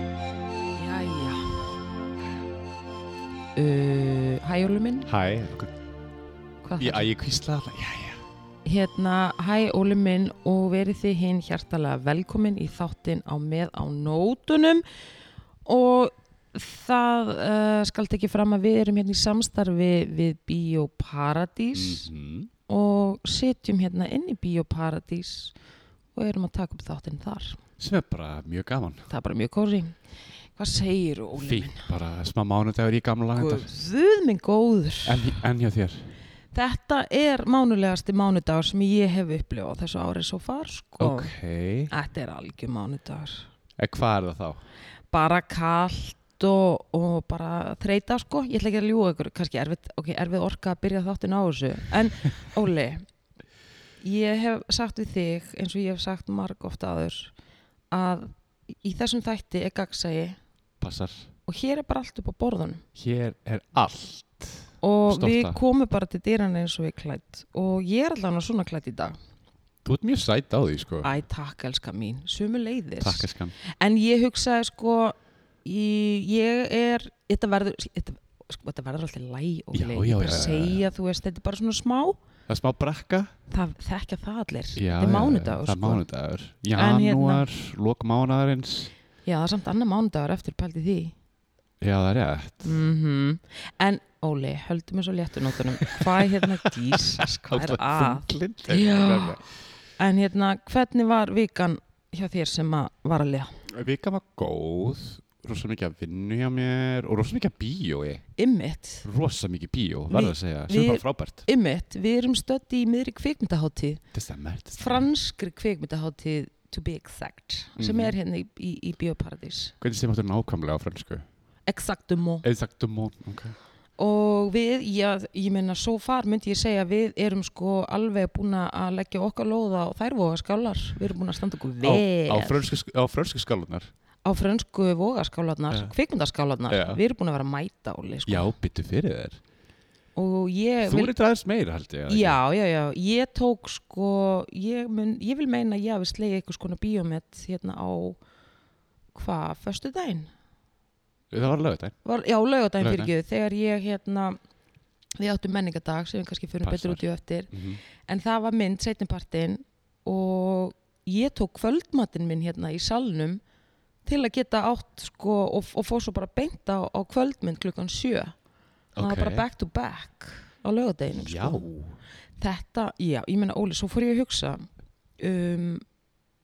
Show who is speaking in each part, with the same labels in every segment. Speaker 1: Jæja uh, Hæ Óli minn
Speaker 2: Hæ, okkur,
Speaker 1: Hvað
Speaker 2: ég,
Speaker 1: þarf?
Speaker 2: að ég kvísla alltaf, já, já.
Speaker 1: Hérna, hæ Óli minn og verið þið hinn hjartalega velkomin í þáttinn á með á nótunum og það uh, skalt ekki fram að við erum hérna í samstarfi við Bíóparadís
Speaker 2: Mhm.
Speaker 1: og sitjum hérna inn í Bíóparadís og erum að taka upp þáttinn þar
Speaker 2: Sem er bara mjög gaman.
Speaker 1: Það er bara mjög kóri Hvað segir Óli minn?
Speaker 2: Fínt, bara smá mánudagur í gamla
Speaker 1: Guð
Speaker 2: lagandar.
Speaker 1: Guð minn góður
Speaker 2: En, en hjá þér,
Speaker 1: Þetta er mánulegasti mánudagur sem ég hef upplifað á þessu ári svo far sko.
Speaker 2: ok.
Speaker 1: Þetta er algjör mánudagur.
Speaker 2: En hvað er það þá?
Speaker 1: Bara kallt og, og bara þreita sko. Ég ætla ekki að ljúga ykkur, kannski erfið, okay, erfið orka að byrja þáttin á þessu. En Óli, ég hef sagt við þig eins og ég hef sagt marg ofta aður að í þessum þætti er gagsægi
Speaker 2: Passar.
Speaker 1: og hér er bara allt upp á borðunum.
Speaker 2: Hér er allt.
Speaker 1: Og
Speaker 2: Stolt
Speaker 1: við
Speaker 2: það.
Speaker 1: komum bara til dýran eins og við klætt og ég er allavega svona klætt í dag.
Speaker 2: Þú ert mjög sæt á því, sko.
Speaker 1: Æ, takk, elska mín, sumu leiðis.
Speaker 2: Takk, eskan.
Speaker 1: En ég hugsaði, sko, ég, ég er, þetta verður, þetta, sko, þetta verður alltaf læg og
Speaker 2: Já,
Speaker 1: leið.
Speaker 2: já,
Speaker 1: Ég bara
Speaker 2: já, já,
Speaker 1: segja, þú veist, þetta er bara svona smá,
Speaker 2: Það er smá brekka.
Speaker 1: það þekkja það allir.
Speaker 2: Já,
Speaker 1: þetta er
Speaker 2: já,
Speaker 1: mánudagur,
Speaker 2: Það er
Speaker 1: sko.
Speaker 2: mánudagur.
Speaker 1: En hérna-
Speaker 2: Janúar, lok mánudagarins.
Speaker 1: Já, það er samt annar mánudagur eftir pældi því.
Speaker 2: Já, það er rétt.
Speaker 1: Mm En, Óli, höldum við svo léttunóttunum. Hvað er hérna, Jesus, hvað er að?
Speaker 2: Þunglind.
Speaker 1: Já. En hérna, hvernig var vikan hjá þér sem að var að lega?
Speaker 2: Vika var góð. Rosa mikið að vinnu hjá mér og rosa mikið að bíói.
Speaker 1: Ymmit,
Speaker 2: rosa mikið bíó, verður að segja, sem
Speaker 1: við-
Speaker 2: er bara frábært.
Speaker 1: ymmit, við erum stödd í miðri kvikmyndaháttíð.
Speaker 2: December, december.
Speaker 1: franskri kvikmyndaháttíð To Be Exact sem
Speaker 2: Mhm.
Speaker 1: er hérna í, í, í Bíóparadís
Speaker 2: Hvernig segir maður þetta nákvæmlega á fransku?
Speaker 1: Exactumo
Speaker 2: Exactement, ok.
Speaker 1: og við, já, ég meina svo far myndi ég segja við erum sko alveg búin að leggja okkar lóða á þær vogaskálar við erum búin að standa okkur
Speaker 2: Á,
Speaker 1: vel
Speaker 2: á, frönsku, sk- á frönsku skalunar.
Speaker 1: á frönsku vogaskálarnar
Speaker 2: Já.
Speaker 1: kvikmyndaskálarnar,
Speaker 2: Já.
Speaker 1: við erum búin að vera að mæta áli sko.
Speaker 2: Já, byttu fyrir þér.
Speaker 1: og ég
Speaker 2: Þú er eitthvað aðeins meira, held ég. eða ekki?
Speaker 1: Já, já, já, ég tók sko, ég, mun, ég vil meina að ég hafi slegið eitthvað skona bíómet hérna á, hvað, föstu daginn?
Speaker 2: Það var lögut,
Speaker 1: var, já, laugardaginn fyrir
Speaker 2: Laugardaginn.
Speaker 1: ekki þegar ég hérna við áttum menningadag sem við kannski fyrir
Speaker 2: Passar.
Speaker 1: betur út í á eftir
Speaker 2: en?
Speaker 1: en það var mynd setnipartin og ég tók kvöldmatinn minn hérna í salnum til að geta átt sko og, og fór svo bara beint á, á kvöldmynd klukkan sjö það var bara back to back á laugardaginum
Speaker 2: Já.
Speaker 1: sko. þetta, já, ég meina Óli, svo fór ég að hugsa um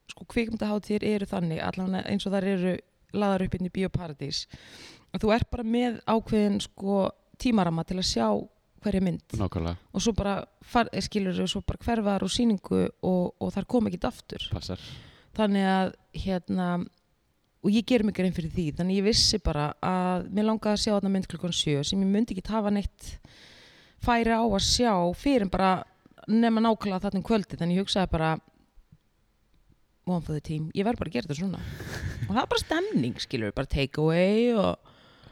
Speaker 1: sko kvikmyndaháttir eru þannig allan eins og þar eru laðar upp inn í bioparadís að þú ert bara með ákveðin sko tímarama til að sjá hverja mynd
Speaker 2: Nákvæmlega,
Speaker 1: og svo bara far, eh, skilur þau svo bara hverfaðar úr sýningu og, og þar kom ekki aftur
Speaker 2: passar.
Speaker 1: þannig að hérna og ég ger mig grein fyrir því þannig ég vissi bara að mér langaði að sjá þarna mynd klukkan sjö sem ég myndi ekki hafa neitt færi á að sjá fyrir en bara nema nákvæmlega þarna um kvöldi þannig ég hugsaði bara one for the team, ég verð bara að gera þetta svona og það er bara stemning skilur bara take away og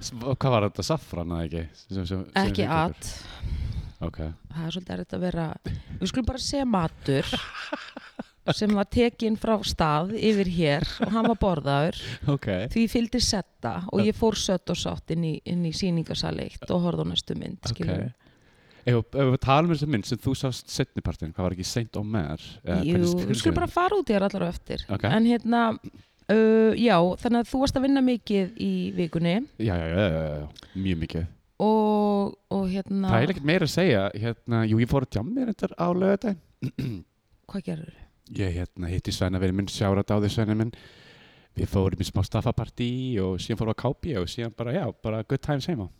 Speaker 2: S- Hvað var þetta, safran eða ekki? Sem, sem, sem
Speaker 1: ekki
Speaker 2: hlutverkur?
Speaker 1: at
Speaker 2: Ok,
Speaker 1: það er svolítið erfitt að vera við skulum bara segja matur sem var tekinn frá stað yfir hér og hann var borðaður
Speaker 2: ok.
Speaker 1: því fylgdi setta og ég fór sött og sátt inn í, inn í síningasal eitt og horfði á næstu mynd okay.
Speaker 2: Ef ef við talum um þess mynd sem þú sást setnipartin, hvað var ekki Saint Omer? eða
Speaker 1: Jú,
Speaker 2: hvernig-
Speaker 1: við skulum bara fara út í þér allar á eftir
Speaker 2: Ok.
Speaker 1: en hérna uh, já, þannig að þú varst að vinna mikið í vikunni
Speaker 2: Já, já, já, já, já, já, mjög mikið.
Speaker 1: og, og hérna
Speaker 2: Það er ekkert meira að segja, hérna, jú, ég fór að tjammi þetta á lögadaginn.
Speaker 1: hvað gerður?
Speaker 2: Ég hérna, hitti Svenna verið minn, sjárat á því Svenna minn. Við fórum í smá staffapartí og síðan fórum við að kápi og síðan bara, já, bara good times heima.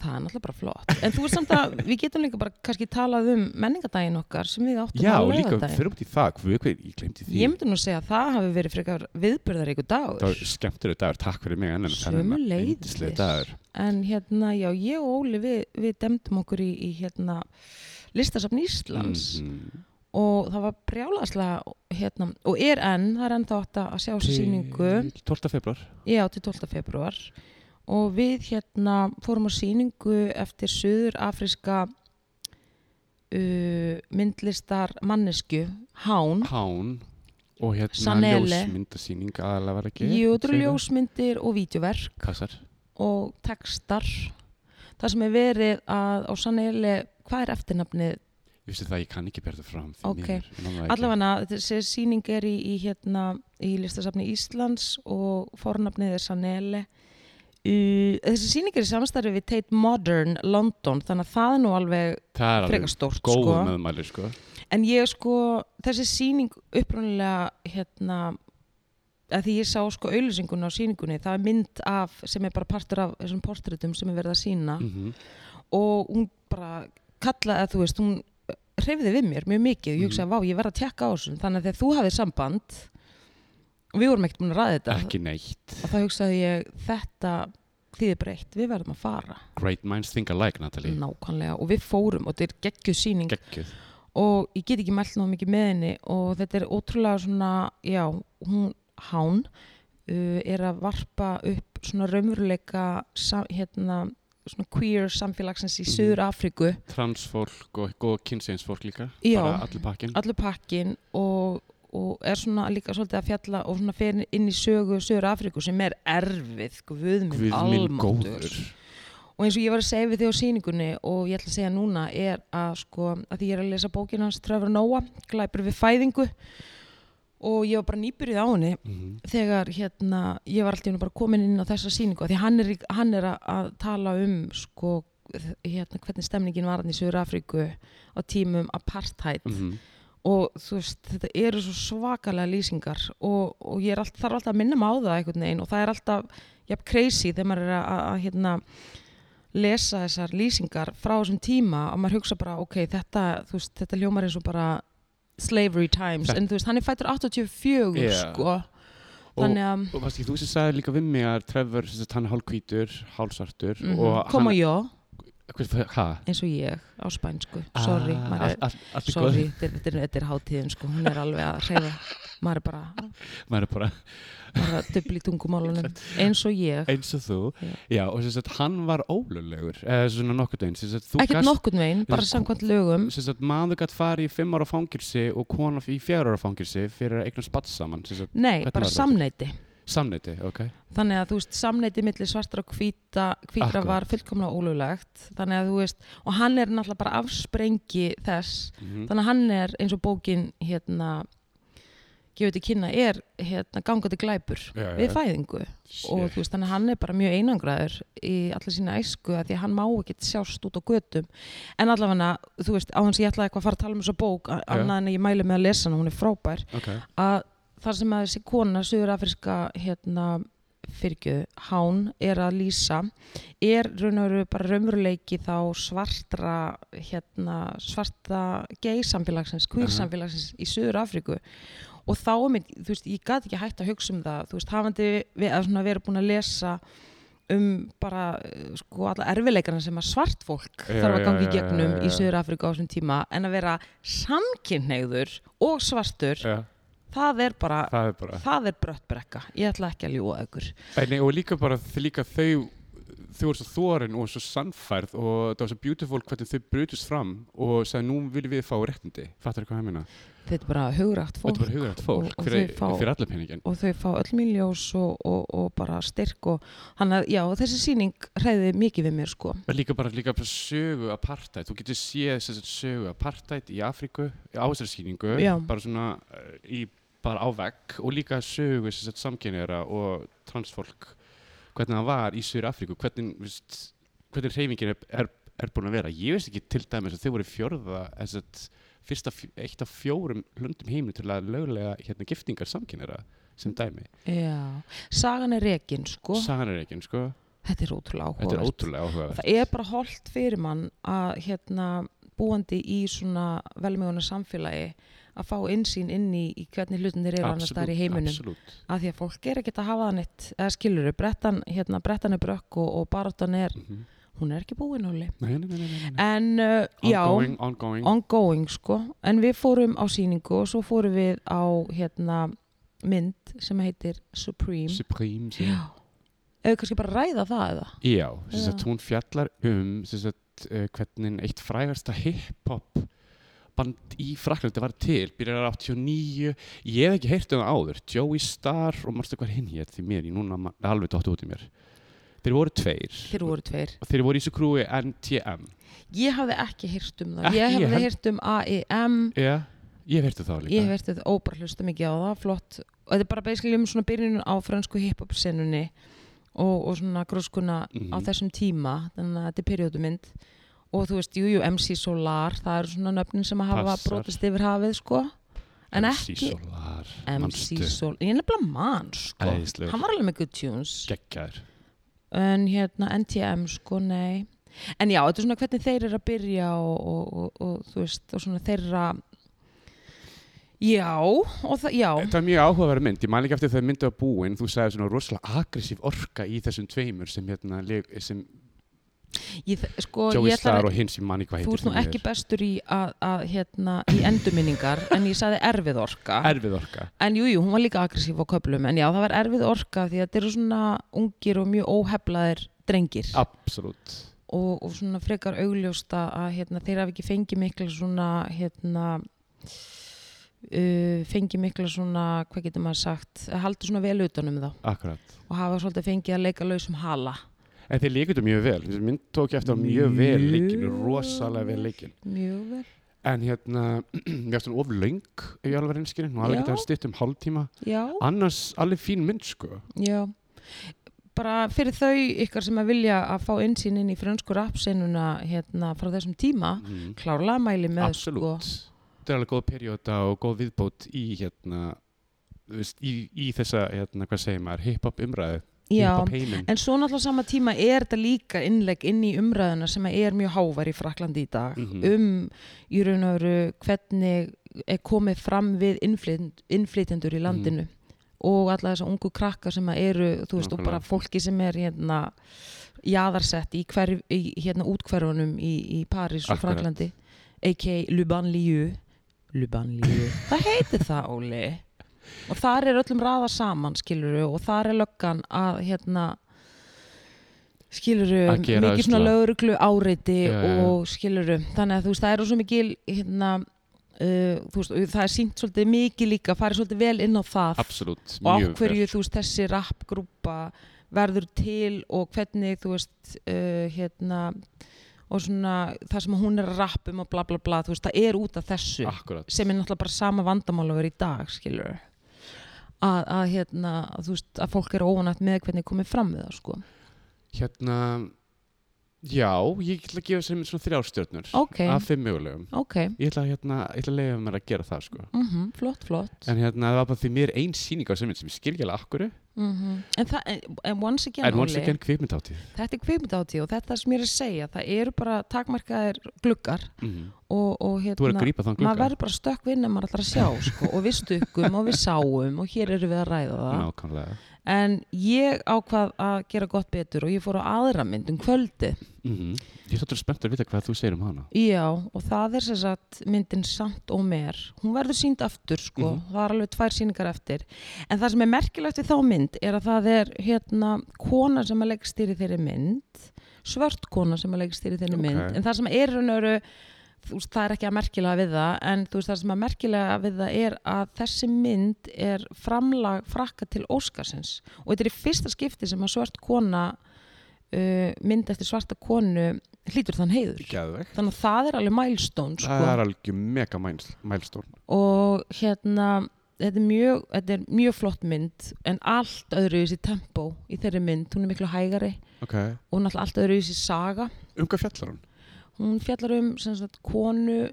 Speaker 1: Það er náttúrulega bara flott en þú er samt að við getum líka bara kannski talað um menningadaginn okkar sem við áttum
Speaker 2: Já,
Speaker 1: á
Speaker 2: og líka,
Speaker 1: laugardaginn.
Speaker 2: fyrir út í það, hvað, hvað, ég glemti því.
Speaker 1: ég myndi nú segja að það hafi verið frekar viðbyrðar ykkur
Speaker 2: Það
Speaker 1: dagur
Speaker 2: var skemmtur dagur, takk fyrir mig, ennum.
Speaker 1: Sömuleiðis.
Speaker 2: hérna dagur.
Speaker 1: en hérna já, ég og Óli við, við demdum okkur í, í hérna listasafn Íslands
Speaker 2: Mhm.
Speaker 1: og það var brjálaðslega hérna, og er enn, það er enn þá hægt að sjá þessu sýningu
Speaker 2: 12. februar
Speaker 1: Já, til 12. februar og við hérna fórum á sýningu eftir söður afríska uh, myndlistar mannesku, Hán
Speaker 2: Hán og hérna
Speaker 1: Sanele.
Speaker 2: ljósmyndasýning aðalega var ekki
Speaker 1: Jú, þetta eru
Speaker 2: segirðu?
Speaker 1: ljósmyndir og vídeoverk
Speaker 2: Kassar
Speaker 1: og textar það sem er verið að á sannlega, hvað er eftirnafnið
Speaker 2: Ég vissi það, ég kann ekki berða fram því
Speaker 1: Ok.
Speaker 2: miður, ég man það ekki.
Speaker 1: allavega þessi sýning er í, í hérna í listasafni Íslands og fornafnið er Sanele uh, þessi sýning er í samstarfi við Tate Modern London þannig að það er nú alveg
Speaker 2: Það er
Speaker 1: frekar
Speaker 2: alveg
Speaker 1: stórt
Speaker 2: góð
Speaker 1: sko.
Speaker 2: meðmæli sko
Speaker 1: en ég sko, þessi sýning upprunalega hérna að því ég sá sko auðlýsinguna á sýningunni það er mynd af, sem er bara partur af þessum portrétum sem er verið að sína
Speaker 2: mm
Speaker 1: og hún bara kallaði að þú veist, hún hreyfði við mér mjög mikið og ég
Speaker 2: Mhm.
Speaker 1: hugsaði, vá, ég verð að tjekka á þessum þannig að þegar þú hafið samband og við vorum ekkert búin að ræða þetta
Speaker 2: Ekki neitt
Speaker 1: og þá hugsaði ég, þetta þýðir breytt, við verðum að fara
Speaker 2: Great minds think alike, Natalie
Speaker 1: Mm. nákvæmlega og við fórum og þetta er geggjuð sýning
Speaker 2: Gekkið
Speaker 1: og ég get ekki mælt náðu mikið með henni og þetta er ótrúlega svona, já, hún hán uh, er að varpa upp svona raunveruleika sa- hérna, svona queer samfélagsins í
Speaker 2: Mhm.
Speaker 1: Suður Afríku
Speaker 2: Transfólk og góð kynseinsfólk líka
Speaker 1: Já.
Speaker 2: Bara allir pakkin
Speaker 1: allur pakkin og, og er svona líka svolítið að fjalla og svona fer inn í sögu Suður Afríku sem er erfið, guðminn
Speaker 2: Guð minn góður
Speaker 1: almáttur og eins og ég var að segja við þig á sýningunni og ég ætla að segja núna er að sko að því ég er að lesa bókina hans Trevor Noah, glæpur við fæðingu og ég var bara nýbyrjuð á henni
Speaker 2: Mhm.
Speaker 1: þegar hérna ég var alltaf henni bara komin inn á þessa sýningu af því hann er, í- hann er að, að tala um sko hérna hvernig stemningin var hann í Suður Afríku á tímum apartheid
Speaker 2: Mhm.
Speaker 1: og þú veist, þetta eru svo svakalega lýsingar og, og ég er allt, þarf alltaf að minna mig á það einhvern veginn og það er alltaf jafn crazy þegar maður er að, að, að hérna, lesa þessar lýsingar frá þessum tíma og maður hugsa bara, ok, þetta, þú veist, þetta hljómar eins og bara slavery times,
Speaker 2: Þetta-
Speaker 1: en þú veist, hann er fættur 84,
Speaker 2: Yeah.
Speaker 1: sko
Speaker 2: Og-
Speaker 1: þannig að,
Speaker 2: Og varst ekki þú sem sagði líka við mig að Trevor, sem sagt, hann er hálkvítur, hálsartur
Speaker 1: mm
Speaker 2: og
Speaker 1: koma
Speaker 2: hann,
Speaker 1: jó
Speaker 2: hvað, hvað?
Speaker 1: eins og ég á spænsku, sorry
Speaker 2: Ah,
Speaker 1: maður er,
Speaker 2: allt- allt- allt er góð.
Speaker 1: sorry, þetta er- þetta er, þetta er hátíðin sko, hún er alveg að hreyfa maður er bara,
Speaker 2: maður er bara
Speaker 1: bara dubli tungumálunum eins og ég
Speaker 2: eins og þú
Speaker 1: Já.
Speaker 2: já, og sem sagt hann var ólulegur eða svona nokkurt einn sem sagt, þú
Speaker 1: ekkert nokkurn veginn, bara
Speaker 2: Þú-
Speaker 1: samkvæmt lögum
Speaker 2: sem sagt, maður gætt farið í fimm ára fangilsi og kona í fjár ára fangilsi fyrir að eigna spatt saman sem sagt,
Speaker 1: nei,
Speaker 2: Hvernig var
Speaker 1: bara
Speaker 2: þetta?
Speaker 1: samneiti
Speaker 2: samneiti, ok
Speaker 1: þannig að þú veist, samneiti milli svartra og hvíta hvítra
Speaker 2: Akkurat.
Speaker 1: var fullkomlega ólöglegt þannig að þú veist, og hann er náttúrulega bara afsprengi þess,
Speaker 2: mm
Speaker 1: þannig að hann er eins og bókin hérna gefið til kynna, er hérna gangandi glæpur
Speaker 2: Já, já, já.
Speaker 1: við fæðingu og þú veist, þannig að hann er bara mjög einangraður í allir sína æsku að því að hann má ekki sjást út á götum en allavega, þú veist, á hans ég ætlaði eitthvað að fara að tala um þessa bók, a-
Speaker 2: Já.
Speaker 1: annað en að ég mæli með að lesa hana, hún er frábær
Speaker 2: ok,
Speaker 1: að þar sem að þessi kona, söðurafriska hérna, fyrgju hán er að lýsa er raun og veru bara raunveruleiki þá svartra hérna, svarta gay samfélagsins, queer
Speaker 2: Aha.
Speaker 1: samfélagsins í Suður Afríku og þá er mér, þú veist, ég gat ekki hægt að hugsa um það, þú veist, hafandi við að svona vera búin að lesa um bara, eh, sko, alla erfileikarna sem að svart fólk
Speaker 2: Já,
Speaker 1: þarf að
Speaker 2: já,
Speaker 1: gangi
Speaker 2: já,
Speaker 1: í gegnum
Speaker 2: já,
Speaker 1: í
Speaker 2: já.
Speaker 1: Suður Afríku á þessum tíma en að vera samkynneigður og svartur
Speaker 2: já,
Speaker 1: það er bara,
Speaker 2: það er bara
Speaker 1: það er bröttbrekka ég ætla ekki að ljúa ykkur
Speaker 2: Nei, og líka bara líka þau þau voru svo þorin og svo sannfærð og það var svo beautiful hvernig þau brutust fram og sagði nú viljum við fá réttindi fattar hvað ég meina?
Speaker 1: þetta er bara hugrætt
Speaker 2: Og Þetta
Speaker 1: fólk
Speaker 2: er bara hugrætt fólk
Speaker 1: og- og
Speaker 2: fyrir,
Speaker 1: þau fá-
Speaker 2: fyrir allar peningin
Speaker 1: og þau fá öll mín ljós og, og, og bara styrk og hann að, já, þessi sýning hræði mikið við mér sko
Speaker 2: En Líka bara, líka bara sögu apartheid, þú getur séð sem sagt, sögu apartheid í Afríku, í ásarsýningu,
Speaker 1: Já.
Speaker 2: bara svona eh, í, bara á vegg og líka sögu sem sagt, samkynjara og transfólk, hvernig það var í Söður Afríku, hvernig, viðst, hvernig hreyfingin er, er, er búin að vera. Ég veist ekki til dæmis að þau voru fjórða, eh, sem sagt, fyrsta, fj- eitt af fjórum löndum heiminu til að löglega hérna, giftingar samkynjara sem dæmi.
Speaker 1: já. sagan er rekin sko
Speaker 2: Sagan er ekki, sko.
Speaker 1: þetta er ótrúlega áhugavert
Speaker 2: Þetta er ótrúlega áhugavert.
Speaker 1: það er bara holdt fyrir mann að hérna búandi í svona velmöguna samfélagi að fá innsýn inn í, í hvernig hlutinir eru annars þar í heiminum
Speaker 2: Absolutt,
Speaker 1: að því að fólk er ekkert að hafa það neitt eða skilur, brettan, hérna, brettan er brökk og, og baráttan er
Speaker 2: absolutt. Mhm.
Speaker 1: hún er ekki búin hóli
Speaker 2: Nei, nei, nei, nei, nei, nei.
Speaker 1: en uh, já,
Speaker 2: Ongoing, ongoing
Speaker 1: ongoing sko en við fórum á sýningu og svo fórum við á hérna mynd sem heitir Supreme
Speaker 2: Supreme sem-
Speaker 1: já, eða kannski bara ræða það eða
Speaker 2: Já, þess að
Speaker 1: Já.
Speaker 2: hún fjallar um þess að uh, hvernig eitt frægasta hip-hop band í Fraklandi var til, byrjar á 89 ég hef ekki heyrt um það áður Joey Starr og marstu hvað hinn hér því mér, ég núna ma- alveg dóttu út í mér þeir voru tveir
Speaker 1: þeir voru tveir
Speaker 2: og þeir voru í þessu krúi NTM
Speaker 1: ég hafði ekki heyrt um það ég
Speaker 2: Ekki ég
Speaker 1: hafði
Speaker 2: held-
Speaker 1: heyrt um AEM
Speaker 2: Já, ég hef heyrt um það líka
Speaker 1: ég hef heyrt þetta óbara hlusta mikið á það flott og þetta er bara basically um svona byrjunum á fransku hip-hop senunni og, og svona gróskuna
Speaker 2: Mhm.
Speaker 1: á þessum tíma þannig að þetta er periódumynd og þú veist, jújú, jú, MC Solar það eru svona nöfnin sem að hafa
Speaker 2: Passar.
Speaker 1: brotist yfir hafið sko, en
Speaker 2: MC
Speaker 1: ekki
Speaker 2: Solar,
Speaker 1: MC Solar, ég er nefnilega mann sko,
Speaker 2: Æðislegur.
Speaker 1: hann var alveg með good tunes
Speaker 2: Gekkar
Speaker 1: en hérna NTM sko, nei en já, þetta er svona hvernig þeir eru að byrja og, og, og, og þú veist, og svona þeirra já, og það, já
Speaker 2: Þetta var mjög áhugaverð mynd, ég man ekki eftir þegar myndið var búin þú sagði svona rosalega aggressív orka í þessum tveimur sem, hérna, leg- sem
Speaker 1: ég, þ- sko,
Speaker 2: Joey
Speaker 1: ég ætla
Speaker 2: Starr
Speaker 1: að
Speaker 2: og hinn sem manni hvað heitir
Speaker 1: þú ert nú
Speaker 2: því
Speaker 1: ekki
Speaker 2: miður.
Speaker 1: bestur í að, að hérna, í endurminningar en ég sagði erfið orka
Speaker 2: erfið orka
Speaker 1: en jújú, jú, hún var líka aggressív á köflum en já, það var erfið orka því að þetta eru svona ungir og mjög óheflaðir drengir
Speaker 2: absolutt
Speaker 1: og, og svona frekar augljósta að hérna, þeir hafi ekki fengið mikla svona hérna uh, fengið mikla svona hvað getur maður sagt, haldur svona vel utanum þá
Speaker 2: akkurat
Speaker 1: og hafa svolítið fengið að leika lausum hala
Speaker 2: en þeir leikur þetta mjög vel þessi mynd tók ég eftir á mjög vel
Speaker 1: Mjög
Speaker 2: leikinu rosalega vel leikin
Speaker 1: mjög vel,
Speaker 2: en hérna mér finnst hún of löng ef ég alveg reynskir hún alveg
Speaker 1: Já.
Speaker 2: getur að stitt um hálftíma
Speaker 1: já
Speaker 2: annars alveg fín mynd sko
Speaker 1: Já, bara fyrir þau ykkar sem að vilja að fá innsýn inn í frönsku rapsenuna hérna frá þessum tíma,
Speaker 2: mm.
Speaker 1: klárlega mæli með sko.
Speaker 2: absolutt þetta er alveg góð perióda og góð viðbót í hérna þú veist, í, í þessa hérna hvað segir maður hip-hop umræðu
Speaker 1: sko. Já,
Speaker 2: hip-hop heiminn
Speaker 1: en svo náttúrulega sama tíma er þetta líka innlegg inn í umræðuna sem að er mjög hávar í Fraklandi í dag
Speaker 2: Mhm.
Speaker 1: um í raun og veru hvernig er komið fram við innflytend, innflytendur í
Speaker 2: Mm.
Speaker 1: landinu og alla þessa ungu krakka sem að eru þú veist og bara
Speaker 2: Nákvæmlega.
Speaker 1: fólki sem er hérna jaðarsett í, hver, í hérna útkverfunum í, í París og
Speaker 2: Akkurat.
Speaker 1: Fraklandi a.k.a. Lubanliu Lubanliu, það heitir það Óli og þar er öllum raða saman skiluru og þar er löggan að hérna skiluru,
Speaker 2: Að gera
Speaker 1: mikið svona
Speaker 2: usla.
Speaker 1: lögreglu áreiti
Speaker 2: Já, já, já.
Speaker 1: og skiluru þannig að þú veist, það eru svo mikil hérna, uh, þú veist, og það er sínt svolítið mikið líka, farið svolítið vel inn á það
Speaker 2: absolutt
Speaker 1: og á
Speaker 2: mjög vel.
Speaker 1: hverju þú veist, þessi rapgrúpa verður til og hvernig þú veist, uh, hérna og svona það sem hún er að rappum og bla bla bla, þú veist, það er út af þessu
Speaker 2: akkurat
Speaker 1: sem er náttúrulega bara sama vandamál að vera í dag, skilur að, að hérna, að, þú veist, að fólk er óanætt með hvernig komið fram við það, sko
Speaker 2: Hérna, já, ég ætla að gefa sér mynd svona þrjár stjórnur
Speaker 1: Ok,
Speaker 2: af fimm mögulegum.
Speaker 1: ok,
Speaker 2: Ég ætla, að, hérna, ég ætla að leiða mér að gera það, sko.
Speaker 1: mm flott, flott
Speaker 2: En hérna, það var bara því mér er ein síning á sem mynd sem ég skil ekki alveg akkur,
Speaker 1: Mhm. En það, en, en once again,
Speaker 2: en once
Speaker 1: Óli,
Speaker 2: again kvikmyndháttið.
Speaker 1: þetta er kvikmyndahátíð og þetta sem ég er að segja, það eru bara takmarkaðir gluggar
Speaker 2: Mm.
Speaker 1: og, og
Speaker 2: Þú er að
Speaker 1: hérna,
Speaker 2: grípa þann
Speaker 1: maður
Speaker 2: glugga.
Speaker 1: verður bara stökk við nema maður ætlar að sjá, sko, og við stökkum og við sáum og hér eru við að ræða það.
Speaker 2: Nákvæmlega.
Speaker 1: En ég ákvað að gera gott betur og ég fór á aðra mynd um kvöldið.
Speaker 2: Mm. Ég þáttur spennt að vita hvað þú segir um hana.
Speaker 1: Já, og það er sem sagt myndin samt og mér. Hún verður sínd aftur sko,
Speaker 2: Mhm.
Speaker 1: það er alveg tvær síningar eftir. En það sem er merkilegt við þá mynd er að það er hérna kona sem að leggstýri þeirri mynd, svört kona sem að leggstýri þeirri
Speaker 2: Ok.
Speaker 1: mynd. En það sem er raun og veru, þú veist, það er ekki að merkilega við það, en þú veist það sem að merkilega við það er að þessi mynd er framlag frakka til Óskarsins. Og þetta er í fyrsta skipti sem að svört kona, uh, mynd eftir svarta konu, hlýtur þann heiður
Speaker 2: Gæðveg.
Speaker 1: þannig að það er alveg milestone sko.
Speaker 2: Það er algjör mega mælstón.
Speaker 1: og hérna þetta er, mjög, þetta er mjög flott mynd en allt öðru í þessi tempo í þeirri mynd, hún er miklu hægari
Speaker 2: Ok.
Speaker 1: og náttúrulega allt öðru í þessi saga
Speaker 2: Um hvað fjallar hún?
Speaker 1: hún fjallar um sem sagt konu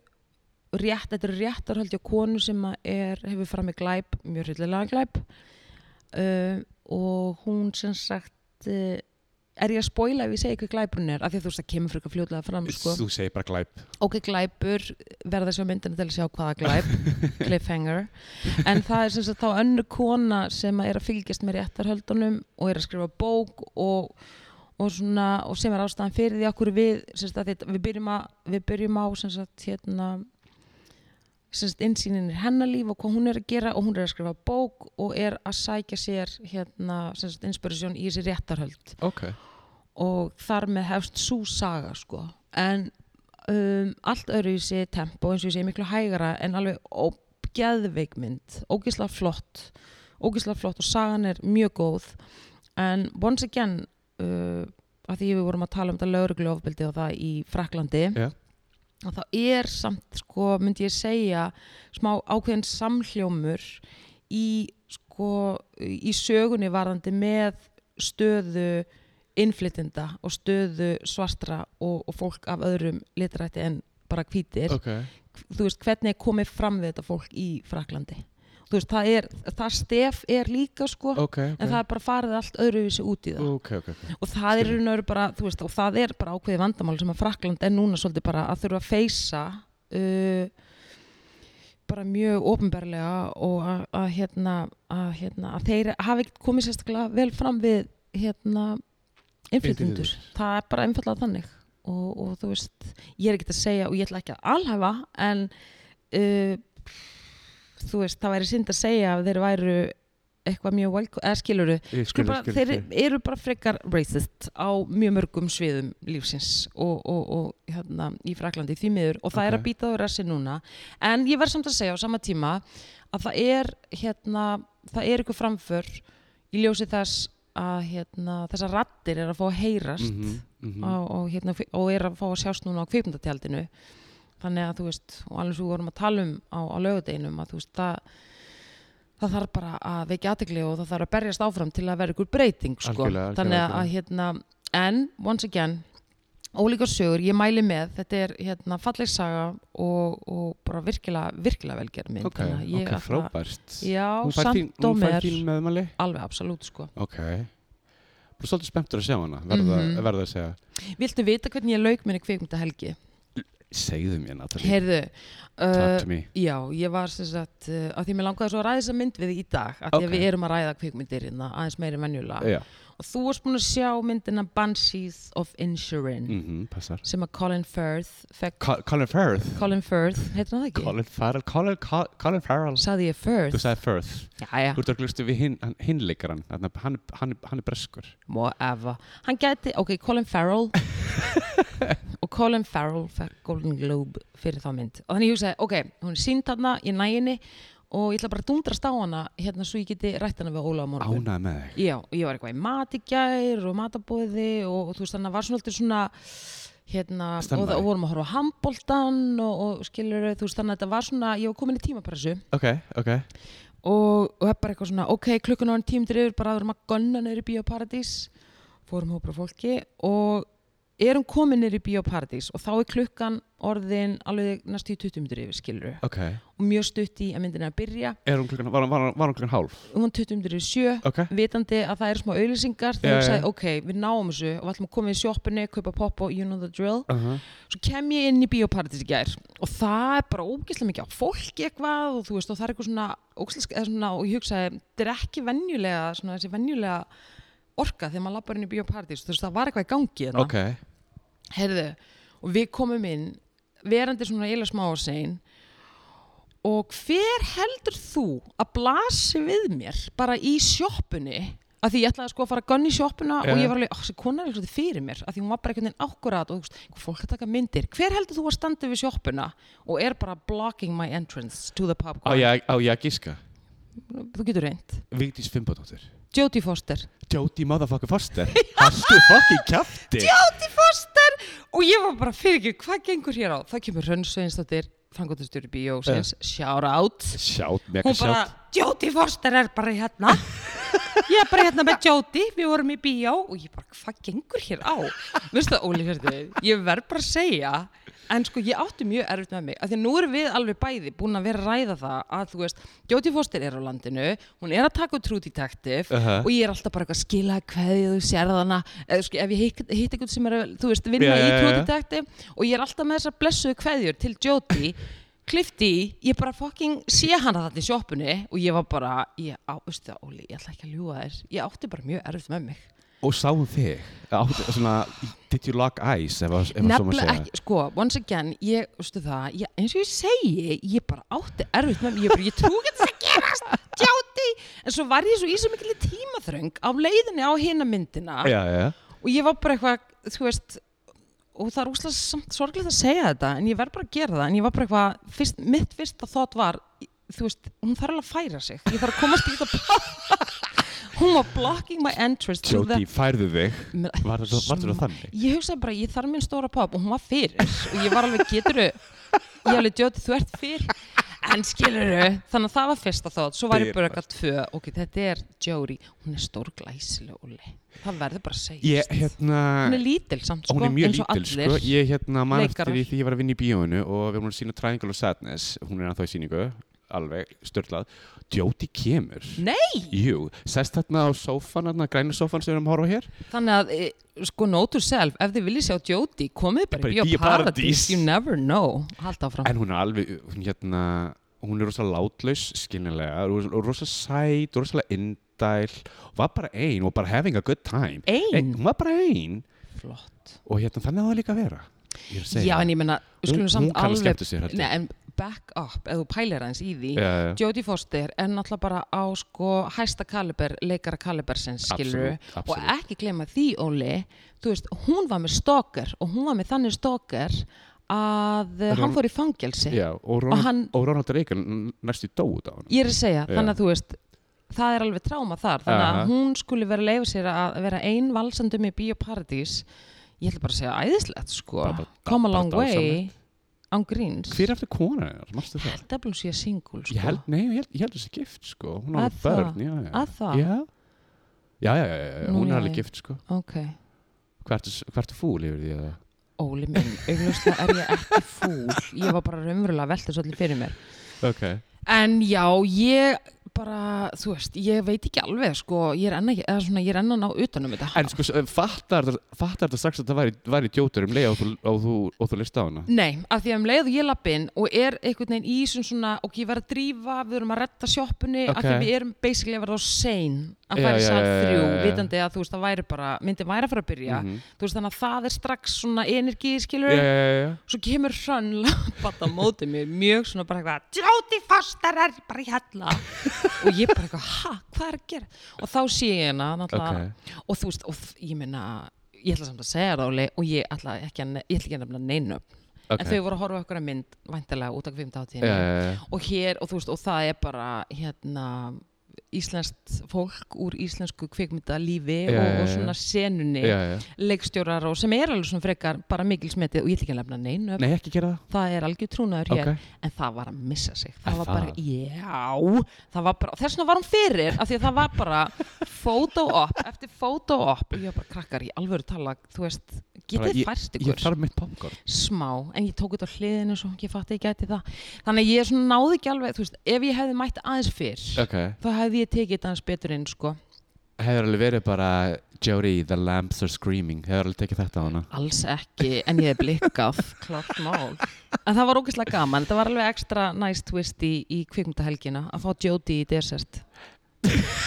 Speaker 1: rétt, þetta er réttarhaldi á konu sem að er, hefur fram með glæp mjög hryllilega glæp uh, og hún sem sagt uh, er ég að spoila ef ég segi hvað glæpurinn er af því að þú veist það kemur fyrir fljótlega fram sko.
Speaker 2: Þú segir bara glæp.
Speaker 1: ok, glæpur verða að sjá myndina til að sjá hvaða glæp cliffhanger en það er sem sagt þá önnur kona sem að er að fylgjast með réttarhöldunum og er að skrifa bók og, og og, svona, og sem er ástæðan fyrir því okkur við sem sagt, að þetta, við, byrjum að, við byrjum á sem sagt, hérna, sem sagt, innsýnin er hennar líf og hvað hún er að gera og hún er að skrifa bók og er að sækja sér hérna, sem sagt, inspiration í þessi réttarhöld
Speaker 2: ok,
Speaker 1: og þar með hefst svo saga sko. en um, allt öðru í sér tempo eins og ég segi miklu hægara en alveg ógeðveikmynd ógisla flott ógisla flott og sagan er mjög góð en once again uh, að því við vorum að tala um þetta lögregluofbildi og það í Fraklandi
Speaker 2: Já.
Speaker 1: og þá er samt sko myndi ég segja smá ákveðin samhljómur í sko í sögunni varðandi með stöðu innflytenda og stöðu svartra og, og fólk af öðrum litrætti en bara hvítir
Speaker 2: ok
Speaker 1: þú veist, hvernig er komið fram við þetta fólk í Fraklandi þú veist, það er, það stef er líka sko,
Speaker 2: ok,
Speaker 1: en það
Speaker 2: ok,
Speaker 1: er bara farið allt öðruvísi út í það
Speaker 2: ok, ok, ok.
Speaker 1: og það er
Speaker 2: skil.
Speaker 1: raun og veru bara, þú veist, og það er bara ákveði vandamál sem að Frakland er núna svolítið bara að þurfa að feysa uh, bara mjög ofinberlega og að, að hérna, að hérna, að þeir hafi ekkert komið sérstaklega vel fram við hérna, innflytjendur
Speaker 2: Innflytjendur.
Speaker 1: það er bara einfallega þannig og, og þú veist, ég er ekkert að segja og ég ætla ekki að alhæfa en uh, þú veist, það væri synd að segja að þeir væru eitthvað mjög velko, eða skiluru
Speaker 2: Ég
Speaker 1: Sko
Speaker 2: skil,
Speaker 1: bara,
Speaker 2: skil,
Speaker 1: þeir
Speaker 2: skil.
Speaker 1: eru bara frekar racist á mjög mörgum sviðum lífsins og, og, og hérna, í Fraklandi því miður og það er
Speaker 2: Ok.
Speaker 1: að býta á rassi núna en ég verð samt að segja á sama tíma að það er hérna, það er ykkur framför í ljósi þess að hérna, þessar rattir er að fá að heyrast
Speaker 2: Mhm, mhm.
Speaker 1: og, og, hérna, og er að fá að sjást núna á kvikmyndatjaldinu þannig að þú veist og alveg svo vorum að tala um á, á lögudeinum að þú veist það, það þarf bara að vekja aðtegli og það þarf að berjast áfram til að vera ykkur breyting sko.
Speaker 2: Algjörlega, algjörlega,
Speaker 1: þannig að,
Speaker 2: algjörlega.
Speaker 1: hérna en once again ólíka sögur, ég mæli með þetta er hérna falleg saga og, og bara virkilega, virkilega velgerð mynd
Speaker 2: ok,
Speaker 1: þannig að ég
Speaker 2: ok,
Speaker 1: ætla-
Speaker 2: frábært Hún
Speaker 1: já,
Speaker 2: fær þín-
Speaker 1: samt og
Speaker 2: Hún fær
Speaker 1: mér
Speaker 2: þín meðmæli
Speaker 1: alveg absolutt sko
Speaker 2: Ok Bara svolítið spenntur að sjá hana verða,
Speaker 1: Mhm.
Speaker 2: verða að segja
Speaker 1: viltu vita hvernig ég lauk minni kvikmyndahelgi?
Speaker 2: Segðu mér Natalie
Speaker 1: heyrðu uh,
Speaker 2: Talk to me
Speaker 1: Já, ég var sem sagt, uh, að því mér langaði svo að ræða þessa mynd við í dag, að því
Speaker 2: Ok.
Speaker 1: að við erum að ræða kvikmyndir hérna, aðeins meiri en venjulega.
Speaker 2: Já
Speaker 1: Og þú varst búin að sjá myndina Banshees of Insurance,
Speaker 2: mm Passar
Speaker 1: sem að Colin Firth, fekk,
Speaker 2: Co Colin Firth
Speaker 1: Colin Firth, heitir hann það ekki?
Speaker 2: Colin Farrell Colin, Co Colin Farrell
Speaker 1: Saði ég
Speaker 2: Þú
Speaker 1: Firth?
Speaker 2: sagði Firth
Speaker 1: Já, já,
Speaker 2: Þú ert að glustu við hinn hin, hin leikarann hann, hann, hann, hann er breskur
Speaker 1: whatever. Hann gæti, ok, Colin Farrell, og Colin Farrell fekk Golden Globe fyrir þá mynd. Og þannig ég hugsaði, ok, hún er sínd þarna, ég næ henni, og ég ætla bara að dundrast á hana, hérna, svo ég geti rætt hana við Óla á morgun.
Speaker 2: Ánað með þig
Speaker 1: Já, og ég var eitthvað í mat í gær og matabóði og, og þú veist þannig að var svona alltaf svona hérna, og
Speaker 2: Standby.
Speaker 1: það og vorum að horfa á handbóltan og, og skilur þú veist þannig að þetta var svona, ég var komin í tímapressu
Speaker 2: Ok, ok
Speaker 1: og, og það er bara eitthvað svona, ok, klukkan á enn tímdur yfir um bara að erum að gönna neyri bíóparadís fórum hópur af fólki og erum komin neyri bíóparadís og þá er klukkan orðin alveg næstu í 20 myndir yfir skilur
Speaker 2: Ok
Speaker 1: og mjög stutt í að myndin er að byrja
Speaker 2: Er hún klukkan, var hún, var hún, var hún klukkan hálf?
Speaker 1: um 20 myndir yfir sjö
Speaker 2: Ok
Speaker 1: vitandi að það eru smá auðlýsingar
Speaker 2: Já,
Speaker 1: þegar ég
Speaker 2: já.
Speaker 1: sagði, ok, við náum þessu og við ætlum að koma í sjoppunni, kaupa popp og you know the drill
Speaker 2: uh -huh.
Speaker 1: svo kem ég inn í biopartís í gær og það er bara ógeðslega mikið á fólki eitthvað og þú veist, og það er eitthvað svona, ógeðslega- eða svona og ég hugsaði, þetta er ekki venjulega svona þessi venjulega orka þegar maður lappar inn í biopartís, þú veist, það var eitthvað í gangi hérna.
Speaker 2: Ok
Speaker 1: Herðu, og við komum inn verandi svona eila smá og sein og hver heldur þú að blasi við mér bara í sjoppunni að því ég ætlaði sko að fara að gönni í sjoppuna
Speaker 2: Já.
Speaker 1: og ég var alveg, þessi kona er eitthvað fyrir mér að því hún var bara einhvern veginn akkurat og þú veist, hvað fólk að taka myndir, hver heldur þú að standa við sjoppuna og er bara blocking my entrance to the
Speaker 2: Á
Speaker 1: popcorn
Speaker 2: ég, á ég að gíska
Speaker 1: þú getur reynd,
Speaker 2: Vigdís Fimboðdóttir
Speaker 1: Jodie Foster
Speaker 2: Jóti motherfucker Foster Haltu fucking kjafti
Speaker 1: Jóti Foster og ég var bara fyrir ekki, hvað gengur hér á það kemur Hrönn Sveinsdóttir, frangotastjóri Bíósins, uh. shout out
Speaker 2: Sjátt, mega
Speaker 1: hún bara,
Speaker 2: sjátt
Speaker 1: Jóti Foster er bara hérna ég er bara hérna með Jóti við vorum í bíó og ég bara, hvað gengur hér á veistu það, Óli, hérðu ég verð bara að segja en sko, ég átti mjög erfitt með mig, af því að nú erum við alveg bæði búin að vera að ræða það að þú veist, Jóti Foster er á landinu hún er að taka út True Detective
Speaker 2: Uh-huh.
Speaker 1: og ég er alltaf bara eitthvað að skila hverju þú sérð hana eða sko, ef ég hitt, hitt eitthvað sem er að, þú veist, vinna
Speaker 2: Já, já,
Speaker 1: í
Speaker 2: já, já.
Speaker 1: tjótitakti og ég er alltaf með þessar blessuðu hverjur til Jóti klifti í, ég bara fucking sé hana þetta í sjoppunni og ég var bara, ég á, veistu það Óli, ég ætla ekki að ljúga þér ég átti bara mjög erfitt með mig
Speaker 2: og sáum þig Átt- svona, did you lock eyes ef, að- ef að svo má
Speaker 1: Nefnilega
Speaker 2: segja
Speaker 1: ekki, sko, once again, ég, veistu það, ég, eins og ég segi, ég bara átti erfitt með, ég, bara, ég trú ekki að það gerast, djáti, en svo var ég svo í svo mikil tímaþröng á leiðinni á hina myndina
Speaker 2: já, já,
Speaker 1: og ég var bara eitthvað, þú veist, og það er úslega samt sorglegt að segja þetta, en ég verð bara að gera það, en ég var bara eitthvað, fyrst, mitt fyrsta þótt var, þú veist, hún þarf alveg að færa sig, ég þarf að komast í þetta Hún var blocking my entrance through the-
Speaker 2: Jóti, færðu þig
Speaker 1: Mér-
Speaker 2: var þetta var þetta þannig
Speaker 1: Ég hugsaði bara, ég þarf minn stóra pop og hún var fyrir og ég var alveg, geturu ég alveg djóti, þú ert fyrir en skiluru, þannig að það var fyrsta þátt svo var ég bara eitthvað tvö, ok, þetta er Jóri, hún er stór glæsileg Óli, það verður bara að segja
Speaker 2: ég, hérna
Speaker 1: hún er lítil samt, sko,
Speaker 2: hún er mjög
Speaker 1: eins og
Speaker 2: lítil
Speaker 1: allir
Speaker 2: sko. ég hérna man eftir
Speaker 1: leikarar.
Speaker 2: því þegar ég var að vinna í bíóinu og við vorum að sína Triangle of Sadness hún er ennþá í síningu, alveg störtlað Jóti kemur
Speaker 1: Nei,
Speaker 2: Jú, sest þarna á sófan, þarna græna sófan sem við erum að horfa á hér
Speaker 1: þannig að e, sko, note to self, ef þið viljið sjá Jóti komið bara
Speaker 2: Bara í
Speaker 1: í Bíó
Speaker 2: Bíó
Speaker 1: Paradís
Speaker 2: Paradís.
Speaker 1: you never know, halda áfram
Speaker 2: En hún er alveg, hún hérna hún er rosa látlaus, skiljanlega og og rosa sæt, og rosalega indæl og var bara ein og bara having a good time
Speaker 1: ein,
Speaker 2: Hún var bara ein
Speaker 1: flott
Speaker 2: og hérna þannig á það líka að vera Ég er að segja
Speaker 1: Já, en ég menna, við skulum
Speaker 2: Hún-
Speaker 1: samt
Speaker 2: hún kann að
Speaker 1: alveg
Speaker 2: skemmta sér, held ég.
Speaker 1: Nei, en back up, ef þú pælir aðeins í því
Speaker 2: Já, já, já.
Speaker 1: Jodie Foster er náttúrulega bara á sko hæsta kaliber, leikara kalibersins skilur
Speaker 2: Absolutt, absolutt.
Speaker 1: og ekki glema því Óli, þú veist, hún var með stalker og hún var með þannig stalker að
Speaker 2: En
Speaker 1: hann
Speaker 2: hún-
Speaker 1: fór í fangelsi
Speaker 2: Já, og Ronald, og
Speaker 1: hann-
Speaker 2: Ronald Reagan n- næstu dó út á hann
Speaker 1: ég er að segja,
Speaker 2: Já.
Speaker 1: þannig að þú veist það er alveg tráma þar, þannig að
Speaker 2: Aha.
Speaker 1: hún skuli vera að leifa sér að vera ein valsandum í Bíóparadís, ég ætla bara að segja æðislegt sko,
Speaker 2: Bara- bara-
Speaker 1: come a
Speaker 2: bara
Speaker 1: long way án gríns
Speaker 2: Hver er eftir kona hennar, mástu það?
Speaker 1: held að hún sé single sko.
Speaker 2: Ég held, nei, ég held, ég held þessi gift sko Hún á
Speaker 1: Að
Speaker 2: alveg
Speaker 1: það?
Speaker 2: börn, já, já
Speaker 1: Að það?
Speaker 2: Já, já, já, já, já, já.
Speaker 1: Nú,
Speaker 2: hún
Speaker 1: já,
Speaker 2: er alveg
Speaker 1: já.
Speaker 2: gift sko
Speaker 1: ok,
Speaker 2: Hvert er fúl yfir því að
Speaker 1: Óli minn augljóslega er ég ekki fúl ég var bara raunverulega að velta svolítið fyrir mér
Speaker 2: Ok
Speaker 1: en já, ég bara, þú veist, ég veit ekki alveg sko, ég er enn að, eða svona, ég er enn að ná utanum þetta
Speaker 2: En sko, s- fattar þetta- fattar þetta strax að það væri, væri djótur um leið og þú, og þú, og þú list á hana?
Speaker 1: Nei, af því að um leið og ég lapp inn og er einhvern veginn í sem svona ok, ég verð að drífa, við erum að retta sjoppunni af því
Speaker 2: Ok.
Speaker 1: að við erum basically að verða á sein að
Speaker 2: Já,
Speaker 1: fara í
Speaker 2: já,
Speaker 1: sal
Speaker 2: já, já,
Speaker 1: þrjú
Speaker 2: já, já.
Speaker 1: vitandi að þú veist, það væri bara myndi væri að fara að byrja,
Speaker 2: Mhm.
Speaker 1: þú veist, þannig að það er strax svona energi, skilur
Speaker 2: Já, já, já, já.
Speaker 1: svo kemur hrönn lappað á móti mér mjög svona bara eitthvað djóti fastar er bara í hella og ég bara eitthvað, ha, hvað er að gera og þá sé ég hérna náttúrulega og þú veist, og þ- ég meina ég ætla samt að segja ráli og ég ætla ekki að, ne- ég ætla ekki að nefna neinu
Speaker 2: Ok,
Speaker 1: en þau voru að horfa okkur að mynd væntalega út á
Speaker 2: Já,
Speaker 1: kvimtáttíðinni
Speaker 2: já, já.
Speaker 1: og hér, og þú veist, og það er bara hérna íslenskt fólk úr íslensku kvikmyndalífi
Speaker 2: Já,
Speaker 1: og,
Speaker 2: já,
Speaker 1: og
Speaker 2: já.
Speaker 1: svona senunni
Speaker 2: Já, já.
Speaker 1: leikstjórar og sem er alveg svona frekar bara mikil smetið og ég ætla ekki að nefna neinu
Speaker 2: Nei, ekki gera það.
Speaker 1: það er algjör trúnaður hér
Speaker 2: Ok.
Speaker 1: en það var að missa sig
Speaker 2: Er
Speaker 1: það var bara,
Speaker 2: það?
Speaker 1: já það var bara, þess vegna var hún fyrir af því að það var bara photo op eftir photo op og ég var bara krakkar í alvöru tala þú veist,
Speaker 2: Bara
Speaker 1: getið
Speaker 2: ég-
Speaker 1: fært
Speaker 2: Ég
Speaker 1: ykkur
Speaker 2: þarf mitt popcorn.
Speaker 1: smá, en ég tók þetta á hliðinu svo ég fatti ekki gæti það þannig að ég svona náði ekki alveg, þú veist, ef ég hefði mætt aðeins fyrr
Speaker 2: Ok.
Speaker 1: þá hefði ég tekið þetta aðeins betur inn sko.
Speaker 2: Hefur alveg verið bara Jody, the lamps are screaming. Hefur alveg tekið þetta á hana.
Speaker 1: alls ekki, en ég hef blikkað klart mál en það var ógeðslega gaman, þetta var alveg ekstra nice twist í, í kvikmyndahelgina að fá Jody í desert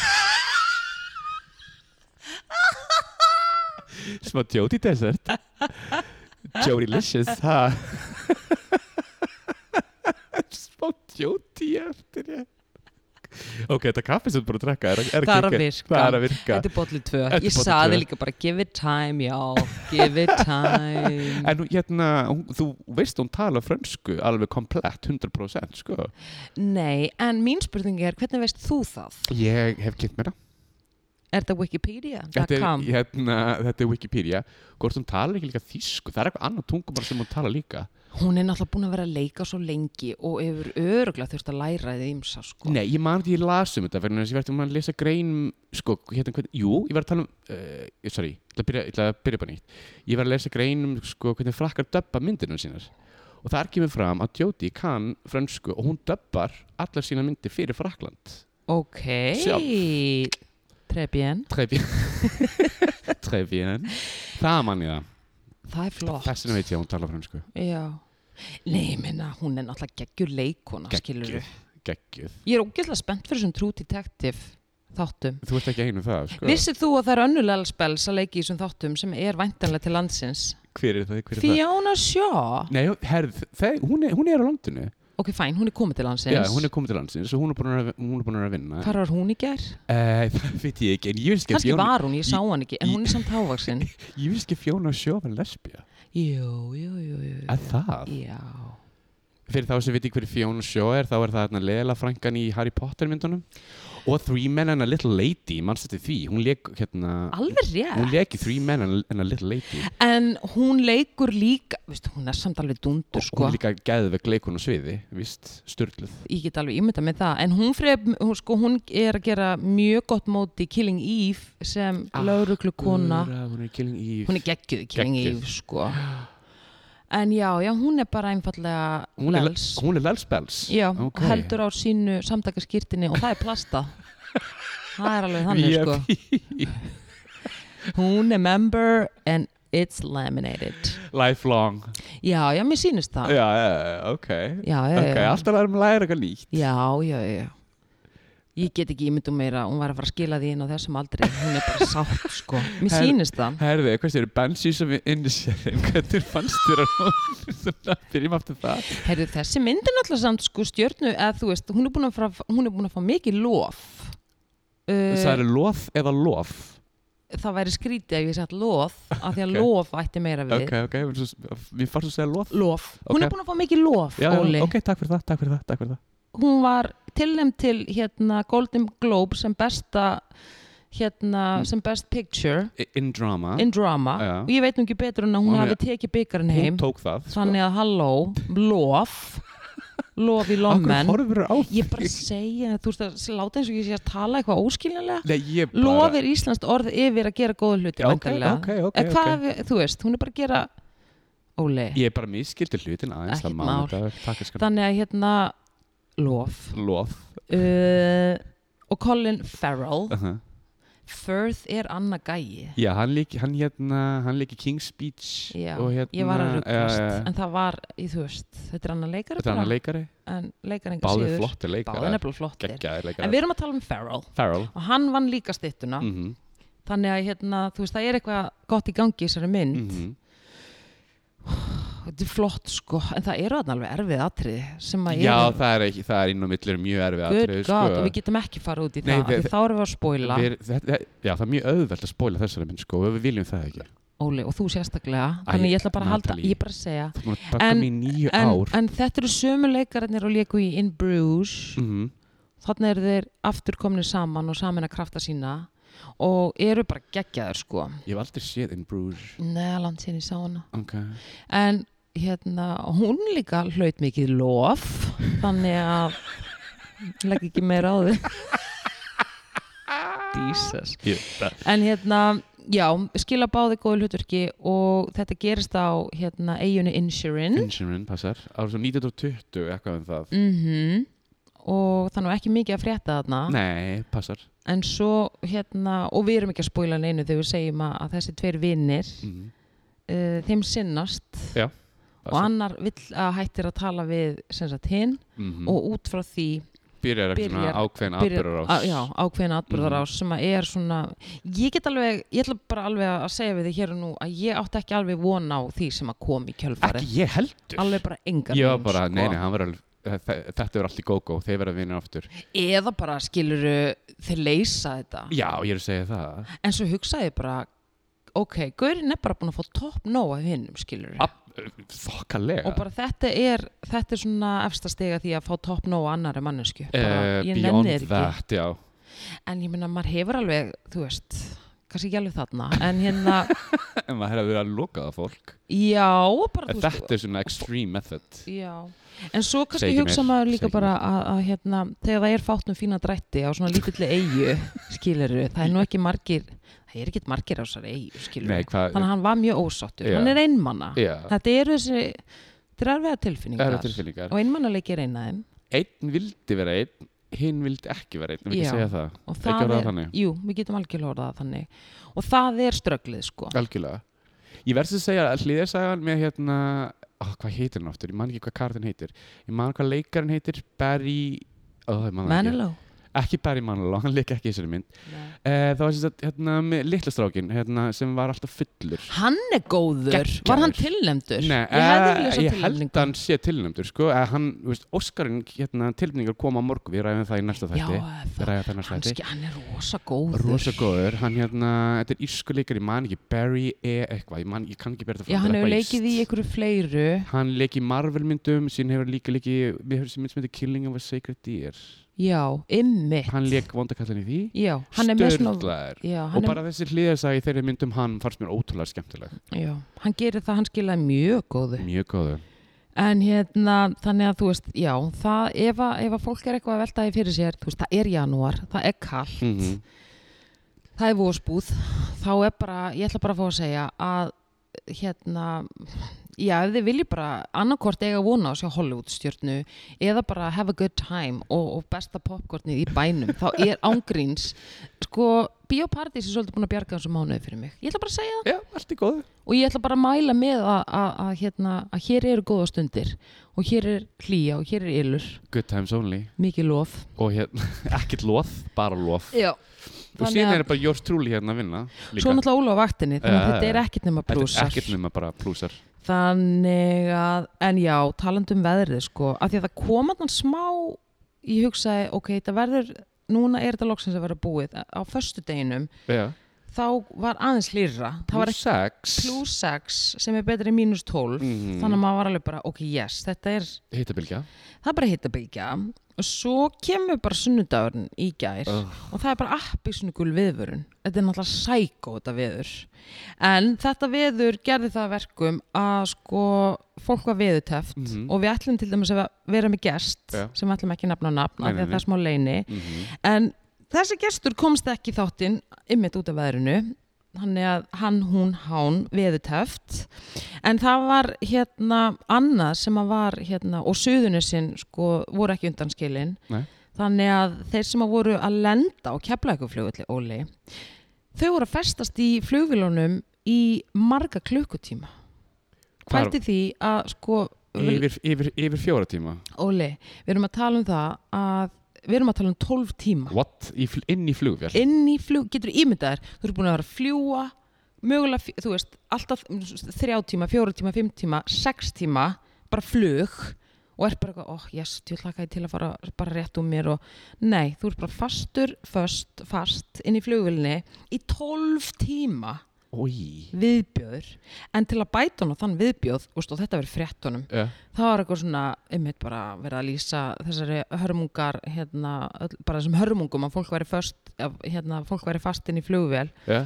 Speaker 2: Smá Jody desert. Jody licious, ha? Smá Jody eftir ég. Ok, þetta kaffi sem þú búin að drekka er, er
Speaker 1: Það er að
Speaker 2: kikka-
Speaker 1: virka.
Speaker 2: Það er að virka.
Speaker 1: þetta er bollu tvö,
Speaker 2: Þetta er
Speaker 1: ég
Speaker 2: bollu
Speaker 1: saði
Speaker 2: tvö.
Speaker 1: líka bara give it time, já, give it time
Speaker 2: En hún- hérna, hún, þú veist hún tala frönsku alveg komplett, 100% sko.
Speaker 1: nei, en mín spurning er hvernig veist þú það?
Speaker 2: Ég hef kynnt mér það.
Speaker 1: Er þetta
Speaker 2: Þetta er,
Speaker 1: wikipedia.com?
Speaker 2: hérna, þetta er Wikipedia. Hvort hún tala ekki líka þýsku, það er eitthvað annað tungumar sem hún tala líka.
Speaker 1: Hún er náttúrulega búin að vera að leika svo lengi og hefur öruglega þurft að læra þið ímsa sko.
Speaker 2: Nei, ég man því ég las um þetta, vegna þess að ég verði um að lesa grein, sko, hérna, hvern, jú, ég var að tala um, uh, sorry, ég ætla að byrja, ég ætla að byrja bara nýtt. Ég var að lesa grein um, sko, hvernig frakkar döbba myndinu sínar. Og þar kemur fram að Jóti kann frönsku og hún döbbar allar sína myndir fyrir Frakland.
Speaker 1: Ok, trebjen,
Speaker 2: Très bien. Très bien. Það mann ég það.
Speaker 1: það er flott.
Speaker 2: Þess vegna veit ég að hún tala fransku.
Speaker 1: Já. Nei, ég meina, hún er náttúrulega geggjur leikona, skilur
Speaker 2: Geggjuð.
Speaker 1: Ég er ógeðslega spennt fyrir þessum True Detective. þáttum
Speaker 2: þú ert ekki einu um það sko.
Speaker 1: Vissir þú að það er önnulega spels að leiki í þessum þáttum sem er væntanlega til landsins?
Speaker 2: hver er það, hver er það?
Speaker 1: Fiona Shaw
Speaker 2: Nei, herð, það, hún, er, hún er á landinu
Speaker 1: Ok, fæn, hún er komið til landsins
Speaker 2: Já, hún er komið til landsins og hún er búin að, hún er búin að vinna
Speaker 1: Hvar var hún í ger?
Speaker 2: Eh, Það veit ég ekki, en ég veist ekki að
Speaker 1: Kanski
Speaker 2: Fjóna-
Speaker 1: var hún, ég sá hann ekki En
Speaker 2: í-
Speaker 1: hún er samt hávaxin
Speaker 2: ég veist ekki að Fjóna Sjó var lesbía
Speaker 1: Jú, jú, jú, jú
Speaker 2: Er það?
Speaker 1: Já
Speaker 2: Fyrir þá sem veit ekki hver Fjóna Sjó er þá er það hérna Lela Frankan í Harry Potter myndunum og Three Men and a Little Lady mannstu til því, hún leik hérna
Speaker 1: Alveg rétt
Speaker 2: hún leik í Three Men and a- and a Little Lady
Speaker 1: En hún leikur líka Veistu, hún er samt alveg dundur
Speaker 2: og
Speaker 1: sko
Speaker 2: hún er líka geðveg leikun á sviði víst, styrluð
Speaker 1: Ég get alveg ímynda með það En hún, fref, hún, sko, hún er að gera mjög gott móti Killing Eve sem ah, lauruglukona
Speaker 2: Hún er killing í
Speaker 1: Hún er geggjuð í Killing
Speaker 2: Geggjuð.
Speaker 1: Eve sko En já, já, hún er bara einfallega
Speaker 2: hún er,
Speaker 1: lels.
Speaker 2: hún er lelsbels
Speaker 1: Já,
Speaker 2: Ok.
Speaker 1: heldur á sínu samtakaskýrtinni og það er plasta Það er alveg þannig
Speaker 2: VIP.
Speaker 1: sko Hún er member and it's laminated
Speaker 2: Lifelong
Speaker 1: Já, já, mér sýnist
Speaker 2: Já,
Speaker 1: það Já,
Speaker 2: já, já, ok
Speaker 1: já,
Speaker 2: Ok,
Speaker 1: já
Speaker 2: alltaf erum að læra eitthvað nýtt
Speaker 1: Já, já, já Ég get ekki ímyndum meira, hún var að fara að skila því inn á þessum aldri Hún er bara sátt sko Mér
Speaker 2: Her-
Speaker 1: sýnist það
Speaker 2: Herði, hvað styrir Banshees of Inisherin Hvernig fannst þér að hún Svona, byrjum aftur það
Speaker 1: Herðu, þessi mynd er náttúrulega samt sko stjörnu eða þú veist, hún er búin að, fara, hún er búin að fá mikið lof Uh,
Speaker 2: Það eru lof eða lof
Speaker 1: það væri skrítið ef ég sett loð af því að
Speaker 2: Ok.
Speaker 1: lof ætti meira við
Speaker 2: Ok, ok, en svo- mér fannst þú að segja lof
Speaker 1: lof, hún
Speaker 2: Ok.
Speaker 1: er búin að fá mikið lof
Speaker 2: Já, já,
Speaker 1: Óli,
Speaker 2: ok, takk fyrir það, takk fyrir það, takk fyrir það
Speaker 1: hún var tilnæmt til hérna Golden Globe sem besta hérna, sem best picture
Speaker 2: I- In drama,
Speaker 1: in drama
Speaker 2: Hmm. Já.
Speaker 1: og ég veit nú ekki betur en að hún
Speaker 2: Hún
Speaker 1: hafi tekið byggarinn
Speaker 2: hún
Speaker 1: heim
Speaker 2: tók það sko.
Speaker 1: þannig að halló, lof lof í
Speaker 2: Akkur
Speaker 1: lommen
Speaker 2: horfur á
Speaker 1: ég bara segja, þú veist að láta eins og ég sé að tala eitthvað óskiljanlega
Speaker 2: Nei, ég bara
Speaker 1: lof er íslenskt orð yfir að gera góða hluti
Speaker 2: Já, ok,
Speaker 1: væntanlega.
Speaker 2: ok, ok,
Speaker 1: En hvað, okay. þú veist, hún er bara að gera Óli,
Speaker 2: Ég bara miskildi hlutin aðeins
Speaker 1: Ekkert
Speaker 2: það
Speaker 1: mál.
Speaker 2: mánudag, takk ég skal
Speaker 1: þannig að hérna Lof
Speaker 2: Lof
Speaker 1: uh, og Colin Farrell
Speaker 2: uh -huh.
Speaker 1: Firth er Anna Gæi
Speaker 2: Já, hann lík, hann hérna, hann lík í King's Speech
Speaker 1: Já,
Speaker 2: og hérna
Speaker 1: ég var að ruggast
Speaker 2: já, já.
Speaker 1: en það var, í, þú veist, þetta er annar leikari
Speaker 2: Þetta er hann leikari,
Speaker 1: bara, en leikari engar
Speaker 2: báðir
Speaker 1: síður
Speaker 2: flottir leikari
Speaker 1: báðir nefnilega flottir
Speaker 2: Geggjaðir
Speaker 1: en
Speaker 2: leikari
Speaker 1: við Ah. erum að tala um Farrell
Speaker 2: Farrell
Speaker 1: og hann vann líka styttuna
Speaker 2: Mhm,
Speaker 1: þannig að hérna, þú veist, það er eitthvað gott í gangi í þessari mynd
Speaker 2: mhm.
Speaker 1: þetta er flott sko, en það eru þarna alveg erfið atriði sem að
Speaker 2: Já,
Speaker 1: eru
Speaker 2: það er, ekki, það er inn á millir mjög erfið
Speaker 1: hérna- Good
Speaker 2: atriði,
Speaker 1: God,
Speaker 2: sko.
Speaker 1: og við getum ekki fara út í
Speaker 2: Nei,
Speaker 1: það,
Speaker 2: þe-
Speaker 1: af því þá erum við að spoila
Speaker 2: Við- þetta- þetta- Já, það er mjög auðvelt að spóla þessari mynd sko, og við viljum það ekki
Speaker 1: Óli, og þú sérstaklega þannig ég ætla bara að halda,
Speaker 2: Natalie.
Speaker 1: ég er bara að segja
Speaker 2: Þú erum að baka
Speaker 1: En-
Speaker 2: mig í nýju
Speaker 1: en,
Speaker 2: ár
Speaker 1: en þetta eru sömu leikarinnir og leiku í In Bruges
Speaker 2: Mhm.
Speaker 1: þannig eru þeir aftur komni saman og samin að krafta sína og eru bara geggjaður sko
Speaker 2: Ég hef aldrei séð In Bruges
Speaker 1: neða land síðan ég sá hana
Speaker 2: Ok
Speaker 1: en hérna, hún líka hlaut mikið lof þannig að legg ekki meira á þig Jesus
Speaker 2: Ég- það-
Speaker 1: en hérna, já, skila báði góðu hlutverki og þetta gerist á hérna, eiginu Insurin
Speaker 2: Insurance, passar Ára svo 1920 eitthvað um það
Speaker 1: mm og þannig var ekki mikið að frétta þarna
Speaker 2: Nei, passar
Speaker 1: en svo hérna og við erum ekki að spóla neinu þegar við segjum að, að þessi tveir vinnir
Speaker 2: Mhm,
Speaker 1: uh, þeim sinnast og
Speaker 2: passar.
Speaker 1: annar vill að hættir að tala við sem sagt hinn
Speaker 2: Mhm.
Speaker 1: og út frá því
Speaker 2: Byrjar eitthvað svona
Speaker 1: byrjar-
Speaker 2: ákveðin
Speaker 1: byrjar-
Speaker 2: atbyrður
Speaker 1: að- já, ákveðin atbyrðar
Speaker 2: Mm.
Speaker 1: sem að er svona ég get alveg, ég ætla bara alveg að segja við þig hér og nú að ég átti ekki alveg von á því sem að kom í
Speaker 2: Ekki
Speaker 1: kjölfari
Speaker 2: ég heldur
Speaker 1: alveg bara engan
Speaker 2: Ég var
Speaker 1: veginn,
Speaker 2: bara,
Speaker 1: sko.
Speaker 2: nei, nei, hann var alveg eh, þe- Þetta verður allt í gógó, þeir verða vinir aftur
Speaker 1: eða bara skiluru þeir leysa þetta
Speaker 2: Já, ég er að segja það
Speaker 1: En svo hugsaði ég bara ok, Gaurin er bara búin að fá topp nóg af hinnum, skilur
Speaker 2: Ab- Fokkalega
Speaker 1: og bara þetta er, þetta er svona efsta stiga því að fá topp nóg af annari mannesku bara,
Speaker 2: Eh,
Speaker 1: ég
Speaker 2: Beyond
Speaker 1: nenni þér ekki,
Speaker 2: that, já
Speaker 1: en ég meina maður hefur alveg, þú veist kannski ekki alveg þarna, en hérna
Speaker 2: En maður hefur verið að lokaða fólk
Speaker 1: já, bara þú veist
Speaker 2: Eh, Þetta er svona extreme method
Speaker 1: já. en svo kannski
Speaker 2: Segi ekki
Speaker 1: hugsa
Speaker 2: meir,
Speaker 1: maður
Speaker 2: segi
Speaker 1: líka
Speaker 2: ekki
Speaker 1: bara að, að hérna, þegar það er fátt um fína drætti á svona lítilli eigu, skilur það er nú ekki margir, það er ekki margir á þessari eigu, skilur
Speaker 2: Nei, hvað
Speaker 1: þannig að hann var mjög ósáttur,
Speaker 2: Já.
Speaker 1: hann er einmanna
Speaker 2: Já,
Speaker 1: þetta eru þessi þetta eru erfiða tilfinningar
Speaker 2: það er tilfinningar
Speaker 1: og einmannalegi er einn af þeim
Speaker 2: Einn vildi vera einn, hinn vildi ekki vera einn Við
Speaker 1: Já.
Speaker 2: ekki segja það,
Speaker 1: og
Speaker 2: ekki
Speaker 1: það
Speaker 2: orða
Speaker 1: er,
Speaker 2: þannig
Speaker 1: jú, við getum algjörlega orðað það þannig og það er strögglið sko
Speaker 2: Algjörlega Ég verðs að segja að hliðarsagan með hérna oh, Hvað heitir hann aftur? Ég man ekki hvað kartin heitir Ég man hvað leikarinn heitir Barry oh,
Speaker 1: Manilow,
Speaker 2: ekki Barry Manilow, hann leik ekki í þessari mynd
Speaker 1: Nei.
Speaker 2: uh, það var sem sagt hérna með litla strákin hérna, sem var alltaf fullur
Speaker 1: Hann er góður,
Speaker 2: Geggjaður.
Speaker 1: var hann tilnæmdur?
Speaker 2: Nei,
Speaker 1: ég hefði
Speaker 2: eh,
Speaker 1: viljað sjá
Speaker 2: ég held
Speaker 1: tilnæmningu.
Speaker 2: að hann sé tilnæmdur sko, að hann, þú veist, Óskarinn hérna, tilnæmningar koma á morgun, við ræðum það í næsta
Speaker 1: Já,
Speaker 2: þætti
Speaker 1: eh,
Speaker 2: við
Speaker 1: það,
Speaker 2: ræðum það í næsta
Speaker 1: hann,
Speaker 2: þætti
Speaker 1: ske, hann er rosa góður.
Speaker 2: rosa góður, hann hérna þetta er írsku leikari, ég man ekki, Barry E eitthvað, ég, man, ég kann ekki bera þetta
Speaker 1: Já, hann
Speaker 2: þetta er
Speaker 1: hefur
Speaker 2: eitthvað
Speaker 1: leikið í
Speaker 2: írskt.
Speaker 1: einhverju fleiru.
Speaker 2: hann leik í Marvel myndum, síðan hefur hann líka leik í við höfum sem mynd sem heitir Killing of a Sacred Deer
Speaker 1: Já, ymmi.
Speaker 2: hann leik vondakallin í því
Speaker 1: Já, hann er með svona...
Speaker 2: Sturlaður.
Speaker 1: Já, hann
Speaker 2: og bara þessi hliðarsæði þeirri myndum hann fannst mér ótrúlega skemmtileg
Speaker 1: er, já, hann gerir það, hann skilaði mjög góðu.
Speaker 2: mjög góður
Speaker 1: En hérna, þannig að þú veist, já, það, ef að, ef að fólk er eitthvað að veltaði fyrir sér, þú veist, það er janúar, það er kall,
Speaker 2: mm
Speaker 1: það er vósbúð, þá er bara, ég ætla bara að fá að segja að, hérna, já, ef þið viljið bara annarkvort eiga vona á sjá Hollywoodstjörnu eða bara have a good time og, og besta popcornið í bænum, þá er ángríns, sko, Bíóparadís er svolítið búin að bjarga þessu mánuði fyrir mig. Ég ætla bara að segja það
Speaker 2: já, allt er góð
Speaker 1: og ég ætla bara að mæla með að, að, að, hérna, að hér eru góða stundir og hér er hlýja og hér er ylur
Speaker 2: good times only
Speaker 1: mikið lof
Speaker 2: og hérna, ekkert loð, bara lof
Speaker 1: Já,
Speaker 2: og
Speaker 1: Þannig
Speaker 2: síðan
Speaker 1: að-
Speaker 2: er bara yours truly hérna að vinna líka.
Speaker 1: svo náttúrulega Óla á vaktinni þannig að
Speaker 2: Já,
Speaker 1: þetta
Speaker 2: já,
Speaker 1: er
Speaker 2: já.
Speaker 1: ekkert nema
Speaker 2: Þetta er
Speaker 1: brúsar
Speaker 2: ekkert nema bara plúsar
Speaker 1: þannig að, en já, talandi um veðrið sko, af því að það kom andan smá ég hugsaði, ok, þetta verður núna er þetta loksins að vera búið á föstudeginum,
Speaker 2: já.
Speaker 1: þá var aðeins hlýra, það var
Speaker 2: plus
Speaker 1: ekki
Speaker 2: 6
Speaker 1: plus 6 sem er betur en mínus 12
Speaker 2: Mhm.
Speaker 1: þannig að maður var alveg bara, ok, yes, þetta er
Speaker 2: hittabilgja
Speaker 1: það er bara hittabilgja og svo kemur bara sunnudagurinn í gær og það er bara appisnugul viðvörun þetta er náttúrulega sækó þetta viður en þetta viður gerði það að verkum að sko fólk var viðuteft
Speaker 2: Mhm.
Speaker 1: og við ætlum til dæmis að vera með gest
Speaker 2: Já.
Speaker 1: sem við ætlum ekki að nafna á nafn
Speaker 2: Nei,
Speaker 1: af því
Speaker 2: nei,
Speaker 1: að það
Speaker 2: nei.
Speaker 1: er smá leini
Speaker 2: mm -hmm.
Speaker 1: en þessi gestur komst ekki í þáttinn ymmit út af veðrinu hann er að hann, hún, hán veðuteft en það var hérna annað sem að var hérna og suðunisinn sko voru ekki undanskilin
Speaker 2: Nei.
Speaker 1: þannig að þeir sem að voru að lenda á keflækuflugulli Óli þau voru að festast í flugvilunum í marga klukkutíma
Speaker 2: Hvar-
Speaker 1: kvælti því að sko
Speaker 2: yfir, yfir, yfir fjóra tíma
Speaker 1: Óli, við erum að tala um það að við erum að tala um 12 tíma
Speaker 2: What? Í, fl- inn í flugvél
Speaker 1: inn í flug, getur ímyndað þér þú eru búin að vera að fljúa mögulega, fj- þú veist, alltaf mm, þrjá tíma, fjóra tíma, fimm tíma, sex tíma bara flug og er bara eitthvað, oh yes, ég hlaka ég til að fara bara rétt um mér og nei, þú ert bara fastur, föst, fast inn í flugvilni í tólf tíma
Speaker 2: Í
Speaker 1: viðbjöður en til að bæta hún á þann viðbjöð úst, og þetta verið fréttunum
Speaker 2: Já,
Speaker 1: það var eitthvað svona, einmitt bara verið að lýsa þessari hörmungar hérna, öll- bara þessum hörmungum að fólk væri fast, hérna, fólk væri fast inn í flugvél
Speaker 2: já,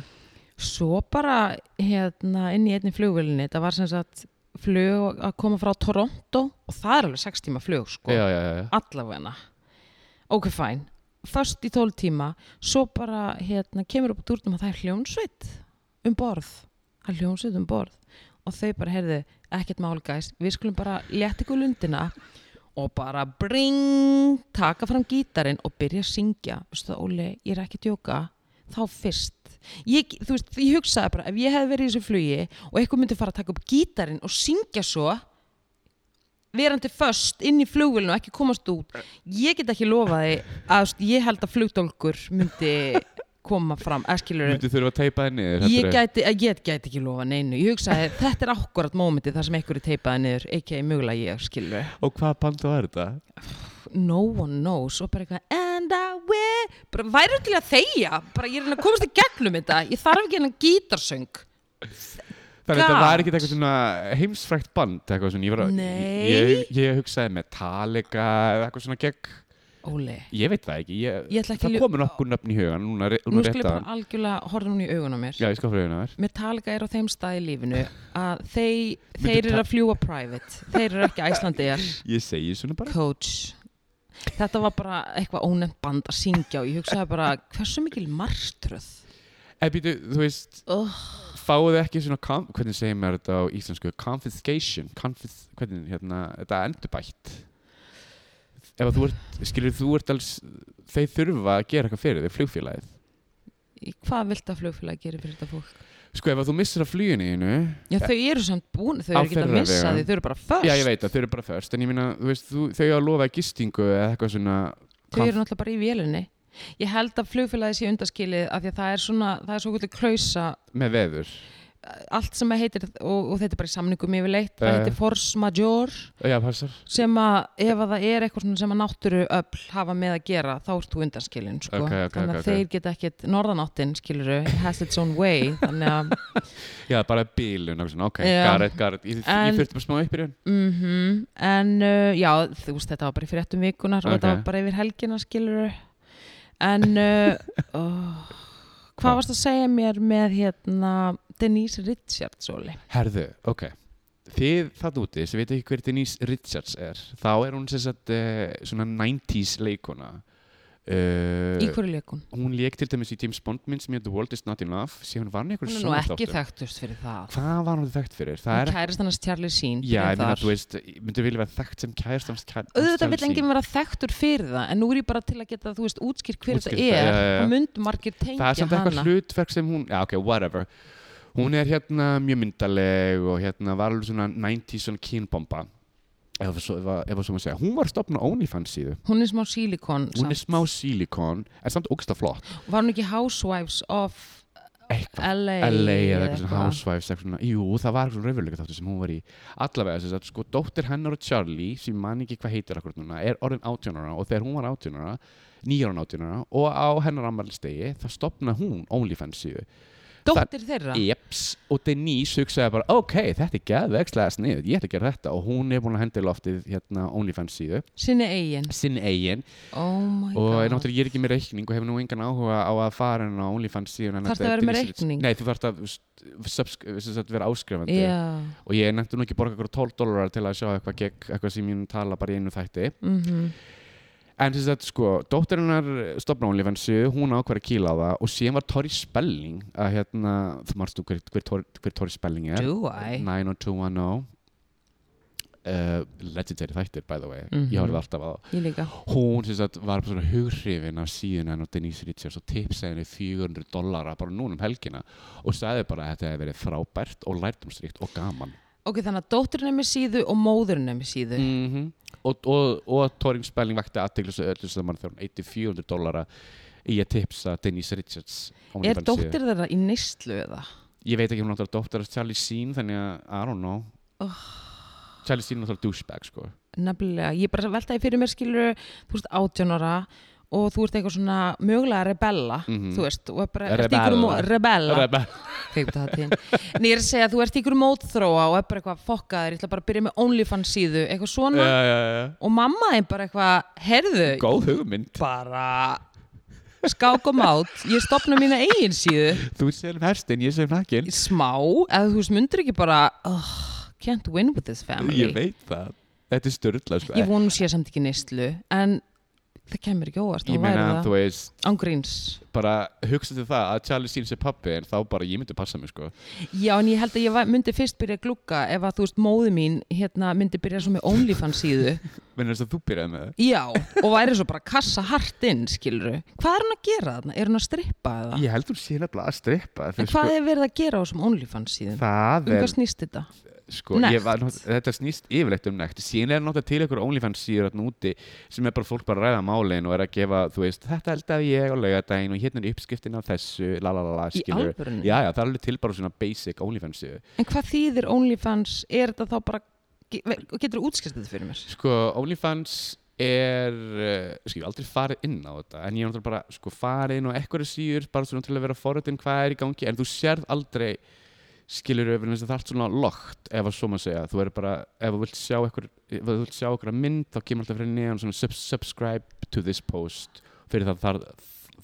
Speaker 1: svo bara hérna, inn í einni flugvélinni það var sem sagt flug að koma frá Toronto og það er alveg 6 tíma flug sko,
Speaker 2: já, já, já.
Speaker 1: allavegna ok fæn, först í 12 tíma svo bara hérna, kemur upp úr dúrnum að það er hljónsveit um borð það er hljónsveit um borð og þau bara heyrðu, ekkert mál gæs við skulum bara leta ykkur lundina og bara bring taka fram gítarinn og byrja að syngja veistu það Óli, ég er ekki að djóka þá fyrst ég, þú veist, ég hugsaði bara, ef ég hefði verið í þessu flugi og eitthvað myndi fara að taka upp gítarinn og syngja svo verandi föst inn í flugvélinu og ekki komast út ég get ekki lofaði að þú veist, ég held að flugdólkur myndi koma fram, eskilur
Speaker 2: Myndi þurfa að teipa það niður
Speaker 1: ég
Speaker 2: heldurðu?
Speaker 1: gæti, ég get- gæti ekki lofa neinu ég hugsaði þetta er akkurat mómenti þar sem einhverju teipaði niður ekki mögulega ég skilur
Speaker 2: Og hvað bandu var þetta?
Speaker 1: no one knows og bara eitthvað and I will bara væri til að þegja bara ég er að komast í gegnum þetta ég þarf ekki hennan gítarsöng
Speaker 2: Þannig
Speaker 1: Gat.
Speaker 2: að þetta var ekkert eitthvað svona heimsfrækt band eitthvað svona, ég var að
Speaker 1: Nei.
Speaker 2: ég, ég hugsaði Metallica eða eitthvað svona gegn,
Speaker 1: Óli
Speaker 2: ég veit það ekki, ég,
Speaker 1: Ég ætla ekki að
Speaker 2: það
Speaker 1: ljó-
Speaker 2: komur nokkur nöfn í hugan núna, re-
Speaker 1: nú
Speaker 2: núna
Speaker 1: skulle ég
Speaker 2: rétt að
Speaker 1: bara algjörlega horfa hún í augun á mér
Speaker 2: Já, ég skal fröðina þér
Speaker 1: Metallica er á þeim stað í lífinu að þeir, þeir eru að fljúa private þeir eru ekki æslandi er
Speaker 2: Ég segi svona bara
Speaker 1: coach þetta var bara eitthvað ónefnt band að syngja og ég hugsaði bara hversu mikil marströð
Speaker 2: En býtu, þú veist,
Speaker 1: oh.
Speaker 2: fáuðu ekki svona kom, hvernig segir maður þetta á íslensku confiscation, confis, hvernig hérna, þetta er endurbætt Ef að þú ert, skilur þú ert alls þeir þurfa að gera eitthvað fyrir þig, flugfélagið
Speaker 1: Í hvað vilt að flugfélagi gera fyrir þetta fólk?
Speaker 2: Sko, ef að þú missir að fluginu þínu
Speaker 1: Já, þau eru samt búin, þau
Speaker 2: Á
Speaker 1: eru ekki að
Speaker 2: þeirra
Speaker 1: missa
Speaker 2: vegum.
Speaker 1: því, þau eru bara först.
Speaker 2: Já, ég veit að þau eru bara först, en ég meina, þú veist, þú, þau á að lofa gistingu eða eitthvað svona
Speaker 1: Þau eru náttúrulega bara í vélinni. Ég held að flugfélagi sé undaskilið af því að það er svona, það er svo kvöldu klausa
Speaker 2: með veður
Speaker 1: allt sem að heitir, og, og þetta er bara í samningum yfirleitt, það
Speaker 2: Já, já.
Speaker 1: heitir force majeure
Speaker 2: Já, passar
Speaker 1: sem að ef að það er eitthvað svona sem að náttúru öll hafa með að gera þá ert þú undanskilin sko.
Speaker 2: Ok, ok,
Speaker 1: þannig að
Speaker 2: ok, ok.
Speaker 1: þeir geta ekkit norðanáttin skiluru has its own way þannig að
Speaker 2: Já, bara bílun, ok, ok,
Speaker 1: Já.
Speaker 2: garrett, garrett Ég,
Speaker 1: En-
Speaker 2: ég þurfti bara smá uppbyrjun
Speaker 1: mm en uh, já þú veist þetta var bara í fréttum vikunar og
Speaker 2: Ok.
Speaker 1: þetta var bara yfir helgina skiluru en uh, oh, hvað
Speaker 2: Hvað?
Speaker 1: varst að segja mér með hérna Denise Richards Óli
Speaker 2: Herðu, ok Þið það úti sem veit ekki hver Denise Richards er þá er hún sem sagt uh, svona 90s leikona
Speaker 1: í
Speaker 2: uh,
Speaker 1: hverju leikun?
Speaker 2: Hún leik til dæmis í James Bond mynd sem ég The World is Not Enough sem hún var með
Speaker 1: Hún
Speaker 2: einhverjum
Speaker 1: er nú ekki
Speaker 2: sjónvarpsþáttum.
Speaker 1: þekktust fyrir það
Speaker 2: Hvað var hún þekkt fyrir? Það
Speaker 1: Hún
Speaker 2: er
Speaker 1: kærist hannast Charlie Sheen
Speaker 2: Já,
Speaker 1: byrjað
Speaker 2: ég meina,
Speaker 1: þar.
Speaker 2: þú veist, ég myndi vilja vera þekkt sem kærast hans kærast
Speaker 1: auðvitað vill enginn vera þekktur fyrir það en nú er ég bara til að geta, þú veist, útskýrt hver
Speaker 2: Útskýrt
Speaker 1: þetta
Speaker 2: það,
Speaker 1: er
Speaker 2: já, já, já.
Speaker 1: og mynd margir tengja
Speaker 2: Það er samt
Speaker 1: hana
Speaker 2: eitthvað hlutverk sem hún, já ok, whatever Hún er hérna mjög myndaleg og hérna var alveg svona 90s svona kynbomba ef það svo, ef, að- ef að svo maður segja, hún var stopna OnlyFans síðu
Speaker 1: hún er smá sílikon
Speaker 2: Hún er smá sílikon, en samt ógsta flott
Speaker 1: var hún ekki Housewives of
Speaker 2: Eitthvað,
Speaker 1: LA,
Speaker 2: LA eða eitthvað svona Housewives eitthvað svona, Jú, það var eitthvað raunveruleika þáttu sem hún var í Allavega þess að sko, dóttir hennar og Charlie sem ég man ekki hvað heitir akkur núna er orðin 18 ára og þegar hún var 18 ára 9 ára 18 ára og á hennar ammælistegi þá stopnaði hún OnlyFans síðu
Speaker 1: dóttir þeirra
Speaker 2: Eps, og Denise hugsaði bara ok, þetta er geðvegslega sniðið, ég ætla að gera þetta og hún er búin að hendi loftið hérna OnlyFans síðu,
Speaker 1: sinni eigin
Speaker 2: sinn eigin
Speaker 1: oh my
Speaker 2: og
Speaker 1: god
Speaker 2: náttúrulega ég er ekki með reikning og hef nú engan áhuga á að fara henni á OnlyFans síðun
Speaker 1: Þarftu að vera með reikning?
Speaker 2: Nei, þú þarft að þú veist, subsk- sem sagt, vera áskrifandi
Speaker 1: já
Speaker 2: og ég nefndi nú ekki borga ykkur 12 dólarar til að sjá eitthvað gegn eitthvað sem ég mun tala bara í einu þætti
Speaker 1: mm
Speaker 2: En þess að sko, dóttirinnar stopna OnlyFans síðu, hún ákvar að kýla á það og síðan var Tori Spelling að hérna, þú marstu hver, hver, Tori- hver Tori Spelling er
Speaker 1: do I
Speaker 2: 90210 uh, legendary þættir by the way
Speaker 1: Mhm.
Speaker 2: ég horfði alltaf á það.
Speaker 1: ég líka
Speaker 2: hún sem sagt var bara svona hughrifin af síðun henn og Denise Richards og tipsaði henni 400 dollara bara núna um helgina og sagði bara að þetta hefði verið frábært og lærtumstrikt og gaman
Speaker 1: ok, þannig að dóttirinn er með síðu og móðurinn er með síðu
Speaker 2: mm og, og, og Torin Spelling vakti aðteglis og öllu saman þegar hún eitti 400 dollara í að tipsa Denise Richards
Speaker 1: er
Speaker 2: OnlyFans síðu.
Speaker 1: dóttir þeirra í neyslu eða
Speaker 2: ég veit ekki hún áttur að dóttir að Charlie Sheen þannig að I don't know Charlie Sheen er náttúrulega douchebag sko
Speaker 1: Nefnilega, ég bara veltaði fyrir mér skilur þú veist 18 ára og þú ert eitthvað svona mögulega rebella
Speaker 2: Mhm.
Speaker 1: þú veist, og er bara ert í
Speaker 2: Rebella.
Speaker 1: einhverju mó- rebella,
Speaker 2: Rebel
Speaker 1: kveikmyndahátíðin en ég er að segja að þú ert í einhverju mótþróa og er bara eitthvað fokkaður, ég ætla bara að byrja með OnlyFans síðu, eitthvað svona
Speaker 2: já, já, já.
Speaker 1: og mamma er bara eitthvað, herðu
Speaker 2: Góð hugmynd
Speaker 1: bara skák og mát, ég stopna mína eigin síðu,
Speaker 2: Þú sem hestin, ég sem nakkin
Speaker 1: smá eða þú veist, myndir ekki bara oh, can't win with this family
Speaker 2: Ég veit það Þetta er störðla sko.
Speaker 1: Ég vonum sé samt ekki neyslu en það kemur ekki óvart
Speaker 2: Ég meina, þú veist
Speaker 1: Ángríns
Speaker 2: bara hugsaðu það að Charlie Sheen sé pappi en þá bara ég myndi passa mig sko
Speaker 1: Já, en ég held að ég var- myndi fyrst byrja að glugga ef að þú veist móði mín hérna myndi byrja svo með OnlyFans síðu
Speaker 2: Menni þess að þú byrjaði með það
Speaker 1: Já, og væri svo bara kassa hart inn, skilru Hvað er hún að gera þarna? Er hún að strippa eða?
Speaker 2: Ég heldur sé nefnilega að strippa
Speaker 1: en
Speaker 2: þegar,
Speaker 1: hvað er verið að gera á þessum OnlyFans síðum?
Speaker 2: Það
Speaker 1: Um
Speaker 2: er
Speaker 1: hvað snýst þetta?
Speaker 2: sko,
Speaker 1: Nekt.
Speaker 2: ég var, nátt- þetta snýst yfirleitt um nekt síðan er náttúrulega til einhver OnlyFans síður þarna úti sem er bara fólk bara að ræða málin og er að gefa, þú veist, þetta held að ég á laugardaginn og hérna er uppskiptin af þessu la la la la,
Speaker 1: Í
Speaker 2: skilur
Speaker 1: alvörunni?
Speaker 2: Já, já, það er alveg til bara svona basic OnlyFans síðu
Speaker 1: En hvað þýðir OnlyFans? Er þetta þá bara ge- Getur þú útskist þetta fyrir mér?
Speaker 2: Sko, OnlyFans er uh, sko, ég hef aldrei farið inn á þetta en ég er náttúrulega bara sko, farið inn á eitthvað síður bara svona til að vera forröðin hvað er í gangi en þú sérð aldrei skilur öfnum þess að það er svona lokt ef að svo maður segja, þú er bara ef þú vilt sjá eitthvað, ef þú vilt sjá eitthvað mynd þá kemur alltaf fyrir neðan svona sub subscribe to this post fyrir það þar,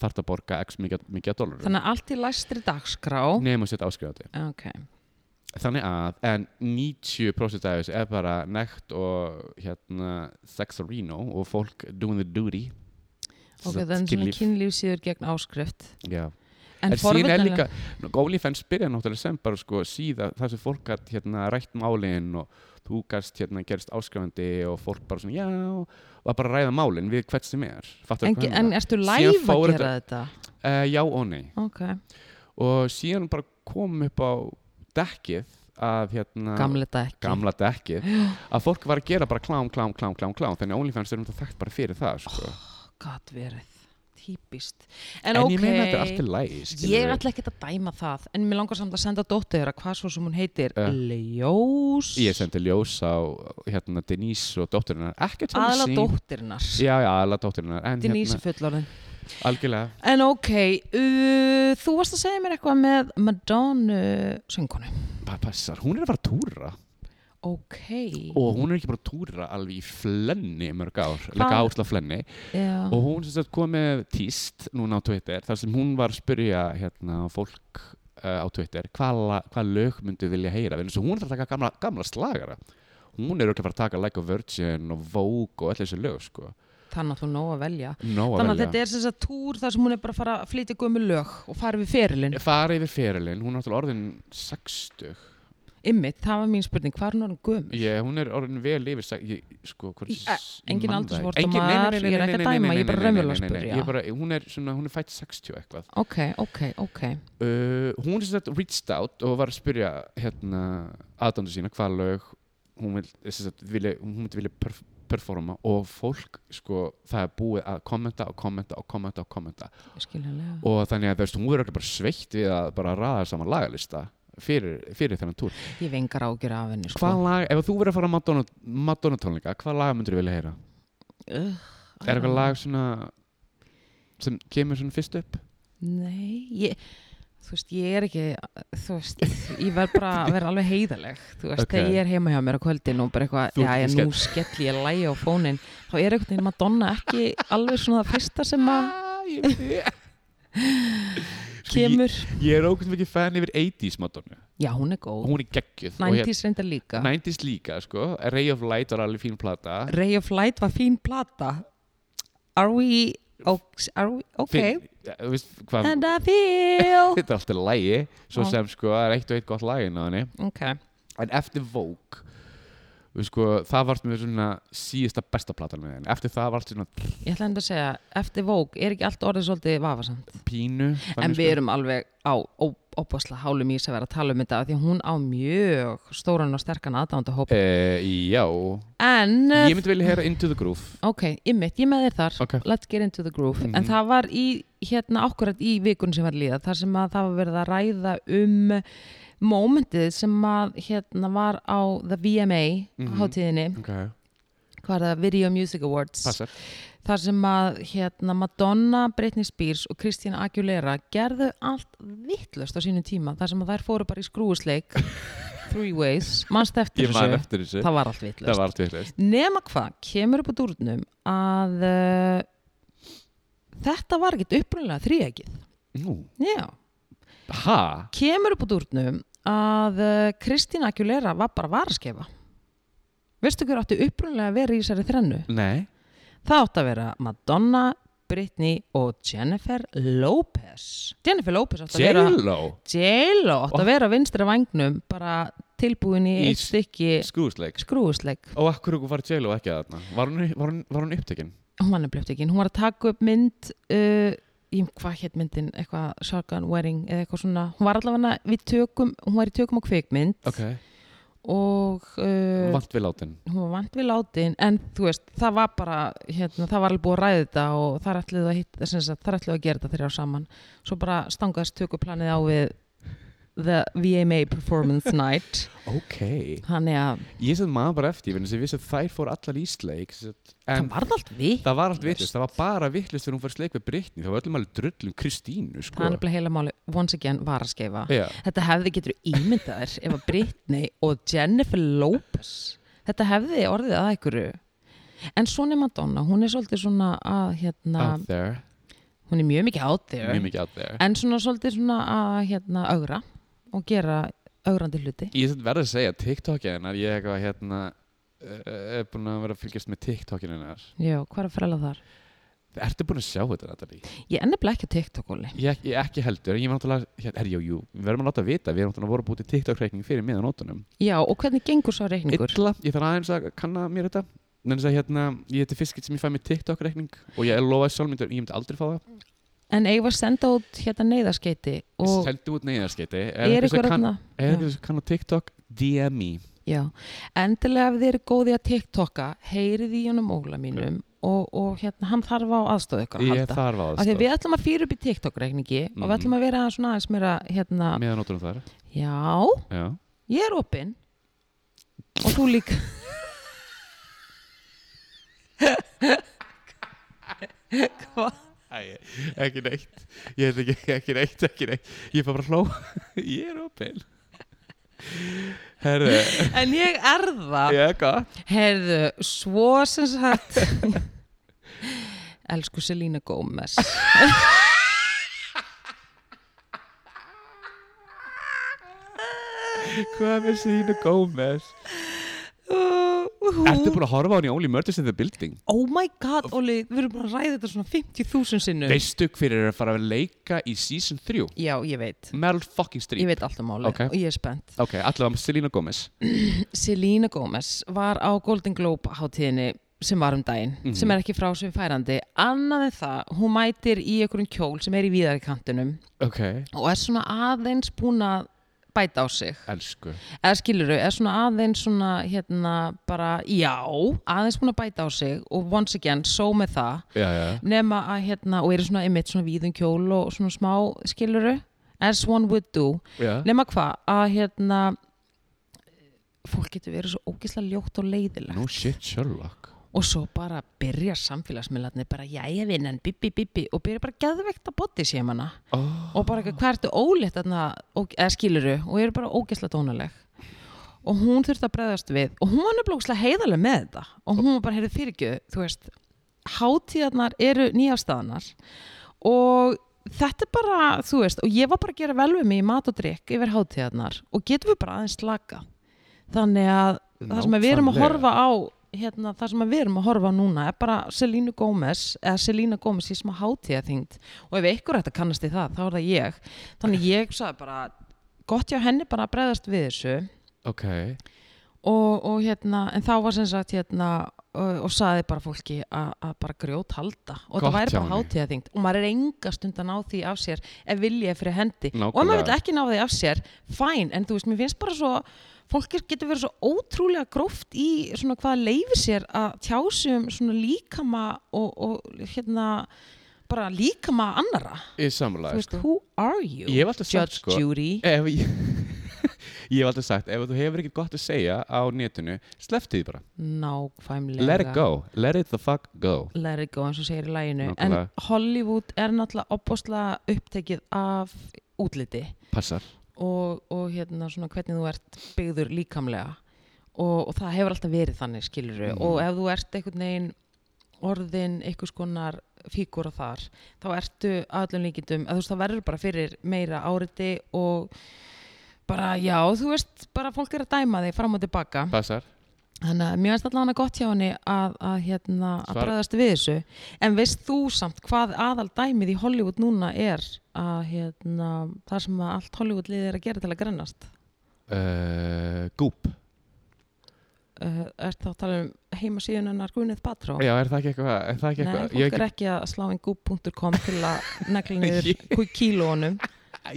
Speaker 2: þarf að borga x mikið, mikið að dólarum
Speaker 1: Þannig að allt í læstri dagskrá
Speaker 2: nefnum að setja áskrifandi
Speaker 1: Ok,
Speaker 2: þannig að, en 90% af þessu er bara nekt og hérna sexarino og fólk doing the duty
Speaker 1: ok, það er svona kynlífsíður gegn áskrift
Speaker 2: Já.
Speaker 1: En,
Speaker 2: En,
Speaker 1: en
Speaker 2: síðan er líka, OnlyFans byrja náttúrulega sem bara sko síða þar sem fólk gætt hérna rætt málin og þú gæst hérna gerst áskrifandi og fólk bara svona já og að bara ræða málin við hvert sem er. Fattu
Speaker 1: En, en ertu
Speaker 2: Síðan
Speaker 1: live að
Speaker 2: fór
Speaker 1: gera þetta?
Speaker 2: Uh, já og nei.
Speaker 1: Ok,
Speaker 2: Og síðan bara kom upp á dekkið af hérna...
Speaker 1: gamle þetta ekki
Speaker 2: gamla dekkið að fólk var að gera bara klám, klám, klám, klám, klám þannig að OnlyFans er um það þekkt bara fyrir það sko.
Speaker 1: Gat verið típist
Speaker 2: en,
Speaker 1: en, ok,
Speaker 2: ég meina þetta er allt í læg
Speaker 1: ég er alltaf ekkert að dæma það en mér langar samt að senda dóttu þeirra hvað svo sem hún heitir
Speaker 2: Ja.
Speaker 1: Ljós
Speaker 2: ég sendi ljós á hérna Denise og dótturinnar ekkert hann
Speaker 1: aðla
Speaker 2: sín-
Speaker 1: dóttirinnar
Speaker 2: já, já, aðla dótturinnar en
Speaker 1: Denise
Speaker 2: hérna,
Speaker 1: er fullorðin
Speaker 2: algjörlega
Speaker 1: En ok, uh, þú varst að segja mér eitthvað með Madonna söngunu.
Speaker 2: bara passar, hún er að fara að túra
Speaker 1: Ok.
Speaker 2: og hún er ekki bara að túra alveg í flenni í mörg ár,
Speaker 1: Hvað?
Speaker 2: leggja áherslu á flenni
Speaker 1: Já.
Speaker 2: og hún sem sagt kom með tíst núna á Twitter, þar sem hún var að spyrja hérna fólk uh, á Twitter hvað, la- hvað lög myndu vilja heyra vegna þess að hún er að taka gamla, gamla slagara hún er auðvitað að fara að taka Like a Virgin og Vogue og allir þessi lög sko
Speaker 1: Þannig að þú nóg að velja.
Speaker 2: Nóg að
Speaker 1: Þannig að
Speaker 2: velja
Speaker 1: þetta er sem sagt túr þar sem hún er bara að fara að flytja gömul lög og fara við ferilinn.
Speaker 2: fara yfir ferilinn, hún er náttúrulega orðin 60
Speaker 1: Ymmið, það var mín spurning, hvað er hún orðin gömul?
Speaker 2: ég, hún er orðin vel yfir seg- ég, sko,
Speaker 1: Í-
Speaker 2: hvers,
Speaker 1: eh, engin aldursfordómar,
Speaker 2: ég
Speaker 1: ég er ekki að dæma, ég er bara raunverulega að spyrja.
Speaker 2: hún er, svona, hún er fætt 60 eitthvað
Speaker 1: Ok, ok, ok.
Speaker 2: uh, hún er sem sagt reached out og var að spyrja hérna aðdándu sína hvað lög hún vil, sem sagt, vilja, hún myndi vilja perf performa og fólk sko það er búið að kommenta og kommenta og kommenta og kommenta
Speaker 1: Ég skilja lega.
Speaker 2: og þannig að þú veist hún verður örugglega bara sveitt við að bara ræða saman lagalista fyrir, fyrir þennan túr
Speaker 1: Ég vengar ágjur af henni, sko.
Speaker 2: hvað lag, ef þú verður að fara á Madonna, Madonna tónleika hvað lag myndir þú vilja heyra?
Speaker 1: Ugh, ah, I
Speaker 2: er
Speaker 1: don't
Speaker 2: eitthvað lag svona sem kemur svona fyrst upp?
Speaker 1: Nei, ég, þú veist, ég er ekki, þú veist, ég verð bara að vera alveg heiðaleg, þú veist,
Speaker 2: Ok.
Speaker 1: þegar ég er heima hjá mér á kvöldin og bara eitthvað,
Speaker 2: Þú ert
Speaker 1: já, ég
Speaker 2: ekki
Speaker 1: nú skell ég að læja á fónin, þá er einhvern veginn Madonna ekki alveg svona það fyrsta sem að
Speaker 2: Ah, ég veit ég. Sko, ég-
Speaker 1: kemur.
Speaker 2: Ég er ókvæmt mikið fan yfir 80s Madonna
Speaker 1: Já, hún er góð.
Speaker 2: Hún er geggjuð og hérna-
Speaker 1: 90s reyndar líka.
Speaker 2: 90s líka sko Ray of Light var alveg fín plata
Speaker 1: Ray of Light var fín plata. Are we, ok, are we, ok.
Speaker 2: Finn- ja, Þú veist hvað
Speaker 1: And I feel.
Speaker 2: Þetta er alltaf lægi Svo
Speaker 1: Já.
Speaker 2: sem sko það er eitt og eitt gott lægin á henni
Speaker 1: ok,
Speaker 2: En eftir Vogue þú veist, sko, Það varst með svona síðasta besta platan með henni Eftir það varst svona
Speaker 1: ég ætla enda að segja, eftir Vogue er ekki allt orðið svolítið vafasamt.
Speaker 2: pínu
Speaker 1: En
Speaker 2: þannig,
Speaker 1: við
Speaker 2: sko.
Speaker 1: erum alveg á óbásla hálum ís að vera að tala um þetta af því að hún á mjög stóran og sterkan aðdánda hóp.
Speaker 2: Eh, Já
Speaker 1: En,
Speaker 2: Ég myndi vilja heyra Into the Groove
Speaker 1: ok, ymmit, ég með þér þar.
Speaker 2: Ok.
Speaker 1: Let's get into the groove.
Speaker 2: Mhm.
Speaker 1: En það var í, hérna, akkurat í vikun sem var líða, þar sem að það var verið að ræða um mómentið sem að, hérna, var á The VMA
Speaker 2: Mhm.
Speaker 1: hátíðinni,
Speaker 2: Ok
Speaker 1: hvað er það, Video Music Awards.
Speaker 2: Passar
Speaker 1: þar sem að hérna, Madonna, Britney Spears og Christina Aguilera gerðu allt vittlust á sínu tíma þar sem að þær fóru bara í skrúisleik three ways, mannst eftir
Speaker 2: Ég man
Speaker 1: þessu
Speaker 2: eftir þessu
Speaker 1: það var allt
Speaker 2: Það
Speaker 1: vittlust
Speaker 2: var allt vitlaust.
Speaker 1: nema hvað, kemur upp á dúrnum að uh, þetta var ekkert upprunalega þrýækið
Speaker 2: Nú
Speaker 1: já,
Speaker 2: Ha?
Speaker 1: kemur upp á dúrnum að uh, Christina Aguilera var bara varaskefa veistu hver átti upprunalega að vera í þessari þrennu
Speaker 2: Nei
Speaker 1: Það átti að vera Madonna, Britney og Jennifer Lopez. Jennifer Lopez átti að vera...
Speaker 2: J-Lo Oh.
Speaker 1: J-Lo átti að vera vinstra vangnum bara tilbúin í
Speaker 2: Í
Speaker 1: eitt stykki
Speaker 2: Skrúðsleik
Speaker 1: skrúðusleik.
Speaker 2: Og akkur var J-Lo ekki að þarna? Var hún, var hún, var hún upptekinn?
Speaker 1: Hún var nefnilega upptekinn. Hún var að taka upp mynd, uh, ég, hvað hétt myndin, eitthvað shotgun wearing eða eitthvað svona. Hún var allavega við tökum, hún var í tökum á kvikmynd
Speaker 2: Ok
Speaker 1: og... Uh,
Speaker 2: Vant við látin
Speaker 1: hún var vant við látin en þú veist, það var bara hérna, það var alveg búið að ræða þetta og þar ætluðu að, hitta, sem sagt, þar ætluðu að gera þetta þeirra saman svo bara stangaðist tökuplanið á við The VMA Performance Night
Speaker 2: Ok
Speaker 1: þannig að
Speaker 2: Ég sem maður bara eftir Þannig að ég vissi að þær fór allar í sleik sem sagt,
Speaker 1: það
Speaker 2: En
Speaker 1: varð allt við
Speaker 2: það var allt vitlust Það var bara vitlust þegar hún fór í sleik við Britni Það var öllum alveg drullum Kristínu
Speaker 1: það
Speaker 2: sko
Speaker 1: er nefnilega heila máli once again var að skeifa
Speaker 2: Já
Speaker 1: þetta hefði getur ímyndað þér ef að Britney og Jennifer Lopez þetta hefði orðið að einhverju en svona er Madonna, hún er svolítið svona að hérna,
Speaker 2: Out there
Speaker 1: hún er mjög mikið out there
Speaker 2: Mjög mikið out there
Speaker 1: En svona svolítið svona að hérna augra og gera augrandi hluti.
Speaker 2: Ég sem verður að segja TikTok hennar Ég hef hérna eh, er búin að vera að fylgjast með TikTokin hennar
Speaker 1: Já, hvað er að fræla þar?
Speaker 2: Ertu búin að sjá þetta Natalie?
Speaker 1: Ég er nefnilega ekki á TikTok-hóli.
Speaker 2: Ég, ég ekki heldur, en ég var náttúrulega, hér, er, jú, jú, við verðum að láta vita, við erum náttúrulega voru búið til TikTok-reikning fyrir miðanóttunum.
Speaker 1: Já, og hvernig gengur svo reikningur?
Speaker 2: Illa, ég þarf aðeins að kanna mér þetta, en þess að hérna, ég heiti fiskitt sem ég fæ mér TikTok-reikning og ég lofaði sjálf myndur, ég myndi aldrei fá það.
Speaker 1: En eigum við að senda út hérna neyðaskeiti
Speaker 2: Og
Speaker 1: og
Speaker 2: Seldu út neyðarskeiti,
Speaker 1: er
Speaker 2: er eitthvað
Speaker 1: ykkur
Speaker 2: sem kann,
Speaker 1: hérna?
Speaker 2: er eitthvað sem kann á TikTok, DM me.
Speaker 1: Já, endilega ef þið eru góði að TikToka, heyrið í honum óla mínum og, og hérna, hann þarf á aðstöðu ykkur að
Speaker 2: Ég
Speaker 1: halda
Speaker 2: þarf að
Speaker 1: af því að við ætlum að fyrir upp í TikTok-reikningi og við
Speaker 2: Mhm.
Speaker 1: ætlum að vera svona aðeins meira hérna,
Speaker 2: meðan notunum þar
Speaker 1: já,
Speaker 2: já.
Speaker 1: ég er opinn og þú líka hvað
Speaker 2: Æ, ekki neitt ég veit ekki, ekki neitt, ekki neitt ég fá bara að hló, ég er opinn herðu
Speaker 1: En ég er það
Speaker 2: ég er gott
Speaker 1: Herðu, svo sem sagt Elsku Selína Gómez
Speaker 2: hvað með sínu Gómez ertu búin að horfa á hann í Only Murders in the Building
Speaker 1: Oh my god, Óli, við erum búin að ræða þetta svona 50.000 sinnum
Speaker 2: veistu hver er að fara að leika í season 3
Speaker 1: Já, ég veit,
Speaker 2: Meryl fucking
Speaker 1: ég
Speaker 2: Streep
Speaker 1: veit alltaf máli
Speaker 2: Ok.
Speaker 1: og ég er spennt
Speaker 2: ok, allavega Selena Gómez
Speaker 1: Selína Gómez var á Golden Globe hátíðinni sem var um daginn sem er ekki frá sem færandi annað en það, hún mætir í einhverjum kjól sem er í víðari kantinum
Speaker 2: ok,
Speaker 1: og er svona aðeins búin að bæta á sig
Speaker 2: elsku
Speaker 1: eða skiluru, er svona aðeins svona hérna bara, já aðeins búin að bæta á sig og once again só með það,
Speaker 2: já, já.
Speaker 1: nema að hérna, og eru svona ymmit svona víðum kjól og svona smá skiluru, as one would do
Speaker 2: Já.
Speaker 1: nema hvað, að hérna fólk getur verið svo ógislega ljótt og leiðilegt
Speaker 2: no shit Sherlock
Speaker 1: og svo bara byrja samfélagsmiðlarnir bara, jæja vinnan, bibbi, bibbi og byrja bara geðveikt að bóti sér manna
Speaker 2: oh.
Speaker 1: og bara eitthvað, hvað ertu ólétt þarna, og- eða skiluru, og ég er bara ógæslega dónaleg og hún þurfti að bregðast við og hún var nefnilega ógeðslega heiðarlega með þetta og hún var bara, heyrðu fyrirgjöð, þú veist hátíðarnar eru nýjafstæðanar og þetta er bara, þú veist, og ég var bara að gera vel við mig í mat og drikk yfir hátíðarnar og getum við bara aðeins slaka þannig að það sem að við erum að
Speaker 2: Nákvæmlega.
Speaker 1: horfa á hérna, það sem að við erum að horfa á núna er bara Selínu Gómez eða Selína Gómez í smá hátíðaþyngd og ef einhver ætti að kannast í það, þá er það ég þannig ég sagði bara gott hjá henni bara að bregðast við þessu
Speaker 2: ok,
Speaker 1: og, og hérna, en þá var sem sagt hérna og, og saði bara fólki að að bara grjót halda og
Speaker 2: Gott
Speaker 1: það væri
Speaker 2: hjá
Speaker 1: bara
Speaker 2: henni.
Speaker 1: hátíðaþyngd og maður er enga stund að ná því af sér ef vilja er fyrir hendi og ef maður
Speaker 2: Nákvæmlega.
Speaker 1: vil ekki ná því af sér, fæn en þú veist, mér finnst bara svo fólk er- getur verið svo ótrúlega gróft í svona hvað leifi sér að tjá sig um svona líkama og, og hérna bara líkama annara
Speaker 2: ég
Speaker 1: þú
Speaker 2: samlega
Speaker 1: veist, who are you?
Speaker 2: Ég hef alltaf sagt,
Speaker 1: Judge
Speaker 2: sko,
Speaker 1: Judy
Speaker 2: ef ég ég hef alltaf sagt, ef þú hefur ekkert gott að segja á netinu, sleppti því bara
Speaker 1: nákvæmlega
Speaker 2: let it go, let it the fuck go
Speaker 1: let it go eins og segir í læginu
Speaker 2: Nákvæmlega.
Speaker 1: en Hollywood er náttúrulega opbóslega upptekið af útliti
Speaker 2: passar,
Speaker 1: og, og hérna svona hvernig þú ert byggður líkamlega og, og það hefur alltaf verið þannig skiluru
Speaker 2: Mhm.
Speaker 1: og ef þú ert einhvern veginn orðin einhvers konar fígúra þar þá ertu aðlum líkindum að þú veist það verður bara fyrir meira áriti og bara já þú veist bara fólk er að dæma þig fram og tilbaka
Speaker 2: passar
Speaker 1: Þannig að mér finnst allavega gott hjá henni að, að, hérna, að
Speaker 2: Svara-
Speaker 1: bregðast við þessu. En veist þú samt hvað aðal dæmið í Hollywood núna er að hérna, það sem að allt Hollywood liðið er að gera til að grennast?
Speaker 2: uh, gúp,
Speaker 1: Uh, er þá að tala um heimasíðun hennar Gunnið Batró?
Speaker 2: já er það ekki eitthvað er það ekki
Speaker 1: Nei,
Speaker 2: eitthvað,
Speaker 1: fólk
Speaker 2: ég,
Speaker 1: er ekki að slá inn gúp.com til að negla niður
Speaker 2: Ég-
Speaker 1: kví- kílónum.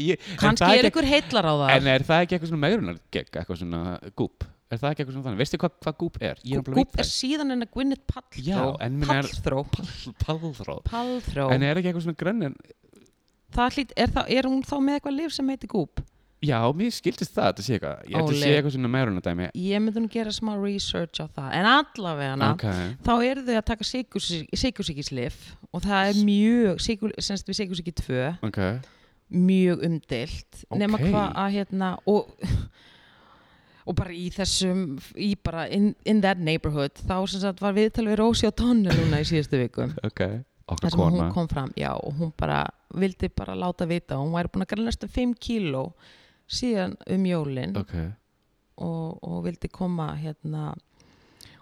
Speaker 2: ég, en
Speaker 1: Kanski
Speaker 2: það
Speaker 1: er
Speaker 2: ekki-
Speaker 1: ykkur heillar á það.
Speaker 2: en eh, er það ekki eitthvað svona meðrunar eitthvað svona gúp, er það ekki eitthvað svona þannig veistu hvað hva gúp er, ég
Speaker 1: Gúp- Gúp er síðan hennar Gunnið Paltró.
Speaker 2: Já, en minn er-
Speaker 1: Paltró.
Speaker 2: palðróð,
Speaker 1: Paltró.
Speaker 2: en er ekki eitthvað svona grönn
Speaker 1: Það hlýt, er, þá- er hún þá með eitthvað lif sem heitir Gúp?
Speaker 2: já, mér skildist það, þetta sé eitthvað ég þetta
Speaker 1: Óli.
Speaker 2: sé eitthvað svona meðrunar dæmi
Speaker 1: ég myndi nú gera smá research á það en allavega
Speaker 2: ok,
Speaker 1: þá eru þau að taka sikursíkislif og það er mjög sykur, semst við sikursíki 2
Speaker 2: ok
Speaker 1: mjög umdilt nema
Speaker 2: Ókei.
Speaker 1: hvað að hérna og, og bara í þessum í bara in, in that neighborhood þá sem sagt var viðtal við Rósi og Tónu núna í síðustu viku
Speaker 2: ok,
Speaker 1: þar
Speaker 2: okkar
Speaker 1: sem
Speaker 2: kona
Speaker 1: hún kom fram já, og hún bara vildi bara láta vita að hún væri búin að gera næstum 5 kíló síðan um jólin
Speaker 2: ok,
Speaker 1: og, og vildi koma hérna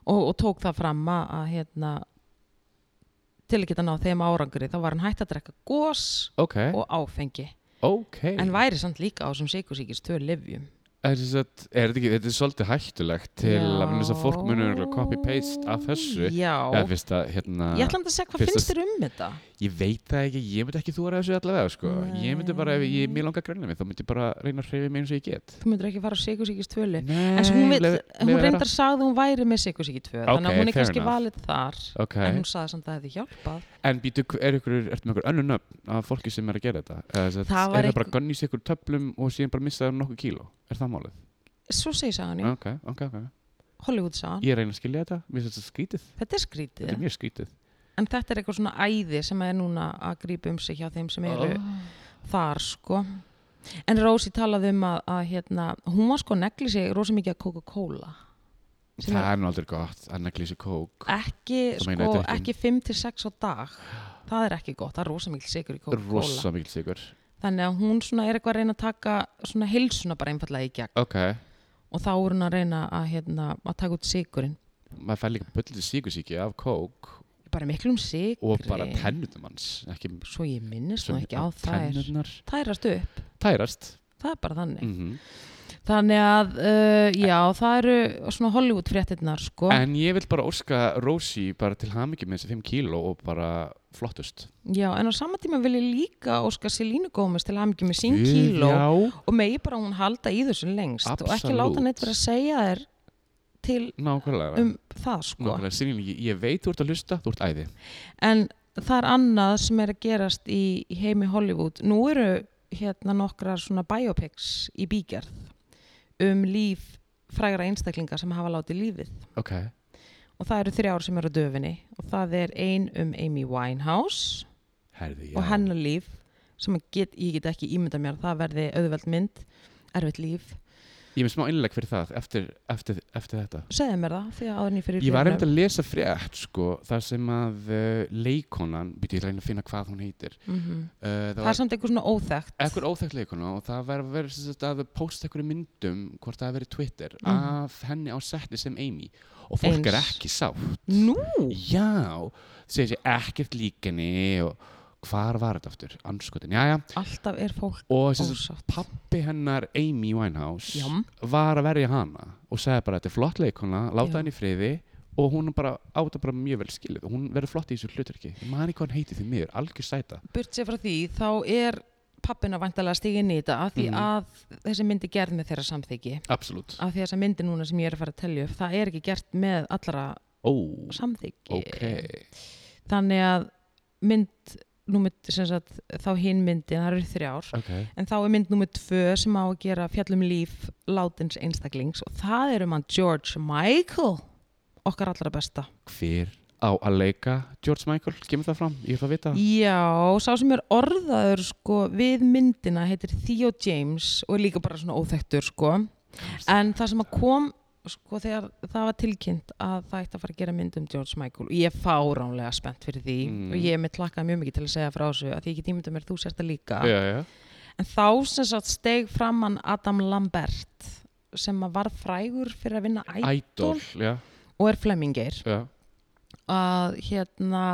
Speaker 1: og, og tók það fram að að, hérna til að geta náð þeim árangri þá var hann hægt að drekka gos
Speaker 2: ok,
Speaker 1: og áfengi
Speaker 2: ok
Speaker 1: en væri samt líka á sem sikursíkist tvö livjum
Speaker 2: er, sem sagt- er þetta ekki, þetta er svolítið hættulegt til að, vegna þess að fólk munur örugglega copy-paste af þessu
Speaker 1: Já,
Speaker 2: eða fyrst að hérna
Speaker 1: ég ætla að segja hvað
Speaker 2: fyrst
Speaker 1: finnst
Speaker 2: að-
Speaker 1: þér um þetta?
Speaker 2: ég veit það ekki, ég myndi ekki þóra þessu allavega sko. ég myndi bara, ef ég mér langar að greina mig þá myndi ég bara reyna að hreyfa mig eins og ég get
Speaker 1: Þú myndir ekki fara á Sikursíkis 2
Speaker 2: Nei,
Speaker 1: En svo hún,
Speaker 2: lef-
Speaker 1: vill, hún
Speaker 2: lef vera.
Speaker 1: reyndar sagði að hún væri með Sikursíki 2 Þannig
Speaker 2: Ok,
Speaker 1: að hún er
Speaker 2: fair
Speaker 1: kannski
Speaker 2: enough.
Speaker 1: valið þar
Speaker 2: Ok,
Speaker 1: En hún sagði samt að það hefði hjálpað
Speaker 2: en býtu, er ykkur, ertu með ykkur önnur nöfn af fólki sem er að gera þetta? Eða, sem sagt,
Speaker 1: Það var
Speaker 2: er það bara
Speaker 1: einhver-
Speaker 2: að gunni sér ykkur töflum og síðan bara missa það nokkuð kíló? Er það málið?
Speaker 1: Svo segir sagan já,
Speaker 2: Ok, ok, ok.
Speaker 1: Hollywood sagan
Speaker 2: Ég reyna að skilja þetta, mér finnst þetta skrítið,
Speaker 1: Þetta er
Speaker 2: þetta
Speaker 1: skrítið
Speaker 2: er mjög skrítið.
Speaker 1: En þetta er eitthvað svona æði sem er núna að grípa um sig hjá þeim sem eru
Speaker 2: Ah.
Speaker 1: þar sko En Rósi talaði um að, að hérna, hún var sko að negli sig rosa mikið að Coca-Cola sem
Speaker 2: Það er nú aldrei gott, að negli sér kók.
Speaker 1: Ekki,
Speaker 2: Það meina
Speaker 1: sko,
Speaker 2: þetta ekki-
Speaker 1: ekki 5-6 á dag Það er ekki gott, það er rosa mikið sigur í Coca-Cola
Speaker 2: Rosa mikil sigur.
Speaker 1: Þannig að hún svona er eitthvað að reyna að taka svona heilsuna bara einfallega í gegn
Speaker 2: Ok,
Speaker 1: og þá er hún að reyna að, hérna, að taka út sigurinn
Speaker 2: maður fær líka böllið sigursíki af kók
Speaker 1: bara miklum sigri
Speaker 2: og bara tennunum hans, ekki
Speaker 1: svo ég minnist nú
Speaker 2: sem-
Speaker 1: ekki á þær
Speaker 2: Tennurnar
Speaker 1: tærast upp,
Speaker 2: tærast.
Speaker 1: það er bara þannig
Speaker 2: Mm
Speaker 1: þannig að, uh, já, það eru svona Hollywood fréttinnar, sko
Speaker 2: En ég vil bara óska Rósi bara til hamingi með þessi 5 kíló og bara flottust.
Speaker 1: já, en á sama tíma vil ég líka óska Selínu Gómez til að hafa mikið með sín kíló
Speaker 2: Já,
Speaker 1: og megi bara hún halda í þessu lengst og ekki
Speaker 2: Absolutt.
Speaker 1: láta neitt vera að segja þér til
Speaker 2: nákvæmlega.
Speaker 1: um það, sko
Speaker 2: Nákvæmlega, sýnilega, ég veit þú ert að hlusta, þú ert æði.
Speaker 1: en það er annað sem er að gerast í, í heimi Hollywood nú eru hérna nokkrar svona biopics í bígerð um líf frægra einstaklinga sem hafa látið lífið
Speaker 2: Ok,
Speaker 1: og það eru þrjár sem eru á döfinni og það er ein um Amy Winehouse
Speaker 2: herði, já.
Speaker 1: og hennar líf sem að get, ég get ekki ímynda mér að það verði auðveld mynd, erfitt líf
Speaker 2: Ég er með smá innleg fyrir það eftir, eftir, eftir þetta.
Speaker 1: segðu mér það því að áður en ég fyrir
Speaker 2: Ég var reynd að lesa frétt, sko, þar sem að uh, leikonan, býtti ég að reyna að finna hvað hún heitir,
Speaker 1: mm
Speaker 2: uh, það
Speaker 1: það er
Speaker 2: var
Speaker 1: samt einhver svona óþægt
Speaker 2: ekkur óþekkt leikona og það var verið sem sagt, að posta einhverjum myndum, hvort það hafi verið Twitter,
Speaker 1: Mhm.
Speaker 2: af henni á setti sem Amy og fólk er
Speaker 1: Eins.
Speaker 2: ekki sátt.
Speaker 1: nú,
Speaker 2: Já, segir sér ekkert líkenni og hvar var þetta aftur, anskotin, já, já,
Speaker 1: alltaf er fólk
Speaker 2: og sem sagt,
Speaker 1: ósátt
Speaker 2: pappi hennar Amy Winehouse
Speaker 1: já,
Speaker 2: var að verja hana og sagði bara þetta er flott leikona,
Speaker 1: Já.
Speaker 2: láta henni í friði og hún bara áta bara mjög vel skilið og hún verður flott í þessu hlutverki ég man ekki hvað hann heiti því miður, algjör sæta
Speaker 1: burt sér frá því, þá er pappina vantalega stíginn í þetta af því
Speaker 2: Mhm.
Speaker 1: að þessi myndi gerð með þeirra samþyggi
Speaker 2: absolutt,
Speaker 1: af því að þessi myndi núna sem ég er að fara að telja upp það er ekki gert með allra
Speaker 2: ó,
Speaker 1: samþyggi
Speaker 2: ok
Speaker 1: þannig að mynd númer, sem sagt, þá hinn myndin það eru þrjár,
Speaker 2: ok,
Speaker 1: en þá er mynd númer tvö sem á að gera fjallum líf látins einstaklings og það er um hann George Michael okkar allra besta
Speaker 2: hver á að leika George Michael, kemur það fram, ég ætla að vita
Speaker 1: Já, sá sem er orðaður sko við myndina heitir Theo James og er líka bara svona óþektur sko en það sem að kom sko þegar það var tilkynnt að það ætti að fara að gera mynd um George Michael og ég er fáránlega spennt fyrir því
Speaker 2: Mm.
Speaker 1: og ég er með tlakað mjög mikið til að segja frá þessu að því ég get ímynda mér að þú sérst það líka
Speaker 2: já, já,
Speaker 1: en þá sem sagt steig fram hann Adam Lambert sem að var frægur fyrir að vinna æg
Speaker 2: Idol já,
Speaker 1: og er flemmingeir
Speaker 2: já,
Speaker 1: að hérna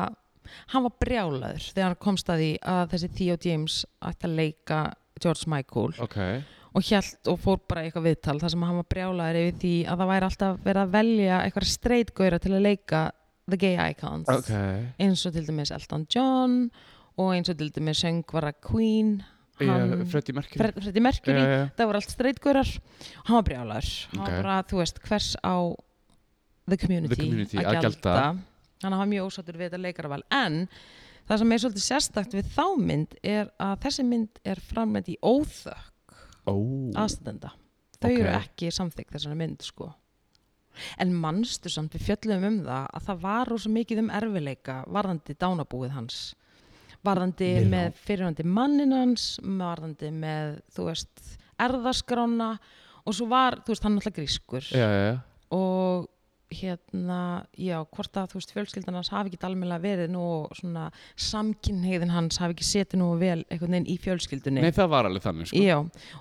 Speaker 1: hann var brjálaður þegar hann komst að því að þessi Theo James ætti að leika George Michael
Speaker 2: ok
Speaker 1: og hjælt og fór bara í eitthvað viðtal þar sem hann var brjálaður yfir því að það væri alltaf verið að velja eitthvað streitgöyra til að leika the gay icons
Speaker 2: ok,
Speaker 1: eins og til dæmis Elton John og eins og til dæmis söngvara Queen
Speaker 2: hann,
Speaker 1: hann-
Speaker 2: Freddie Mercury
Speaker 1: Fred- Freddie Mercury
Speaker 2: já, já,
Speaker 1: það voru allt streitgöyrar og hann var brjálaður hann
Speaker 2: Ok.
Speaker 1: var bara, þú veist, hvers á the community,
Speaker 2: The community að gjalda.
Speaker 1: þannig að hann var mjög ósáttur við þetta leikaraval en það sem er svolítið sérstakt við þá mynd er að þessi mynd er framleitt í óþökk
Speaker 2: ó,
Speaker 1: aðstæðenda þau
Speaker 2: Ok.
Speaker 1: eru ekki samþykkt þessari mynd sko en mannstu samt við fjöllum um það að það var rosa mikið um erfileika varðandi dánabúið hans varðandi
Speaker 2: Mér
Speaker 1: með fyrirvandi mannin hans varðandi með, þú veist erðaskrána og svo var, þú veist, hann alltaf grískur
Speaker 2: já, já, já
Speaker 1: og hérna, já, hvort að þú veist fjölskyldan hans hafi ekki almennilega verið nú svona samkynheiðin hans hafi ekki setið nú vel einhvern veginn í fjölskyldunni
Speaker 2: Nei, það var alveg þannig, sko
Speaker 1: Já,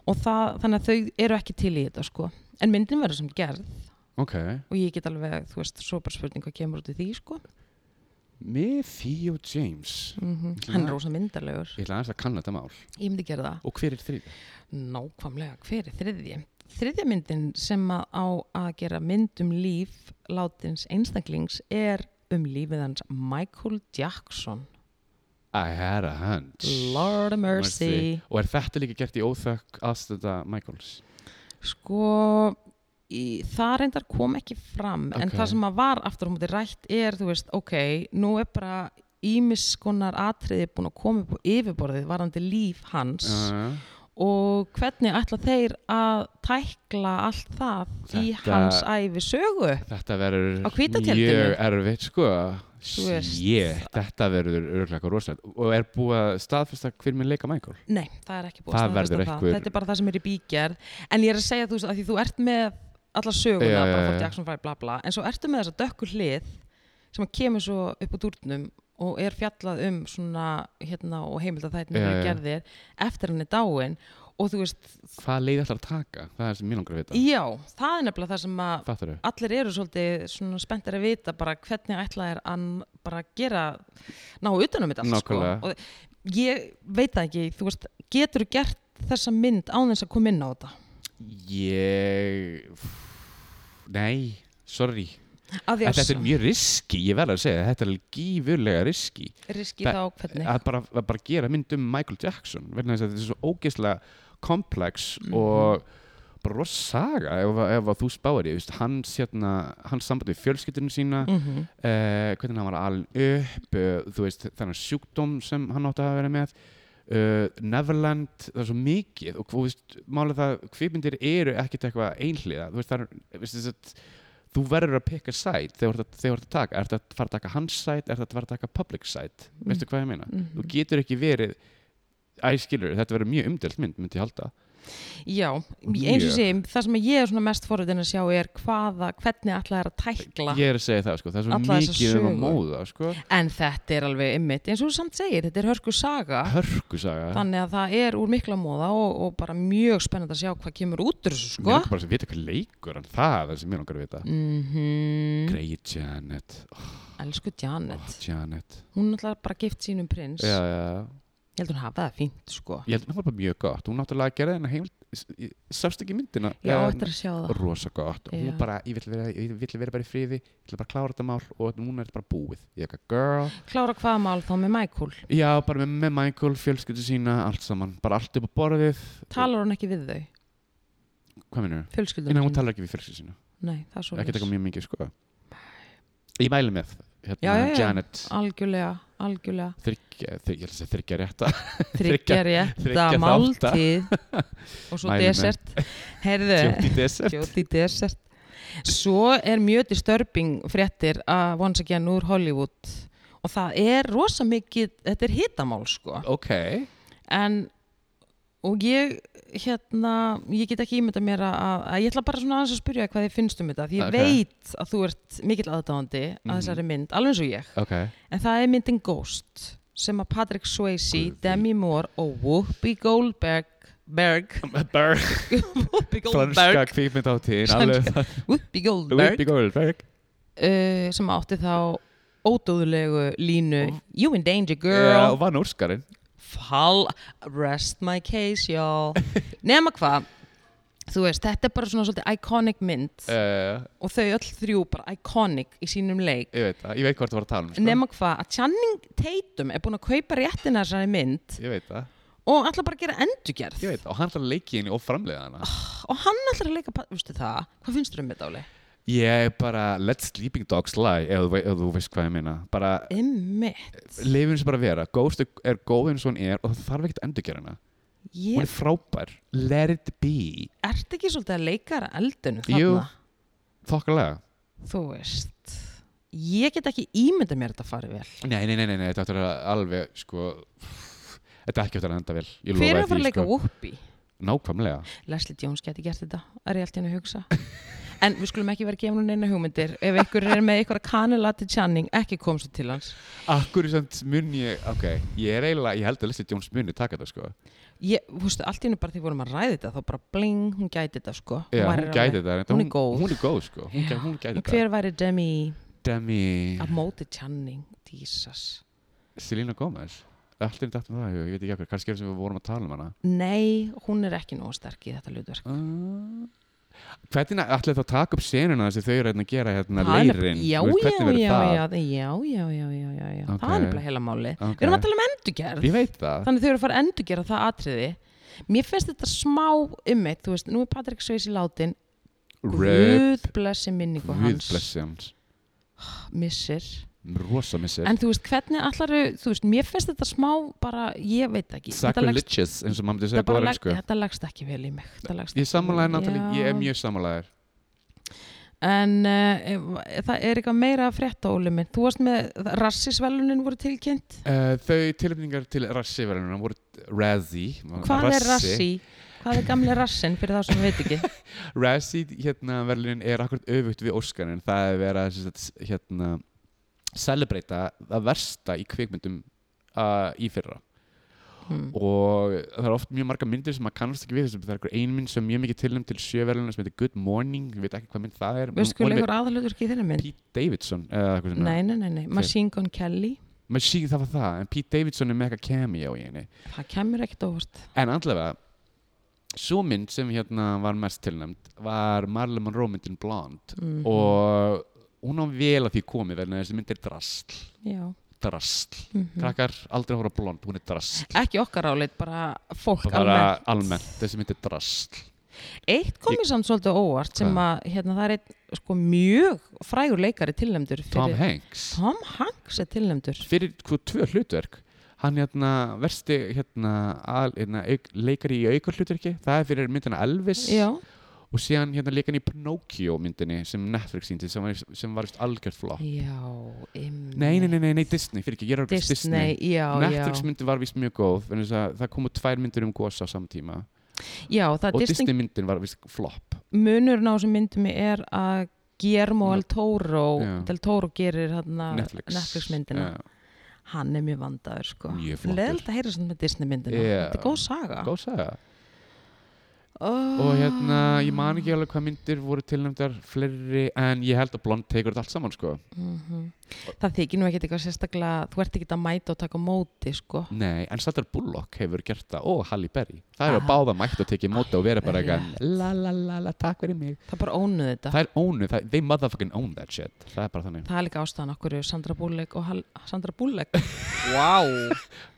Speaker 1: og það, þannig að þau eru ekki til í þetta sko. En myndin verður sem gerð
Speaker 2: Ok,
Speaker 1: og ég get alveg, þú veist, svo bara spurning hvað kemur út í því sko.
Speaker 2: með Theo James
Speaker 1: Hann er rosa myndarlegur.
Speaker 2: Ég ætla aðeins að kanna þetta mál
Speaker 1: Ég myndi gera það.
Speaker 2: Og hver er þrýð?
Speaker 1: Nákvæmlega, hver er þriðji? þriðja myndin sem að á að gera mynd um líf látins einstaklings er um lífið hans Michael Jackson
Speaker 2: I had a hunch
Speaker 1: Lord of mercy.
Speaker 2: Og er þetta líka gert í óþökk aðstönda Michaels?
Speaker 1: Sko, í, það reyndar kom ekki fram, en
Speaker 2: Ok.
Speaker 1: það sem að var aftur á móti rætt er, þú veist, ok, nú er bara ímis konar atriði búin að koma upp á yfirborðið varandi líf hans
Speaker 2: Uh,
Speaker 1: og hvernig ætla þeir að tækla allt það í
Speaker 2: Þetta-
Speaker 1: hans æfi sögu?
Speaker 2: þetta verður
Speaker 1: Á hvíta
Speaker 2: mjög
Speaker 1: tjaldinu.
Speaker 2: erfitt sko
Speaker 1: Þú veist.
Speaker 2: Sjétt, þetta verður örglega rosalegt Og er búið að staðfesta hver minn leika Michael?
Speaker 1: Nei, það er ekki búið
Speaker 2: Það
Speaker 1: staðfesta
Speaker 2: verður einhver-
Speaker 1: Þetta er bara það sem er í bíkjærð en ég er að segja þú veist að því þú ert með alla söguna,
Speaker 2: Já, já,
Speaker 1: bara
Speaker 2: já.
Speaker 1: fór Jackson 5 bla bla, en svo ertu með þessa dökku hlið sem að kemur svo upp úr dúrnum og er fjallað um svona hérna og heimilda þættin
Speaker 2: Já,
Speaker 1: yeah,
Speaker 2: já.
Speaker 1: gerðir eftir hann er dáin og þú veist,
Speaker 2: Hvað leið ætlar að taka? Það er sem mér langar að vita
Speaker 1: já, það er nefnilega það sem að
Speaker 2: Fattar þau?
Speaker 1: allir eru svolítið svona spenntir að vita bara hvernig ætla er að bara gera ná utanum þetta allt sko.
Speaker 2: Nákvæmlega.
Speaker 1: og ég veit það ekki, þú veist getur gert þessa mynd án þess að koma inn á þetta
Speaker 2: Ég Nei, sorry
Speaker 1: að því
Speaker 2: En
Speaker 1: að
Speaker 2: Þetta er mjög riski, ég verð að segja Þetta er alveg gífurlega riski
Speaker 1: riski
Speaker 2: Þa-
Speaker 1: þá hvernig
Speaker 2: að bara, að bara gera mynd um Michael Jackson vegna þess að þetta er svo ógeðslega komplex
Speaker 1: Mhm.
Speaker 2: og bara rosaga ef, að- ef að þú spáir því, veist, hans, hérna, hans sambandi við fjölskyldunum sína mm.
Speaker 1: mm
Speaker 2: hvernig hann var alin upp uh, þú veist, þennan sjúkdóm sem hann átti að vera með uh, Neverland, það er svo mikið og þú veist, málega það, kvipmyndir eru ekkert eitthvað einhliða, þú veist, það er veist, þess að þú verður að pikka sæt þegar þú ert að- þegar þú ert að taka, er þetta að fara að taka hans sæt er þetta að fara að taka public sæt, veistu
Speaker 1: Mm.
Speaker 2: hvað ég meina þú getur ekki verið æskilur, þetta verður mjög umdelt mynd myndi ég halda
Speaker 1: já, eins og
Speaker 2: Mjög.
Speaker 1: sé, það sem ég er svona mest forðin að sjá er hvaða, hvernig ætla er að tækla
Speaker 2: ég er að segja það, sko, það er svo
Speaker 1: Alla þessa
Speaker 2: mikið um að
Speaker 1: sögu.
Speaker 2: móða sko.
Speaker 1: en þetta er alveg ymmit, eins og þú samt segir, þetta er hörku saga
Speaker 2: hörkusaga
Speaker 1: þannig að það er úr mikla móða og, og bara mjög spennandi að sjá hvað kemur út úr þessu
Speaker 2: mér
Speaker 1: sko
Speaker 2: langar bara að vita hvað leikur hann það er það sem mér langar að vita
Speaker 1: mm
Speaker 2: Grey Janet,
Speaker 1: elsku
Speaker 2: oh,
Speaker 1: Janet
Speaker 2: Janet.
Speaker 1: hún náttúrulega bara gift sínum prins
Speaker 2: Já, já, já.
Speaker 1: ég held hún hafa það fínt sko
Speaker 2: ég held að það var bara mjög gott hún náttúrulega gerði hennar heimil sást ekki myndina
Speaker 1: ég á
Speaker 2: Eða-
Speaker 1: eftir að sjá það
Speaker 2: rosa gott hún
Speaker 1: Já.
Speaker 2: bara, ég vill vera, ég vill vera bara í friði ég vill bara klára þetta mál og núna er þetta bara búið ég ekki, girl,
Speaker 1: klára hvaða mál þá með Michael
Speaker 2: já, bara með, með Michael fjölskyldu sína, allt saman, bara allt upp á borðið
Speaker 1: talar hún ekki við þau,
Speaker 2: hvað minnur?
Speaker 1: fjölskyldum
Speaker 2: Nei, hún talar ekki við fjölskyldu sína,
Speaker 1: Nei, það er svo
Speaker 2: ekki taka mjög mikið sko ég mæli með hérna,
Speaker 1: Já, já, já.
Speaker 2: Janet
Speaker 1: algjörlega, algjörlega
Speaker 2: þryggja, þryggja, ég held að segja þryggja rétta
Speaker 1: þryggja rétta
Speaker 2: þriggja þátta.
Speaker 1: máltíð og svo
Speaker 2: Mælum með.
Speaker 1: desert heyrðu,
Speaker 2: sjótt í desert
Speaker 1: djóti desert svo er mjög disturbing fréttir að once again úr Hollywood og það er rosa mikið þetta er hitamál sko
Speaker 2: ok,
Speaker 1: en og ég hérna ég get ekki ímynda mér að, að, að ég ætla bara svona aðeins að spyrja þig hvað þið finnst um þetta því ég
Speaker 2: Ok. Mhm.
Speaker 1: veit að þú ert mikill aðdáðandi að þessari mynd, alveg eins og ég
Speaker 2: ok
Speaker 1: En það er myndin Ghost sem að Patrick Swayze,
Speaker 2: Guði.
Speaker 1: Demi Moore og Whoopi Goldberg Berg,
Speaker 2: Berg,
Speaker 1: Whoopi
Speaker 2: franska
Speaker 1: Goldberg,
Speaker 2: kvíkmynd á tíðin alveg,
Speaker 1: Franska. Whoopi Goldberg
Speaker 2: Whoopi Goldberg
Speaker 1: uh, sem átti þá ódóðulegu línu You in danger
Speaker 2: Já, og
Speaker 1: girl
Speaker 2: vann úrskarinn
Speaker 1: Fall, rest my case y'all Nema hvað Þú veist, þetta er bara svona svolítið iconic mynd
Speaker 2: uh,
Speaker 1: og þau öll þrjú bara iconic í sínum leik
Speaker 2: ég veit það, ég veit hvort þú var að tala um sko.
Speaker 1: Nema hvað, að Channing Tatum er búin að kaupa réttina þessari mynd
Speaker 2: ég veit það,
Speaker 1: og ætla bara að gera endurgerð
Speaker 2: ég veit það og hann ætlar að leiki henni og framleiða hana
Speaker 1: og hann ætlar að leika pa- veistu það, hvað finnst þér um þetta Óli?
Speaker 2: Ég bara, let sleeping dogs lie ef, þú- ef þú veist hvað ég meina bara,
Speaker 1: Emmitt
Speaker 2: lifum sem bara að vera Ghost er- er góð eins og hún er og það þarf ekkert að endurgera hana hún
Speaker 1: ég
Speaker 2: er frábær, let it be
Speaker 1: ert ekki svolítið að leika að eldinu þarna
Speaker 2: Jú. þokkalega
Speaker 1: þú veist ég get ekki ímynda mér að þetta fari vel
Speaker 2: nei, nei, nei, nei, nei, þetta ætlar að alveg sko, þetta er ekki eftir að enda vel Ég
Speaker 1: hver er að
Speaker 2: lofa
Speaker 1: fara að
Speaker 2: því,
Speaker 1: leika
Speaker 2: sko.
Speaker 1: Whoopi?
Speaker 2: nákvæmlega
Speaker 1: Leslie Jones geti gert þetta, er ég allt í henni að hugsa en við skulum ekki vera að gefa hún neina hugmyndir ef einhver er með einhverja kanila til Channing ekki kom svo til hans
Speaker 2: Akkur samt mun ég, ok, ég er eiginlega, ég held að Leslie Jones muni taka þetta sko.
Speaker 1: ég, þú veist, allt í henni bara því vorum að ræði þetta þá bara bling, hún gæti þetta sko
Speaker 2: Já,
Speaker 1: væri
Speaker 2: hún
Speaker 1: alveg-
Speaker 2: gæti þetta. reyndar,
Speaker 1: hún er góð.
Speaker 2: Hún er góð sko, hún, gæ, hún gæti
Speaker 1: En
Speaker 2: þetta.
Speaker 1: hver væri Demi
Speaker 2: Demi,
Speaker 1: að móti Channing, Jesus
Speaker 2: Selena Gomez, allt er dætt um það, ég veit ekki akkur, kannski er sem við vorum að tala um hana.
Speaker 1: Nei, hún er ekki nógu sterk í þetta hlutverk.
Speaker 2: Uh, hvernig ætlaði það að taka upp senuna þess að þau eru hérna að gera hérna
Speaker 1: Það er-
Speaker 2: leirin
Speaker 1: já,
Speaker 2: Þú
Speaker 1: já,
Speaker 2: veist, hvernig verður
Speaker 1: já,
Speaker 2: það?
Speaker 1: já, já, já, já, já, já, já.
Speaker 2: Ok.
Speaker 1: það er nefnilega heila máli
Speaker 2: Ok.
Speaker 1: við erum að tala um endurgerð
Speaker 2: ég veit það
Speaker 1: þannig þau eru að fara að endurgera það atriði mér finnst þetta smá ummitt þú veist, nú er Patrik Sveisi látin
Speaker 2: Rip,
Speaker 1: Guð blessi minningu
Speaker 2: Guð
Speaker 1: hans
Speaker 2: blessi hans
Speaker 1: missir
Speaker 2: rosa missir
Speaker 1: en þú veist, hvernig allar þú veist, mér finnst þetta smá bara, ég veit ekki þetta leggst-
Speaker 2: sacrilegious eins og maður myndi segja
Speaker 1: þetta bara
Speaker 2: búið
Speaker 1: legg-
Speaker 2: sko
Speaker 1: þetta leggst ekki vel í mig Þetta leggst ekki
Speaker 2: ég
Speaker 1: vel í
Speaker 2: samanlæði
Speaker 1: mig.
Speaker 2: náttúrulega,
Speaker 1: Já.
Speaker 2: ég er mjög samanlæðir
Speaker 1: En uh, það er eitthvað meira að frétta, Óli minn. Þú varst með, rassisvelunin voru tilkynnt.
Speaker 2: uh, þau tilöfningar til rassiverðunum voru Razzie
Speaker 1: Hvað er rassi? Hvað er gamli rassin fyrir þá sem við veit ekki?
Speaker 2: Razzie hérna verðlunin er akkurat öfugt við Óskarinn það er verið að sem sagt, hérna celebrata það versta í kvikmyndum uh, í fyrra
Speaker 1: Hmm.
Speaker 2: og það er oft mjög marga myndir sem maður kannast ekki við þessum það er einhver ein mynd sem er mjög mikið tilnum til sjöverðlunar sem heitir Good Morning, ég veit ekki hvað mynd það er
Speaker 1: Veistu hvað
Speaker 2: Hún er
Speaker 1: leikur aðalutur ekki í þeirra mynd?
Speaker 2: Pete Davidson eða eitthvað svona
Speaker 1: Nei, nei, nei, nei. Machine Gun Kelly.
Speaker 2: maður sé það var það, en Pete Davidson er með eitthvað cameo í henni
Speaker 1: Það kemur ekkert óvart.
Speaker 2: en andlega svo mynd sem hérna var mest tilnæmt var Marilyn Monroe myndin Blonde
Speaker 1: Mm.
Speaker 2: og hún á vel að því komið vegna þessi mynd er drasl
Speaker 1: Já.
Speaker 2: drasl,
Speaker 1: mhm.
Speaker 2: krakkar aldrei að horfa á Blonde hún er drasl,
Speaker 1: Ekki okkar álit, bara fólk
Speaker 2: bara
Speaker 1: alveg.
Speaker 2: almennt, þessi mynd er drasl
Speaker 1: Eitt komið samt svolítið óvart sem að, hérna, það er eitt, sko, mjög frægur leikari tilnæmdur.
Speaker 2: Tom
Speaker 1: fyrir-
Speaker 2: Hanks
Speaker 1: Tom Hanks er tilnæmdur.
Speaker 2: fyrir hvað tvö hlutverk hann hérna versti hérna, al, hérna auk, leikari í aukur hlutverki það er fyrir myndina Elvis
Speaker 1: Já.
Speaker 2: og síðan hérna leikan í Pinocchio myndinni sem Netflix síndi sem var, sem var víst algjört flop
Speaker 1: Já, um,
Speaker 2: nei, nei, nei, nei, nei, Disney, fyrir ekki, ég er að hugsa
Speaker 1: Disney, já,
Speaker 2: Netflix
Speaker 1: já.
Speaker 2: myndi var víst mjög góð vegna þess að það komu tvær myndir um gósa á samtíma
Speaker 1: já, það
Speaker 2: og
Speaker 1: Disney,
Speaker 2: Disney myndin var víst flop
Speaker 1: munurinn á þessum myndum er að Guillermo del Toro
Speaker 2: Já.
Speaker 1: del Toro gerir hana,
Speaker 2: Netflix,
Speaker 1: Netflix myndina hann er mjög vandaður sko
Speaker 2: Mjög flottur.
Speaker 1: leðilt að heyra svona með Disney myndina
Speaker 2: Já.
Speaker 1: þetta er góð saga
Speaker 2: góð saga
Speaker 1: oh.
Speaker 2: og hérna, ég man ekki alveg hvað myndir voru tilnæmdar fleiri en ég held að Blond tekur þetta allt saman sko
Speaker 1: Mhm. það þykir nú ekkert eitthvað sérstaklega þú ert ekkert að mæta og taka á móti sko
Speaker 2: Nei, en Sandra Bullock hefur gert það og Halle Berry. Það eru
Speaker 1: Ah.
Speaker 2: að báða mætt og tekið móta og vera bara
Speaker 1: Rétt.
Speaker 2: eitthvað la la la la, takk fyrir mig.
Speaker 1: það er bara ónuð þetta
Speaker 2: Það er ónu, það, they motherfucking own that shit. Það er bara þannig.
Speaker 1: það er líka ástæðan okkur Sandra Bullock og Hal Sandra Bullock wow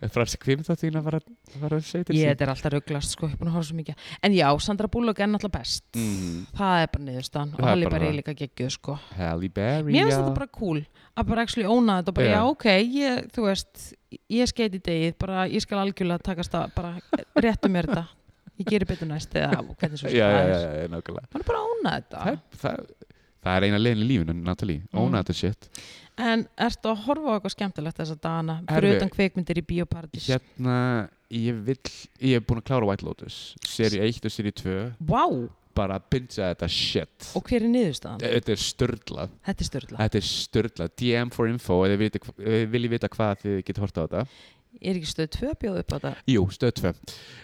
Speaker 2: Frá þessi kvimþáttíðin að fara fara að segja til
Speaker 1: ég þetta er alltaf rugglast sko ég er búin að horfa svo mikið en já Sandra Bullock er náttúrulega best
Speaker 2: Mm,
Speaker 1: það er bara niðurstaðan og
Speaker 2: Það er
Speaker 1: Halle
Speaker 2: bara
Speaker 1: Berry
Speaker 2: það.
Speaker 1: líka geggjuð sko
Speaker 2: Halle Berry,
Speaker 1: Mér finnst þetta bara cool að bara actually óna þetta og bara
Speaker 2: Já.
Speaker 1: já ok, ég, þú veist ég skeiti degið, bara ég skal algjörlega takast að bara réttu mér þetta ég gerir betur næst eða hvernig svo sem
Speaker 2: Já, já,
Speaker 1: það
Speaker 2: já,
Speaker 1: er.
Speaker 2: já, já, nákvæmlega.
Speaker 1: Hann er bara að óna
Speaker 2: Það,
Speaker 1: þetta
Speaker 2: er- það, það er eina legin í lífinu, Natalie.
Speaker 1: Mm.
Speaker 2: Own that shit.
Speaker 1: En ertu að horfa á eitthvað skemmtilegt þess að dana
Speaker 2: Herðu.
Speaker 1: fyrir utan kveikmyndir í Bíóparadís Vá,
Speaker 2: Hérna, ég vill, ég hef búin að klára White Lotus. Seri 1 og seri 2. Bara bingja þetta shit.
Speaker 1: og hver er niðurstaðan?
Speaker 2: Þetta er störtlað.
Speaker 1: Þetta er störla
Speaker 2: Þetta er störla, DM for info ef þið vitið- ef þið viljið vita hvað þið getið horta á þetta
Speaker 1: Er ekki stöð 2 bjóð upp á þetta?
Speaker 2: Jú, stöð 2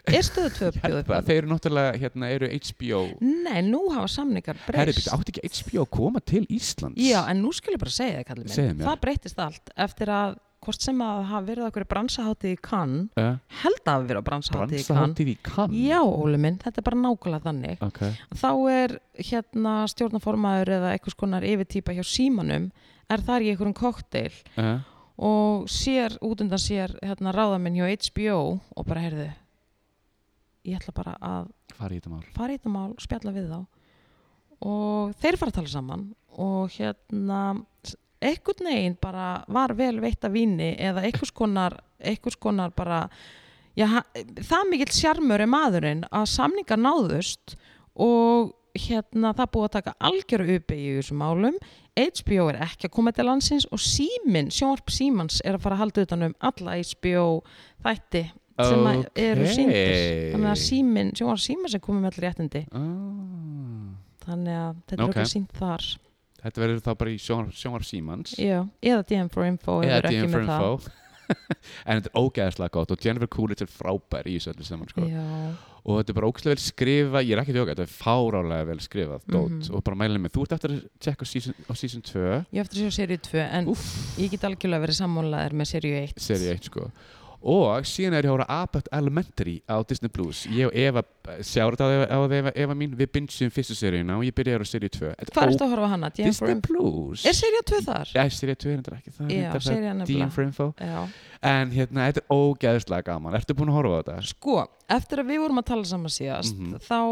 Speaker 1: Er stöð 2 bjóð upp á þetta?
Speaker 2: Þeir eru náttúrulega, hérna, eru HBO
Speaker 1: Nei, nú hafa samningar
Speaker 2: Herri,
Speaker 1: breyst
Speaker 2: býttu, átti ekki HBO að koma til Íslands?
Speaker 1: Já, en nú skulle ég bara segja það, kallið minn.
Speaker 2: Segðu mér.
Speaker 1: Það breyttist allt eftir að hvort sem að hafa verið okkur bransahátið í kann,
Speaker 2: uh,
Speaker 1: held að hafa verið á bransahátið í kann.
Speaker 2: Bransaháttíð í Cannes
Speaker 1: Já, Óli minn, þetta er bara nákvæmlega þannig.
Speaker 2: Ok,
Speaker 1: Þá er hérna stjórnaformaður eða einhvers konar yfirtýpa hjá símanum, er þar í einhverjum kokteil
Speaker 2: uh,
Speaker 1: og sér út undan sér hérna ráðaminn hjá HBO og bara heyrðu, ég ætla bara að
Speaker 2: hvað er í þetta mál?
Speaker 1: fara í þetta mál, spjalla við þá og þeir fara að tala saman og hérna einhvern veginn bara var vel veitt af víni eða einhvers konar, einhvers konar bara já, ha- það mikill sjarmur er maðurinn að samningar náðust og hérna það búið að taka algjöru uppeyju í þessum málum HBO er ekki að koma til landsins og síminn, sjónvarp símans er að fara að halda utan um alla HBO þætti sem að eru síndir þannig að síminn, sjónvarp símans er komið með allir réttindi
Speaker 2: ah,
Speaker 1: þannig að þetta
Speaker 2: Ok.
Speaker 1: er okkur sínt þar
Speaker 2: Þetta verður þá bara í sjónar, sjónar símans
Speaker 1: Já, eða DM for info ef þeir eru ekki
Speaker 2: DM for
Speaker 1: með það.
Speaker 2: info En þetta er ógeðslega gott og Jennifer Coolidge er frábær í þessu öllu saman sko.
Speaker 1: Já,
Speaker 2: og þetta er bara ógæslega vel skrifað ég er ekki tjóka, þetta er fárálega vel skrifað mm
Speaker 1: Mhm.
Speaker 2: og bara mælið mig, þú ert eftir að tjekka á season, á season 2
Speaker 1: ég á eftir að sjá serið 2 en
Speaker 2: Úff.
Speaker 1: ég get algjörlega verið sammálaðir með serið 1
Speaker 2: seri 1 sko og síðan er ég að hóra Abbott Elementary á Disney Plus ég og Eva, sjárat á þau á þau Eva, Eva mín, við byndsum fyrstu seríuna og ég byrjaði á seríu 2 Þetta er
Speaker 1: Hvað
Speaker 2: ó-
Speaker 1: ertu að horfa á hana? DM for
Speaker 2: Disney
Speaker 1: Info?
Speaker 2: Plus
Speaker 1: Er serið tvö þar?
Speaker 2: Já, seríu 2 er þetta ekki það
Speaker 1: Já,
Speaker 2: reyndar, það er
Speaker 1: serían
Speaker 2: DM
Speaker 1: nefnilega.
Speaker 2: for info
Speaker 1: Já.
Speaker 2: en hérna, þetta er ógeðslega gaman Ertu búin að horfa á þetta?
Speaker 1: Sko, eftir að við vorum að tala saman síðast
Speaker 2: Mhm.
Speaker 1: þá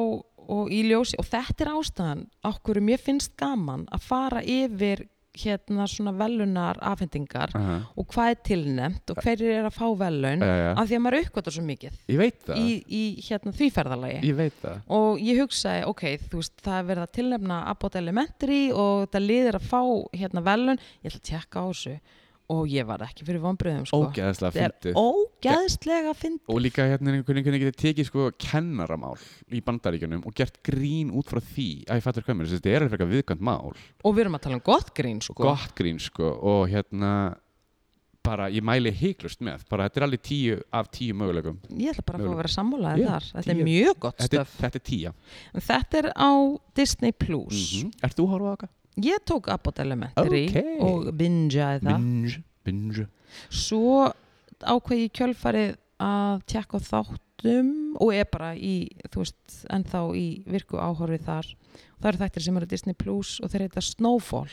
Speaker 1: og í ljósi og þetta er ástæðan á hverju mér finnst gaman að fara yfir hérna svona velunar afhendingar
Speaker 2: Aha.
Speaker 1: og hvað er tilnefnt og hverjir er að fá velun
Speaker 2: Já, já.
Speaker 1: af því að maður uppgötar svo mikið
Speaker 2: Ég veit það
Speaker 1: í, Sko, í hérna þvíferðalagi
Speaker 2: Ég veit það
Speaker 1: og ég hugsaði, ok, þú veist, það er verið að tilnefna Abbott Elementary og þetta liðir að fá hérna velun, ég ætla að tjekka á þessu og ég var ekki fyrir vonbröðum sko.
Speaker 2: Ógeðslega
Speaker 1: þetta er
Speaker 2: fyndið
Speaker 1: ógeðslega fyndið
Speaker 2: og líka hérna er einhvern veginn getið tekið sko kennaramál í bandaríkjunum og gert grín út frá því að ég fattur hvað mér, þess að þetta er alveg frekar viðkvæmt mál
Speaker 1: og við erum að tala um gott grín sko.
Speaker 2: gott grín sko og hérna bara ég mæli heiklust með bara þetta er alveg tíu af tíu möguleikum
Speaker 1: ég ætla bara að fá að vera sammálaðið
Speaker 2: Já,
Speaker 1: þar þetta er
Speaker 2: tíu.
Speaker 1: mjög gott
Speaker 2: þetta, er-
Speaker 1: stöf
Speaker 2: þetta er tíja
Speaker 1: þetta, þetta er á Disney Plus
Speaker 2: mm Ert þú að horfa á okkar?
Speaker 1: ég tók Abbott Elementary
Speaker 2: Ókei.
Speaker 1: og bingeaði það
Speaker 2: Binge, binge
Speaker 1: svo ákveði ég í kjölfarið að tjekka á þáttum og er bara í, þú veist, ennþá í virku áhorfið þar það eru þættir sem eru á Disney Plus og þeir heita Snowfall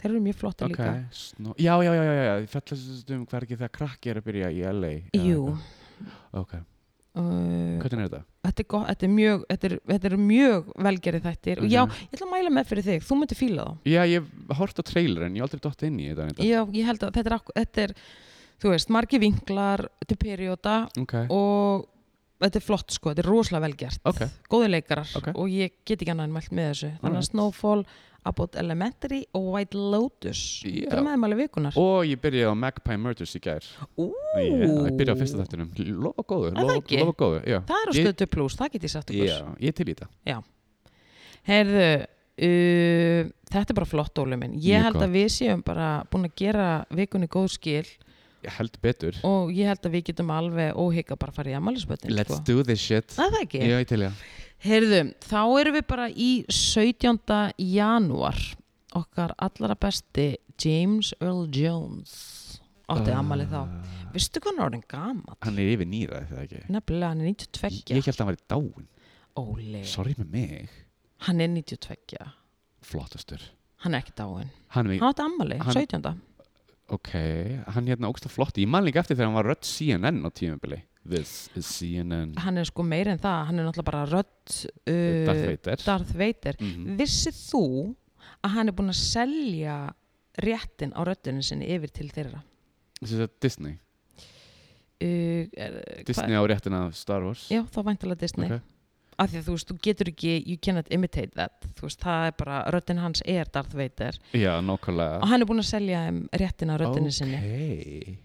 Speaker 1: þeir eru mjög flotta
Speaker 2: Ok,
Speaker 1: líka
Speaker 2: snó Já, já, já, já, já, ég fellast um hvað er ekki það krakki er að byrja í LA eða
Speaker 1: Jú,
Speaker 2: eitthvað. Ok,
Speaker 1: uh,
Speaker 2: hvernig er þetta?
Speaker 1: þetta, er gott, þetta, er mjög, þetta, er, þetta er mjög velgerið þættir og já,
Speaker 2: Mhm.
Speaker 1: ég ætla að mæla með fyrir þig, þú myndir fíla þá
Speaker 2: Já, ég hort á trailerinn, ég hef aldrei dott inn í þetta reyndar.
Speaker 1: Já, ég held að þetta er, akku- þetta er þú veist, margi vinklar til perióda
Speaker 2: Ok,
Speaker 1: og þetta er flott sko, þetta er rosalega velgjart
Speaker 2: ok
Speaker 1: góði leikarar
Speaker 2: Ok.
Speaker 1: og ég get ekki annað en mælt með þessu þannig að
Speaker 2: Alright.
Speaker 1: Snowfall, Abbott Elementary og White Lotus
Speaker 2: Já.
Speaker 1: þetta er meðmæli vikunar
Speaker 2: Og ég byrjaði á Magpie Murders í gær
Speaker 1: Ú,
Speaker 2: Ég ég byrjaði á fyrsta þættinum Lofa góðu,
Speaker 1: Er það
Speaker 2: lofa,
Speaker 1: ekki?
Speaker 2: lofa góðu já.
Speaker 1: það er á
Speaker 2: Ég-
Speaker 1: stötu pluss, það get ég sagt ykkur
Speaker 2: Já, ég er til í þetta
Speaker 1: herðu, uh, þetta er bara flott Óli minn, ég
Speaker 2: Mjög
Speaker 1: held
Speaker 2: gott.
Speaker 1: að við séum bara búin að gera vikunni góð skil
Speaker 2: Ég held betur
Speaker 1: og ég held að við getum alveg óhygg að bara fara í amalisbötin
Speaker 2: Let's do this shit
Speaker 1: sko. það er það ekki
Speaker 2: Já, ég er til í það
Speaker 1: Heyrðu, þá erum við bara í 17. janúar okkar allra besti James Earl Jones átti uh.
Speaker 2: Ah.
Speaker 1: amali þá Vistu hvað hann er orðin gamall?
Speaker 2: Hann er yfir nýra, þetta ekki
Speaker 1: Nefnilega, hann er
Speaker 2: Ég
Speaker 1: 92
Speaker 2: ég held að hann var í dáin
Speaker 1: Óli,
Speaker 2: Sorry með mig
Speaker 1: hann er 92
Speaker 2: Flottastur
Speaker 1: Hann er ekki dáin
Speaker 2: Hann er,
Speaker 1: Hann átti amali,
Speaker 2: Hann-
Speaker 1: 17.
Speaker 2: ok Hann hérna ógsta flott Ég man líka eftir þegar hann var rödd CNN á tímabili Uh, This is CNN
Speaker 1: Hann er sko meir en það, hann er náttúrulega bara rödd uh,
Speaker 2: Darth Vader
Speaker 1: Darth Vader.
Speaker 2: Mhm.
Speaker 1: Vissið þú að hann er búin að selja réttin á röddunni sinni yfir til þeirra?
Speaker 2: Sem sagt, Disney
Speaker 1: Uh, er,
Speaker 2: Disney á réttina af Star Wars
Speaker 1: Já, þá væntalega Disney
Speaker 2: Ok.
Speaker 1: af því að þú veist, þú getur ekki, you cannot imitate that þú veist, það er bara, röddinn hans er Darth Vader
Speaker 2: Já, nákvæmlega
Speaker 1: og hann er búinn að selja þeim réttin á röddinni sinni
Speaker 2: okay.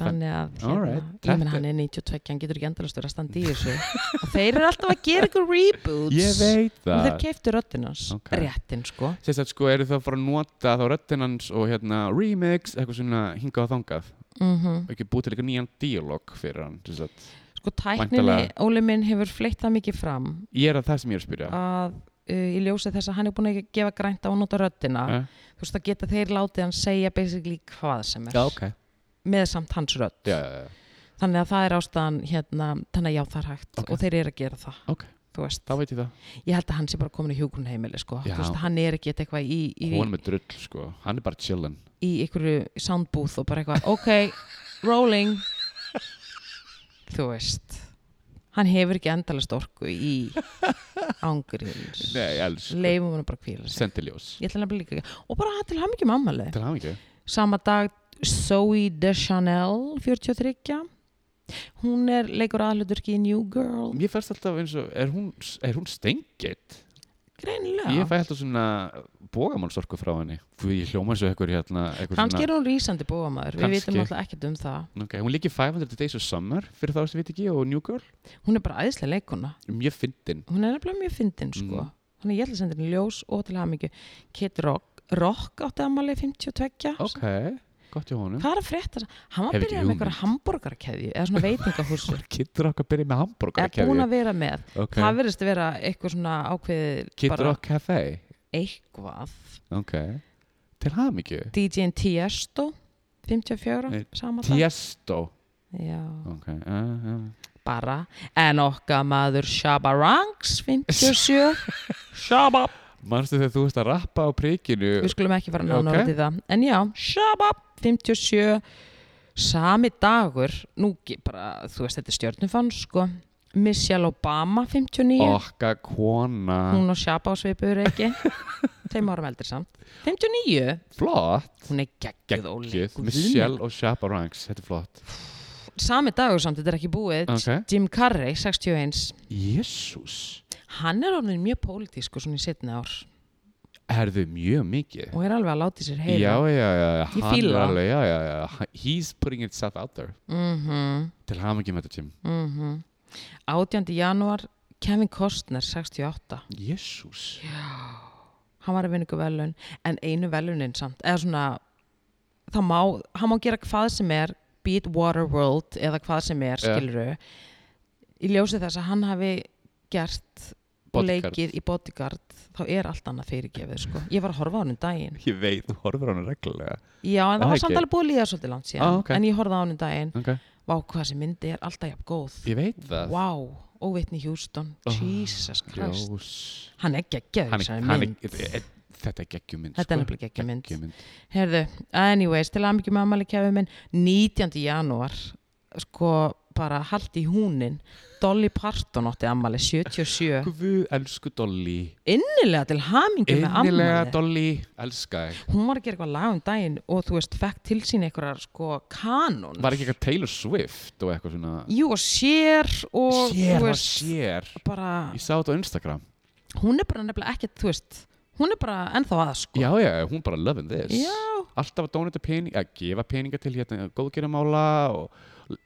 Speaker 1: þannig að, hérna,
Speaker 2: Alright.
Speaker 1: ég menn
Speaker 2: Þetta-
Speaker 1: hann er 92 hann getur ekki endalast verið að standa í þessu og þeir eru alltaf að gera ykkur reboots
Speaker 2: Ég veit
Speaker 1: og þeir
Speaker 2: það
Speaker 1: keiftu röddinn hans
Speaker 2: Ok.
Speaker 1: réttin, sko
Speaker 2: Sérst að sko eru það að fara að nota þá röddinn hans og hérna remix eitthvað svona hingað og þangað
Speaker 1: mm
Speaker 2: og ekki búið til eitthvað nýjan díalóg fyrir hann sem sagt.
Speaker 1: sko tækninni,
Speaker 2: Væntanlega.
Speaker 1: Óli minn hefur fleitt það mikið fram
Speaker 2: Ég er að það sem ég er að spyrja
Speaker 1: að uh, í ljósi þess að hann er búinn að gefa grænt á að nota röddina
Speaker 2: Eh?
Speaker 1: þú veist, það geta þeir látið hann segja basically hvað sem er
Speaker 2: Já, ok
Speaker 1: með samt hans rödd
Speaker 2: Já, já, já.
Speaker 1: þannig að það er ástæðan hérna, þannig að já það er hægt
Speaker 2: Ok.
Speaker 1: og þeir eru að gera það
Speaker 2: Ok.
Speaker 1: þú veist,
Speaker 2: þá veit ég það
Speaker 1: ég held að hann sé bara komin í hjúgrunheimili sko,
Speaker 2: Já.
Speaker 1: þú veist, hann er ekki eitthvað í, í,
Speaker 2: Hún með drull sko, hann er bara chillin
Speaker 1: í einhverju soundbúð og bara eitthvað, ok rolling þú veist hann hefur ekki endalast orku í ángurins
Speaker 2: Nei, sko. elsku
Speaker 1: leifum hann bara að kvíla sig
Speaker 2: Sendiljós
Speaker 1: ég ætla nefnilega líka, og bara til hann ekki mammalið
Speaker 2: Til hann ekki
Speaker 1: sama dag Zoe Deschanel 43 hún er leikur aðluturki í New Girl
Speaker 2: Mér færst alltaf eins og, er hún, er hún stengitt? Ég
Speaker 1: greinilega,
Speaker 2: fæ alltaf svona bógamálsorku frá henni Því ég hljóma svo eitthvað hérna eitthvað
Speaker 1: kannski
Speaker 2: svona-
Speaker 1: er hún rísandi bóamæður við
Speaker 2: Kannski.
Speaker 1: vitum alltaf ekkert um það
Speaker 2: Ok, Hún líki 500 Days of Summer fyrir þá sem við ekki og New Girl
Speaker 1: hún er bara æðislega leikuna,
Speaker 2: Mjög fyndin
Speaker 1: hún er nefnilega mjög fyndin sko,
Speaker 2: Mm.
Speaker 1: þannig að ég ætla að senda henni ljós og til hafa mikið Kid Rock, Rock átti ammali 52
Speaker 2: Ok, gott hjá honum
Speaker 1: hvað er að frétta, hann var
Speaker 2: Hef
Speaker 1: að
Speaker 2: ekki
Speaker 1: byrja með einhverja hamburgarkeðju eða svona veitingahúsur
Speaker 2: Kiddur okkar byrja með
Speaker 1: eða
Speaker 2: hambúrgar
Speaker 1: búin að vera með, það
Speaker 2: okay.
Speaker 1: verðist að vera eitthvað svona ákveðið
Speaker 2: Kiddur
Speaker 1: bara
Speaker 2: okkar Café
Speaker 1: eitthvað
Speaker 2: Ok, til hamingju
Speaker 1: DJ-in Tiesto 54, sama dag
Speaker 2: Tiesto,
Speaker 1: já,
Speaker 2: ok uh, uh.
Speaker 1: bara en okka maður Shabba Ranks 57 Shabba
Speaker 2: Manstu þegar þú veist að rappa á prikinu
Speaker 1: við skulum ekki fara nánar
Speaker 2: Ok.
Speaker 1: okay. út í það en já, shabba 57 sami dagur nú ge- bara, þú veist þetta er stjörnufann sko Michelle Obama 59
Speaker 2: Okka kona
Speaker 1: hún og shabba á svipur ekki þeim árum eldri samt 59,
Speaker 2: Flott
Speaker 1: hún er geggjuð Óli.
Speaker 2: Gekkið
Speaker 1: Guð
Speaker 2: Michelle og Shabba Ranks Þetta er flott
Speaker 1: minn. sami dagur samt, þetta er ekki búið
Speaker 2: Ok.
Speaker 1: Jim Carrey, 61
Speaker 2: Jésús
Speaker 1: hann er orðin mjög pólitísku svona í setna ár
Speaker 2: Erðu mjög mikið
Speaker 1: og er alveg að láti sér
Speaker 2: Já,
Speaker 1: heyra
Speaker 2: já, já já,
Speaker 1: Ég
Speaker 2: hann
Speaker 1: fíla
Speaker 2: er
Speaker 1: það.
Speaker 2: alveg, já, já, já He's putting itself out there
Speaker 1: mhm,
Speaker 2: Til ham ekki með þetta tím
Speaker 1: mhm 18. janúar Kevin Costner, 68
Speaker 2: Jésús
Speaker 1: hann var að vinna ykkur velun en einu velunin samt eða svona það má, hann má gera hvað sem er beat Waterworld eða hvað sem er
Speaker 2: Já.
Speaker 1: skiluru í ljósi þess að hann hafi gert
Speaker 2: Bodyguard.
Speaker 1: leikið í bodyguard þá er allt annað fyrirgefið sko. ég var að horfa á hann um daginn
Speaker 2: Ég veit, þú horfir á hann reglulega
Speaker 1: já en
Speaker 2: Ah,
Speaker 1: það var
Speaker 2: ekki.
Speaker 1: samt alveg búið að líða svolítið langt síðan
Speaker 2: Ah, ok.
Speaker 1: en ég horfði á hann um daginn
Speaker 2: Ok
Speaker 1: vá hvað sem myndi er alltaf jafn góð
Speaker 2: Ég veit það
Speaker 1: vá og vitni Houston
Speaker 2: Ah,
Speaker 1: Jesus Christ
Speaker 2: Jós
Speaker 1: hann er geggjaður
Speaker 2: Hann,
Speaker 1: í þessari
Speaker 2: hann,
Speaker 1: mynd.
Speaker 2: er- eh, sko þetta er geggjumynd
Speaker 1: Þetta er nefnilega geggjumynd.
Speaker 2: geggjumynd.
Speaker 1: Herðu, anyways, til að mikið með amali kefið minn 19. janúar sko bara hald í húnin Dolly Parton átti amali 77
Speaker 2: Guð, elsku Dolly
Speaker 1: innilega til hamingi með
Speaker 2: Einnilega
Speaker 1: amali
Speaker 2: Dolly, elska þig
Speaker 1: hún var að gera eitthvað lag um daginn og þú veist, fekk til sín einhverjar sko kanón
Speaker 2: Var ekki eitthvað Taylor Swift og eitthvað svona
Speaker 1: Jú, og sér og þú
Speaker 2: Sér og
Speaker 1: veist,
Speaker 2: sér
Speaker 1: bara
Speaker 2: Ég sá þetta á Instagram
Speaker 1: hún er bara nefnilega ekkert, þú veist hún er bara ennþá að sko
Speaker 2: Já, já, hún bara loving this
Speaker 1: Já.
Speaker 2: Alltaf að dónita pening, að gefa peninga til hérna góðgeramála og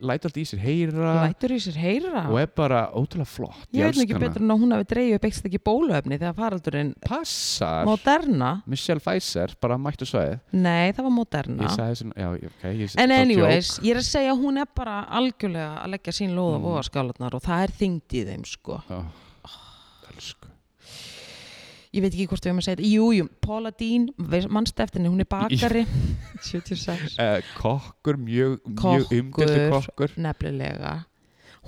Speaker 2: læta allt í sér heyra
Speaker 1: lætur í sér heyra
Speaker 2: og er bara ótrúlega flott
Speaker 1: ég veit nú ekki
Speaker 2: elska hana.
Speaker 1: betur en að hún hafi dreigju upp eitthvað ekki bóluefni þegar faraldurinn
Speaker 2: Passar
Speaker 1: moderna
Speaker 2: Michelle Pfizer, bara mættu svæði
Speaker 1: Nei, það var moderna.
Speaker 2: Ég sagði svona, já, ok
Speaker 1: En
Speaker 2: ég, það var
Speaker 1: anyways,
Speaker 2: joke. Mm.
Speaker 1: ég er að segja að hún er bara algjörlega að leggja sín lóð á voðaskálarnar og það er þyngd í þeim sko. Ah,
Speaker 2: Elsku
Speaker 1: Ég veit ekki hvort við erum að segja þetta. Jú, jú, Paula Dean, mannst eftir henni, hún er bakari. 76.
Speaker 2: Eh, Kokkur, mjög, mjög
Speaker 1: Kokkur.
Speaker 2: umdildi kokkur
Speaker 1: Nefnilega.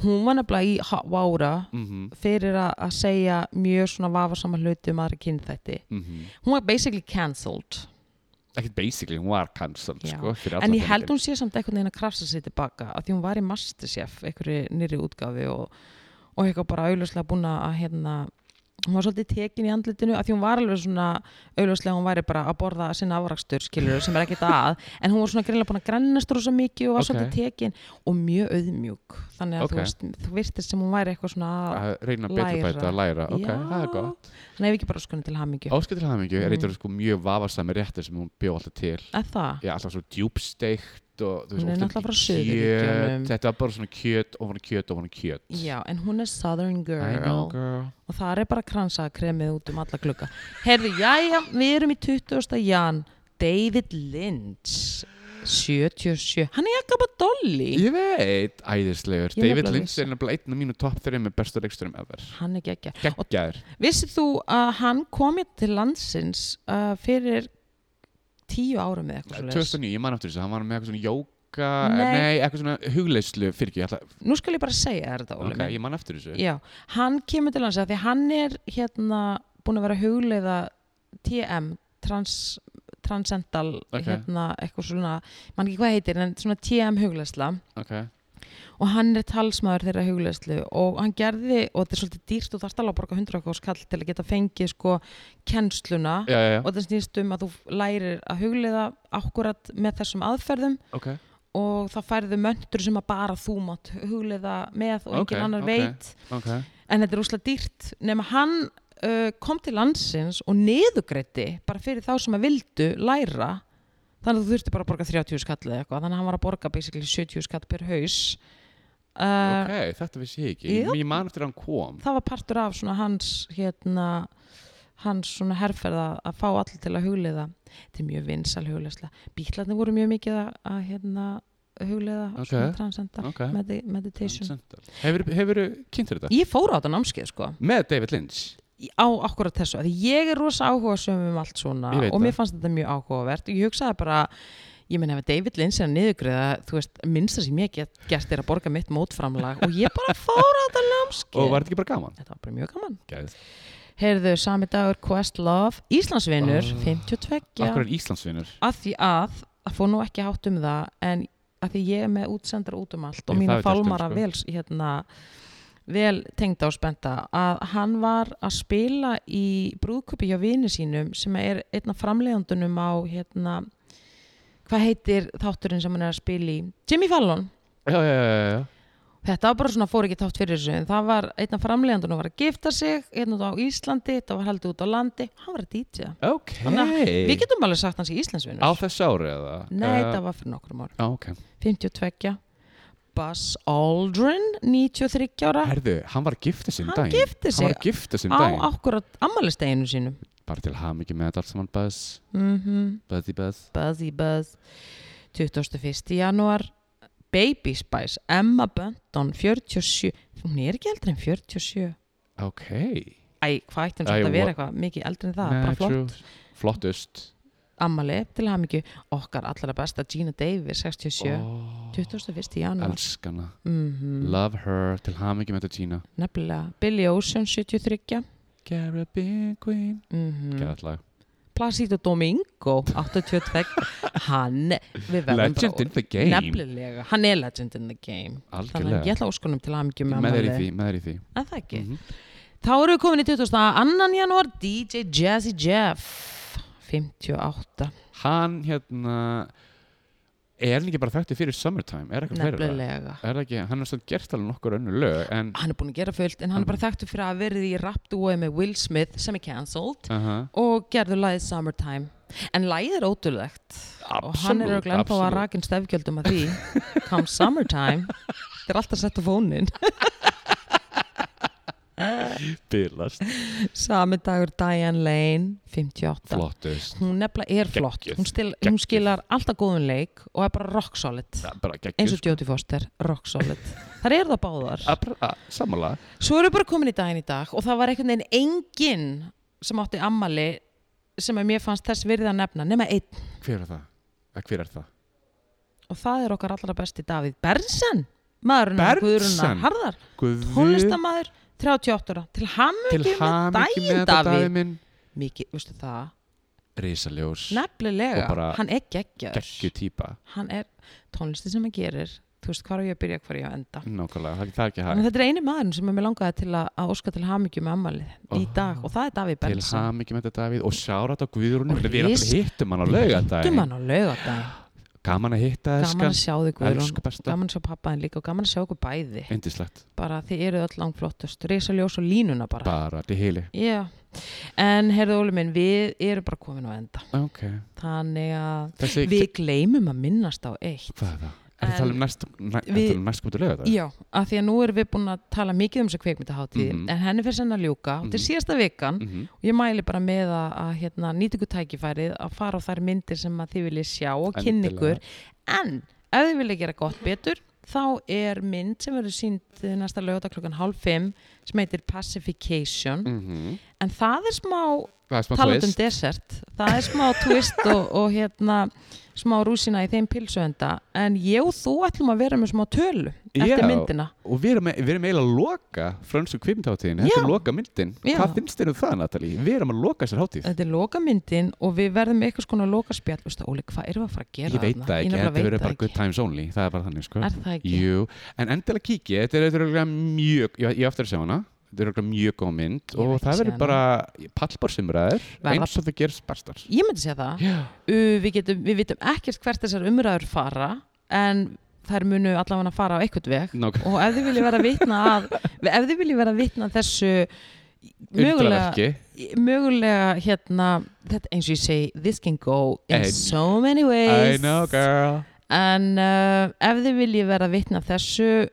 Speaker 1: Hún var nefnilega í Ha- Vára
Speaker 2: Mhm,
Speaker 1: fyrir að að segja mjög svona vafasama hluti um aðra kynþætti.
Speaker 2: mhm.
Speaker 1: Hún var basically cancelled.
Speaker 2: Ekkert basically, hún var cancelled
Speaker 1: Já.
Speaker 2: sko, fyrir
Speaker 1: En
Speaker 2: allar
Speaker 1: ég held
Speaker 2: peningana.
Speaker 1: hún sé samt einhvern veginn að krafsa sér tilbaka af því hún var í Masterchef, einhverju nýri útgafi og, og eitthvað bara auðlöslega búin að hérna, hún var svolítið tekin í andlitinu af því hún var alveg svona auðlöslega hún væri bara að borða sinna afrakstur skilur sem er ekkert að, en hún var svona greinlega búin að grennast rosa mikið og var
Speaker 2: Ok.
Speaker 1: svolítið tekin og mjög auðmjúk, þannig að
Speaker 2: Ok.
Speaker 1: þú veist þú virtist sem hún væri eitthvað svona að
Speaker 2: að reyna að betur
Speaker 1: Læra.
Speaker 2: bæta að læra ok,
Speaker 1: Já.
Speaker 2: það er gott
Speaker 1: hann hefði ekki bara skonið til hamingju
Speaker 2: Áskil til hamingju
Speaker 1: Mhm.
Speaker 2: er eitthvað sko mjög vafarsami réttir sem hún bjó alltaf til
Speaker 1: að það,
Speaker 2: Já, alltaf svo djúbsteikt og þú
Speaker 1: Hún er
Speaker 2: oft
Speaker 1: náttúrulega frá
Speaker 2: mikið
Speaker 1: Suðurríkjunum.
Speaker 2: kjöt. Þetta var bara svona kjöt, ofan á kjöt, ofan á kjöt
Speaker 1: já, en hún er Southern
Speaker 2: I
Speaker 1: Girl
Speaker 2: know, girl.
Speaker 1: og það er bara kransakremið út um alla glugga Herðu, jæja, við erum í 20. jan David Lynch 77, hann er jakka bara dolli
Speaker 2: Ég veit, æðislegur
Speaker 1: Ég er
Speaker 2: David
Speaker 1: nefnilega
Speaker 2: Lynch
Speaker 1: vissa.
Speaker 2: er nefnilega einn af mínu topp 3 með bestu leiksturum ever
Speaker 1: hann er geggja
Speaker 2: Gekkjaður
Speaker 1: vissið þú að hann komið til landsins uh, fyrir tíu árum eða eitthvað svo
Speaker 2: 2009, ég man aftur þessu, hann var með eitthvað svona jóka
Speaker 1: Nei.
Speaker 2: Nei, eitthvað svona hugleyslu fyrir ekki alltaf,
Speaker 1: nú skal ég bara segja þér þetta Óli
Speaker 2: okay,
Speaker 1: minn.
Speaker 2: Ég man aftur þessu
Speaker 1: Já, hann kemur til hans að því hann er hérna búin að vera að hugleiða TM trans, transcental
Speaker 2: Ok.
Speaker 1: hérna eitthvað svona, mann ekki hvað heitir en svona TM hugleðsla
Speaker 2: Ok,
Speaker 1: og hann er talsmaður þeirra hugleðslu og hann gerði, og þetta er svolítið dýrt og þarft alveg að borga 100 okkar skall til að geta fengið sko kennsluna
Speaker 2: já, já, já,
Speaker 1: og það snýst um að þú lærir að hugleiða akkurat með þessum aðferðum
Speaker 2: ok
Speaker 1: og þá færðu möntur sem að bara þú mátt hugleiða með og
Speaker 2: Ok,
Speaker 1: engin annar
Speaker 2: ok.
Speaker 1: veit
Speaker 2: Ok,
Speaker 1: en þetta er úslega dýrt nema hann uh, kom til landsins og niðugreiti bara fyrir þá sem að vildu læra þannig að þú þurfti bara að borga 30 skall eða eitthvað þannig að hann var að borga basically 70 skall per haus uh,
Speaker 2: ok, þetta vissi ég ekki
Speaker 1: já.
Speaker 2: Ég man eftir að hann kom
Speaker 1: það var partur af svona hans hérna hans svona herrferða að fá allir til að hugleiða þetta er mjög vinsal hugleiðsla bíklarnir voru mjög mikið að, að hérna hugleiða
Speaker 2: Ok.
Speaker 1: svona transcendal
Speaker 2: Ok
Speaker 1: medi meditation
Speaker 2: Hefur, hefur kynnt þetta?
Speaker 1: ég fór á þetta námskeið sko
Speaker 2: Með David Lynch
Speaker 1: í- á akkurat þessu að ég er rosa áhuga um allt svona
Speaker 2: Ég veit
Speaker 1: og
Speaker 2: það.
Speaker 1: mér fannst þetta mjög áhugavert og ég hugsaði bara ég meina ef David Lynch er að niðurgreða þú veist, minnsta sem ég get gert er að borga mitt mótframlag og ég bara fór á þetta námskeið
Speaker 2: og var þetta ekki bara gaman?
Speaker 1: þetta var bara mjög gaman
Speaker 2: Gæðið.
Speaker 1: heyrðu, sami dagur Questlove Íslandsvinnur,
Speaker 2: Ah.
Speaker 1: 52
Speaker 2: Akkur er Íslandsvinnur
Speaker 1: að því að, það fór nú ekki hátt um það en að því ég er með útsendar út um allt og
Speaker 2: Ég,
Speaker 1: mína
Speaker 2: það veit allt um,
Speaker 1: fálmara
Speaker 2: sko.
Speaker 1: vel hérna, vel tengda og spenta að hann var að spila í brúðkupi hjá vini sínum sem er einn af framleiðandunum á hérna hvað heitir þátturinn sem hann er að spila í Jimmy Fallon
Speaker 2: Já, já, já, já, já.
Speaker 1: Þetta var bara svona fór ekki þátt fyrir þessu en það var einn af framleiðandunum var að gifta sig einn út á Íslandi, þetta var haldið út á landi hann var að DJ
Speaker 2: Ok
Speaker 1: Þannig Við getum alveg sagt hans í Íslandsvinnur
Speaker 2: Á þessu ári eða?
Speaker 1: Nei,
Speaker 2: Eh,
Speaker 1: það var fyrir nokkrum árum.
Speaker 2: Já, ok
Speaker 1: 52. Buzz Aldrin, 93 ára.
Speaker 2: Herðu, hann var að gifta sinn
Speaker 1: Hann
Speaker 2: daginn
Speaker 1: gifti sig
Speaker 2: Hann var að gifta sinn
Speaker 1: á
Speaker 2: daginn
Speaker 1: akkurat ammælisteginu sínum.
Speaker 2: Bara til hafa mikið með þetta allt saman Buzz
Speaker 1: Mm
Speaker 2: Buzzy Buzz
Speaker 1: Buzzy Buzz. 21. janúar. Baby Spice, Emma Bunton, 47. Hún er ekki eldri en 47.
Speaker 2: Ok
Speaker 1: Æ, hvað ætti hún
Speaker 2: Æ,
Speaker 1: svolítið að vera
Speaker 2: what-
Speaker 1: eitthvað? Mikið eldri en það,
Speaker 2: Nei,
Speaker 1: bara flott.
Speaker 2: true. Flottust
Speaker 1: Ammali til hamingju. Okkar allra besta Gina Davis, 67.
Speaker 2: Ó,
Speaker 1: 21. janúar.
Speaker 2: Elskana
Speaker 1: Mm
Speaker 2: Love her Til hafa mikið með þetta Gina
Speaker 1: Nefnilega. Billy Ocean, 73.
Speaker 2: Caribbean Queen
Speaker 1: Mm
Speaker 2: Gæðið lag
Speaker 1: Placido Domingo 82, hann við verðum
Speaker 2: Legend in the game
Speaker 1: nefnilega, hann er legend in the game þannig að ég
Speaker 2: Algjörlega
Speaker 1: ætla óskunum til aðmyggjum
Speaker 2: Með þeir í því Með þeir í því
Speaker 1: en það ekki,
Speaker 2: Mhm.
Speaker 1: þá erum við komin í 22. janúar DJ Jazzy Jeff 58
Speaker 2: Hann hérna Er hann ekki bara þekktið fyrir Summertime? Er eitthvað fyrir það?
Speaker 1: nefnilega
Speaker 2: Er það ekki, hann er svo gert alveg nokkur önnur lög en,
Speaker 1: hann er búin að gera fullt en hann er
Speaker 2: Um.
Speaker 1: bara þekktu fyrir að hafa verið í rapdúi með Will Smith sem er cancelled
Speaker 2: uh -huh.
Speaker 1: og gerðu lagið Summertime en lagið er ótrúlegt og hann er auðvitað ennþá að rakin stefgjöldum að því come summertime þetta er alltaf sett á fónin
Speaker 2: Bilast
Speaker 1: sami dagur Diane Lane 58
Speaker 2: Flottust
Speaker 1: hún nefnilega er flott
Speaker 2: Geggjuð,
Speaker 1: hún, stil, hún
Speaker 2: geggjuð.
Speaker 1: skilar alltaf góðun leik og er bara rock solid
Speaker 2: Það er bara
Speaker 1: eins
Speaker 2: geggjur
Speaker 1: og Jodie Foster, rock solid þar eru það báðar
Speaker 2: Sammála
Speaker 1: svo erum við bara komin í daginn í dag og það var einhvern veginn enginn sem átti ammali sem að mér fannst þess virði að nefna nema einn
Speaker 2: Hver er það? Að hver er það?
Speaker 1: og það er okkar allra besti Davíð Bersen maðurinn hennar
Speaker 2: Bergsen?
Speaker 1: Guðruna Harðar
Speaker 2: Guð
Speaker 1: tónlistamæður 38 ára til
Speaker 2: Mhm. Til
Speaker 1: hammingi með
Speaker 2: hamingi með
Speaker 1: daginn
Speaker 2: þetta
Speaker 1: Davíð
Speaker 2: daginn minn
Speaker 1: mikið, veistu það,
Speaker 2: Rísaljós Og
Speaker 1: nefnilega
Speaker 2: bara
Speaker 1: hann er geggjör,
Speaker 2: Geggju típa
Speaker 1: hann er tónlisti sem hann gerir, þú veist hvað er ég að byrja hvar er ég að enda,
Speaker 2: Nákvæmlega, það, það er ekki
Speaker 1: en
Speaker 2: hægt
Speaker 1: þetta er eini maðurinn sem mér langaði til að, að óska til hamingju með ammalið í
Speaker 2: Oh.
Speaker 1: dag og það er Davíð
Speaker 2: Til
Speaker 1: Benson
Speaker 2: hamingi með þetta Davíð Og sjárat á Guðrúnu
Speaker 1: Og
Speaker 2: Við erum alltaf
Speaker 1: ris-
Speaker 2: hittum hann á laugadaginn
Speaker 1: Guðmann á laugadaginn,
Speaker 2: Gaman að hitta
Speaker 1: gaman að
Speaker 2: eskan
Speaker 1: sjá þig Guðrún
Speaker 2: Elsku besta
Speaker 1: gaman að sjá pappaðin líka og gaman að sjá okkur bæði
Speaker 2: Indislegt
Speaker 1: bara þið eruð öll langflottust risaljós og línuna bara
Speaker 2: Bara til heili
Speaker 1: Já, en herðu Óli minn, við erum bara komin á enda
Speaker 2: Ok
Speaker 1: þannig að
Speaker 2: Þessi
Speaker 1: Við gleymum að minnast á eitt.
Speaker 2: Hvað er það? Er það
Speaker 1: En-
Speaker 2: talað um næst, næ,
Speaker 1: Við-
Speaker 2: við, um næst komið til lögða
Speaker 1: Já, af því að nú erum við búin að tala mikið um þessu kveikmyndaháttíð
Speaker 2: Mhm.
Speaker 1: en henni fyrir senn að ljúka og þetta er
Speaker 2: Mhm.
Speaker 1: síðasta vikan
Speaker 2: Mm -hmm.
Speaker 1: og ég mæli bara með að, að hérna, nýta ykkur tækifærið að fara á þær myndir sem að þið viljið sjá og kynni ykkur en ef þið viljið gera gott betur þá er mynd sem verður sínd næsta lögða klukkan hálf fimm sem heitir Pacification
Speaker 2: Mhm.
Speaker 1: en það er smá
Speaker 2: Það er smá
Speaker 1: Mm. talað um
Speaker 2: twist.
Speaker 1: desert það er smá twist og, og hérna smá rúsina í þeim pilsuenda en ég og þú ætlum að vera með smá tölu eftir
Speaker 2: Já.
Speaker 1: myndina
Speaker 2: Og við erum, e- við erum eiginlega að loka fransku kvipmyndháttíðin, þetta
Speaker 1: Já.
Speaker 2: er loka myndin
Speaker 1: Já.
Speaker 2: Hvað finnst þér um það Natalie? Við erum að loka þessar hátíð
Speaker 1: þetta er loka myndin og við verðum með eitthvað skona loka spjall Vistu, Óli, hvað erum við að fara að gera
Speaker 2: Ég veit það ekki,
Speaker 1: þarna?
Speaker 2: þetta
Speaker 1: Ég
Speaker 2: verður
Speaker 1: nefnilega
Speaker 2: bara
Speaker 1: veit
Speaker 2: good times only Það er bara þannig sko
Speaker 1: það er það ekki?
Speaker 2: Jú, en endilega kíkja, þetta er auðvitað mjög, ég, ég á eftir að sjá hana Þetta er auðvitað mjög góð mynd
Speaker 1: Ég vil
Speaker 2: og
Speaker 1: ekki
Speaker 2: það
Speaker 1: sjá
Speaker 2: verður bara pallborsimræður
Speaker 1: Verða-
Speaker 2: eins og það gerst bestar
Speaker 1: ég myndi segja það
Speaker 2: Já,
Speaker 1: Uh, við, getum, við vitum ekkert hvert þessar umræður fara en þær munu allavega fara á eitthvað veg
Speaker 2: nákvæmlega
Speaker 1: og ef þið viljið vera vitna að ef þið viljið vera vitna að þessu mögulega
Speaker 2: Undlaverki.
Speaker 1: mögulega hérna þetta eins og ég segi, this can go in
Speaker 2: Ein-
Speaker 1: so many
Speaker 2: I
Speaker 1: ways
Speaker 2: know girl
Speaker 1: en uh, ef þið viljið vera vitna þessu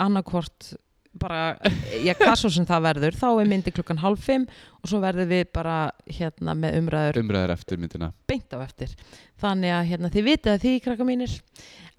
Speaker 1: annarkvort bara, ég hvað svo sem það verður þá er myndi klukkan hálf fimm og svo verðum við bara hérna með umræður
Speaker 2: Umræður eftir myndina
Speaker 1: beint á eftir þannig að hérna þið vitið að því krakka mínir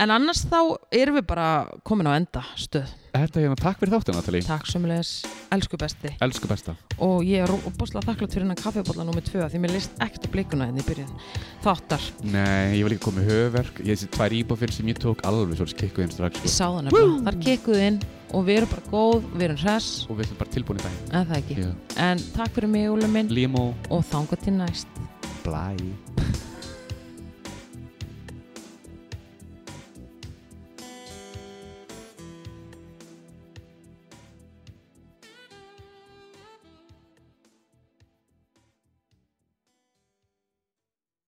Speaker 1: en annars þá erum við bara komin á enda stöð
Speaker 2: Þetta er hérna, takk fyrir þáttina Natalie
Speaker 1: takk sömulegis elsku besti
Speaker 2: Elsku besta
Speaker 1: og ég er búslega þakklátt fyrir hennar kaffibólla nummið 2 því mér leist ekkert á blikuna henni í byrjun þáttar,
Speaker 2: Nei, ég var líka komið höfverk Ég þessi tvær íbáfyrir sem ég tók alveg svolítið kikkuð inn strax
Speaker 1: ég
Speaker 2: sko.
Speaker 1: sá það nefnilega þar kekkuð inn og við erum bara góð við erum hress,
Speaker 2: sko. Og við erum bara tilbúin í dag
Speaker 1: en það ekki
Speaker 2: yeah.
Speaker 1: en takk fyrir mig Úlum minn
Speaker 2: Limo
Speaker 1: og þanga til næst
Speaker 2: Blæ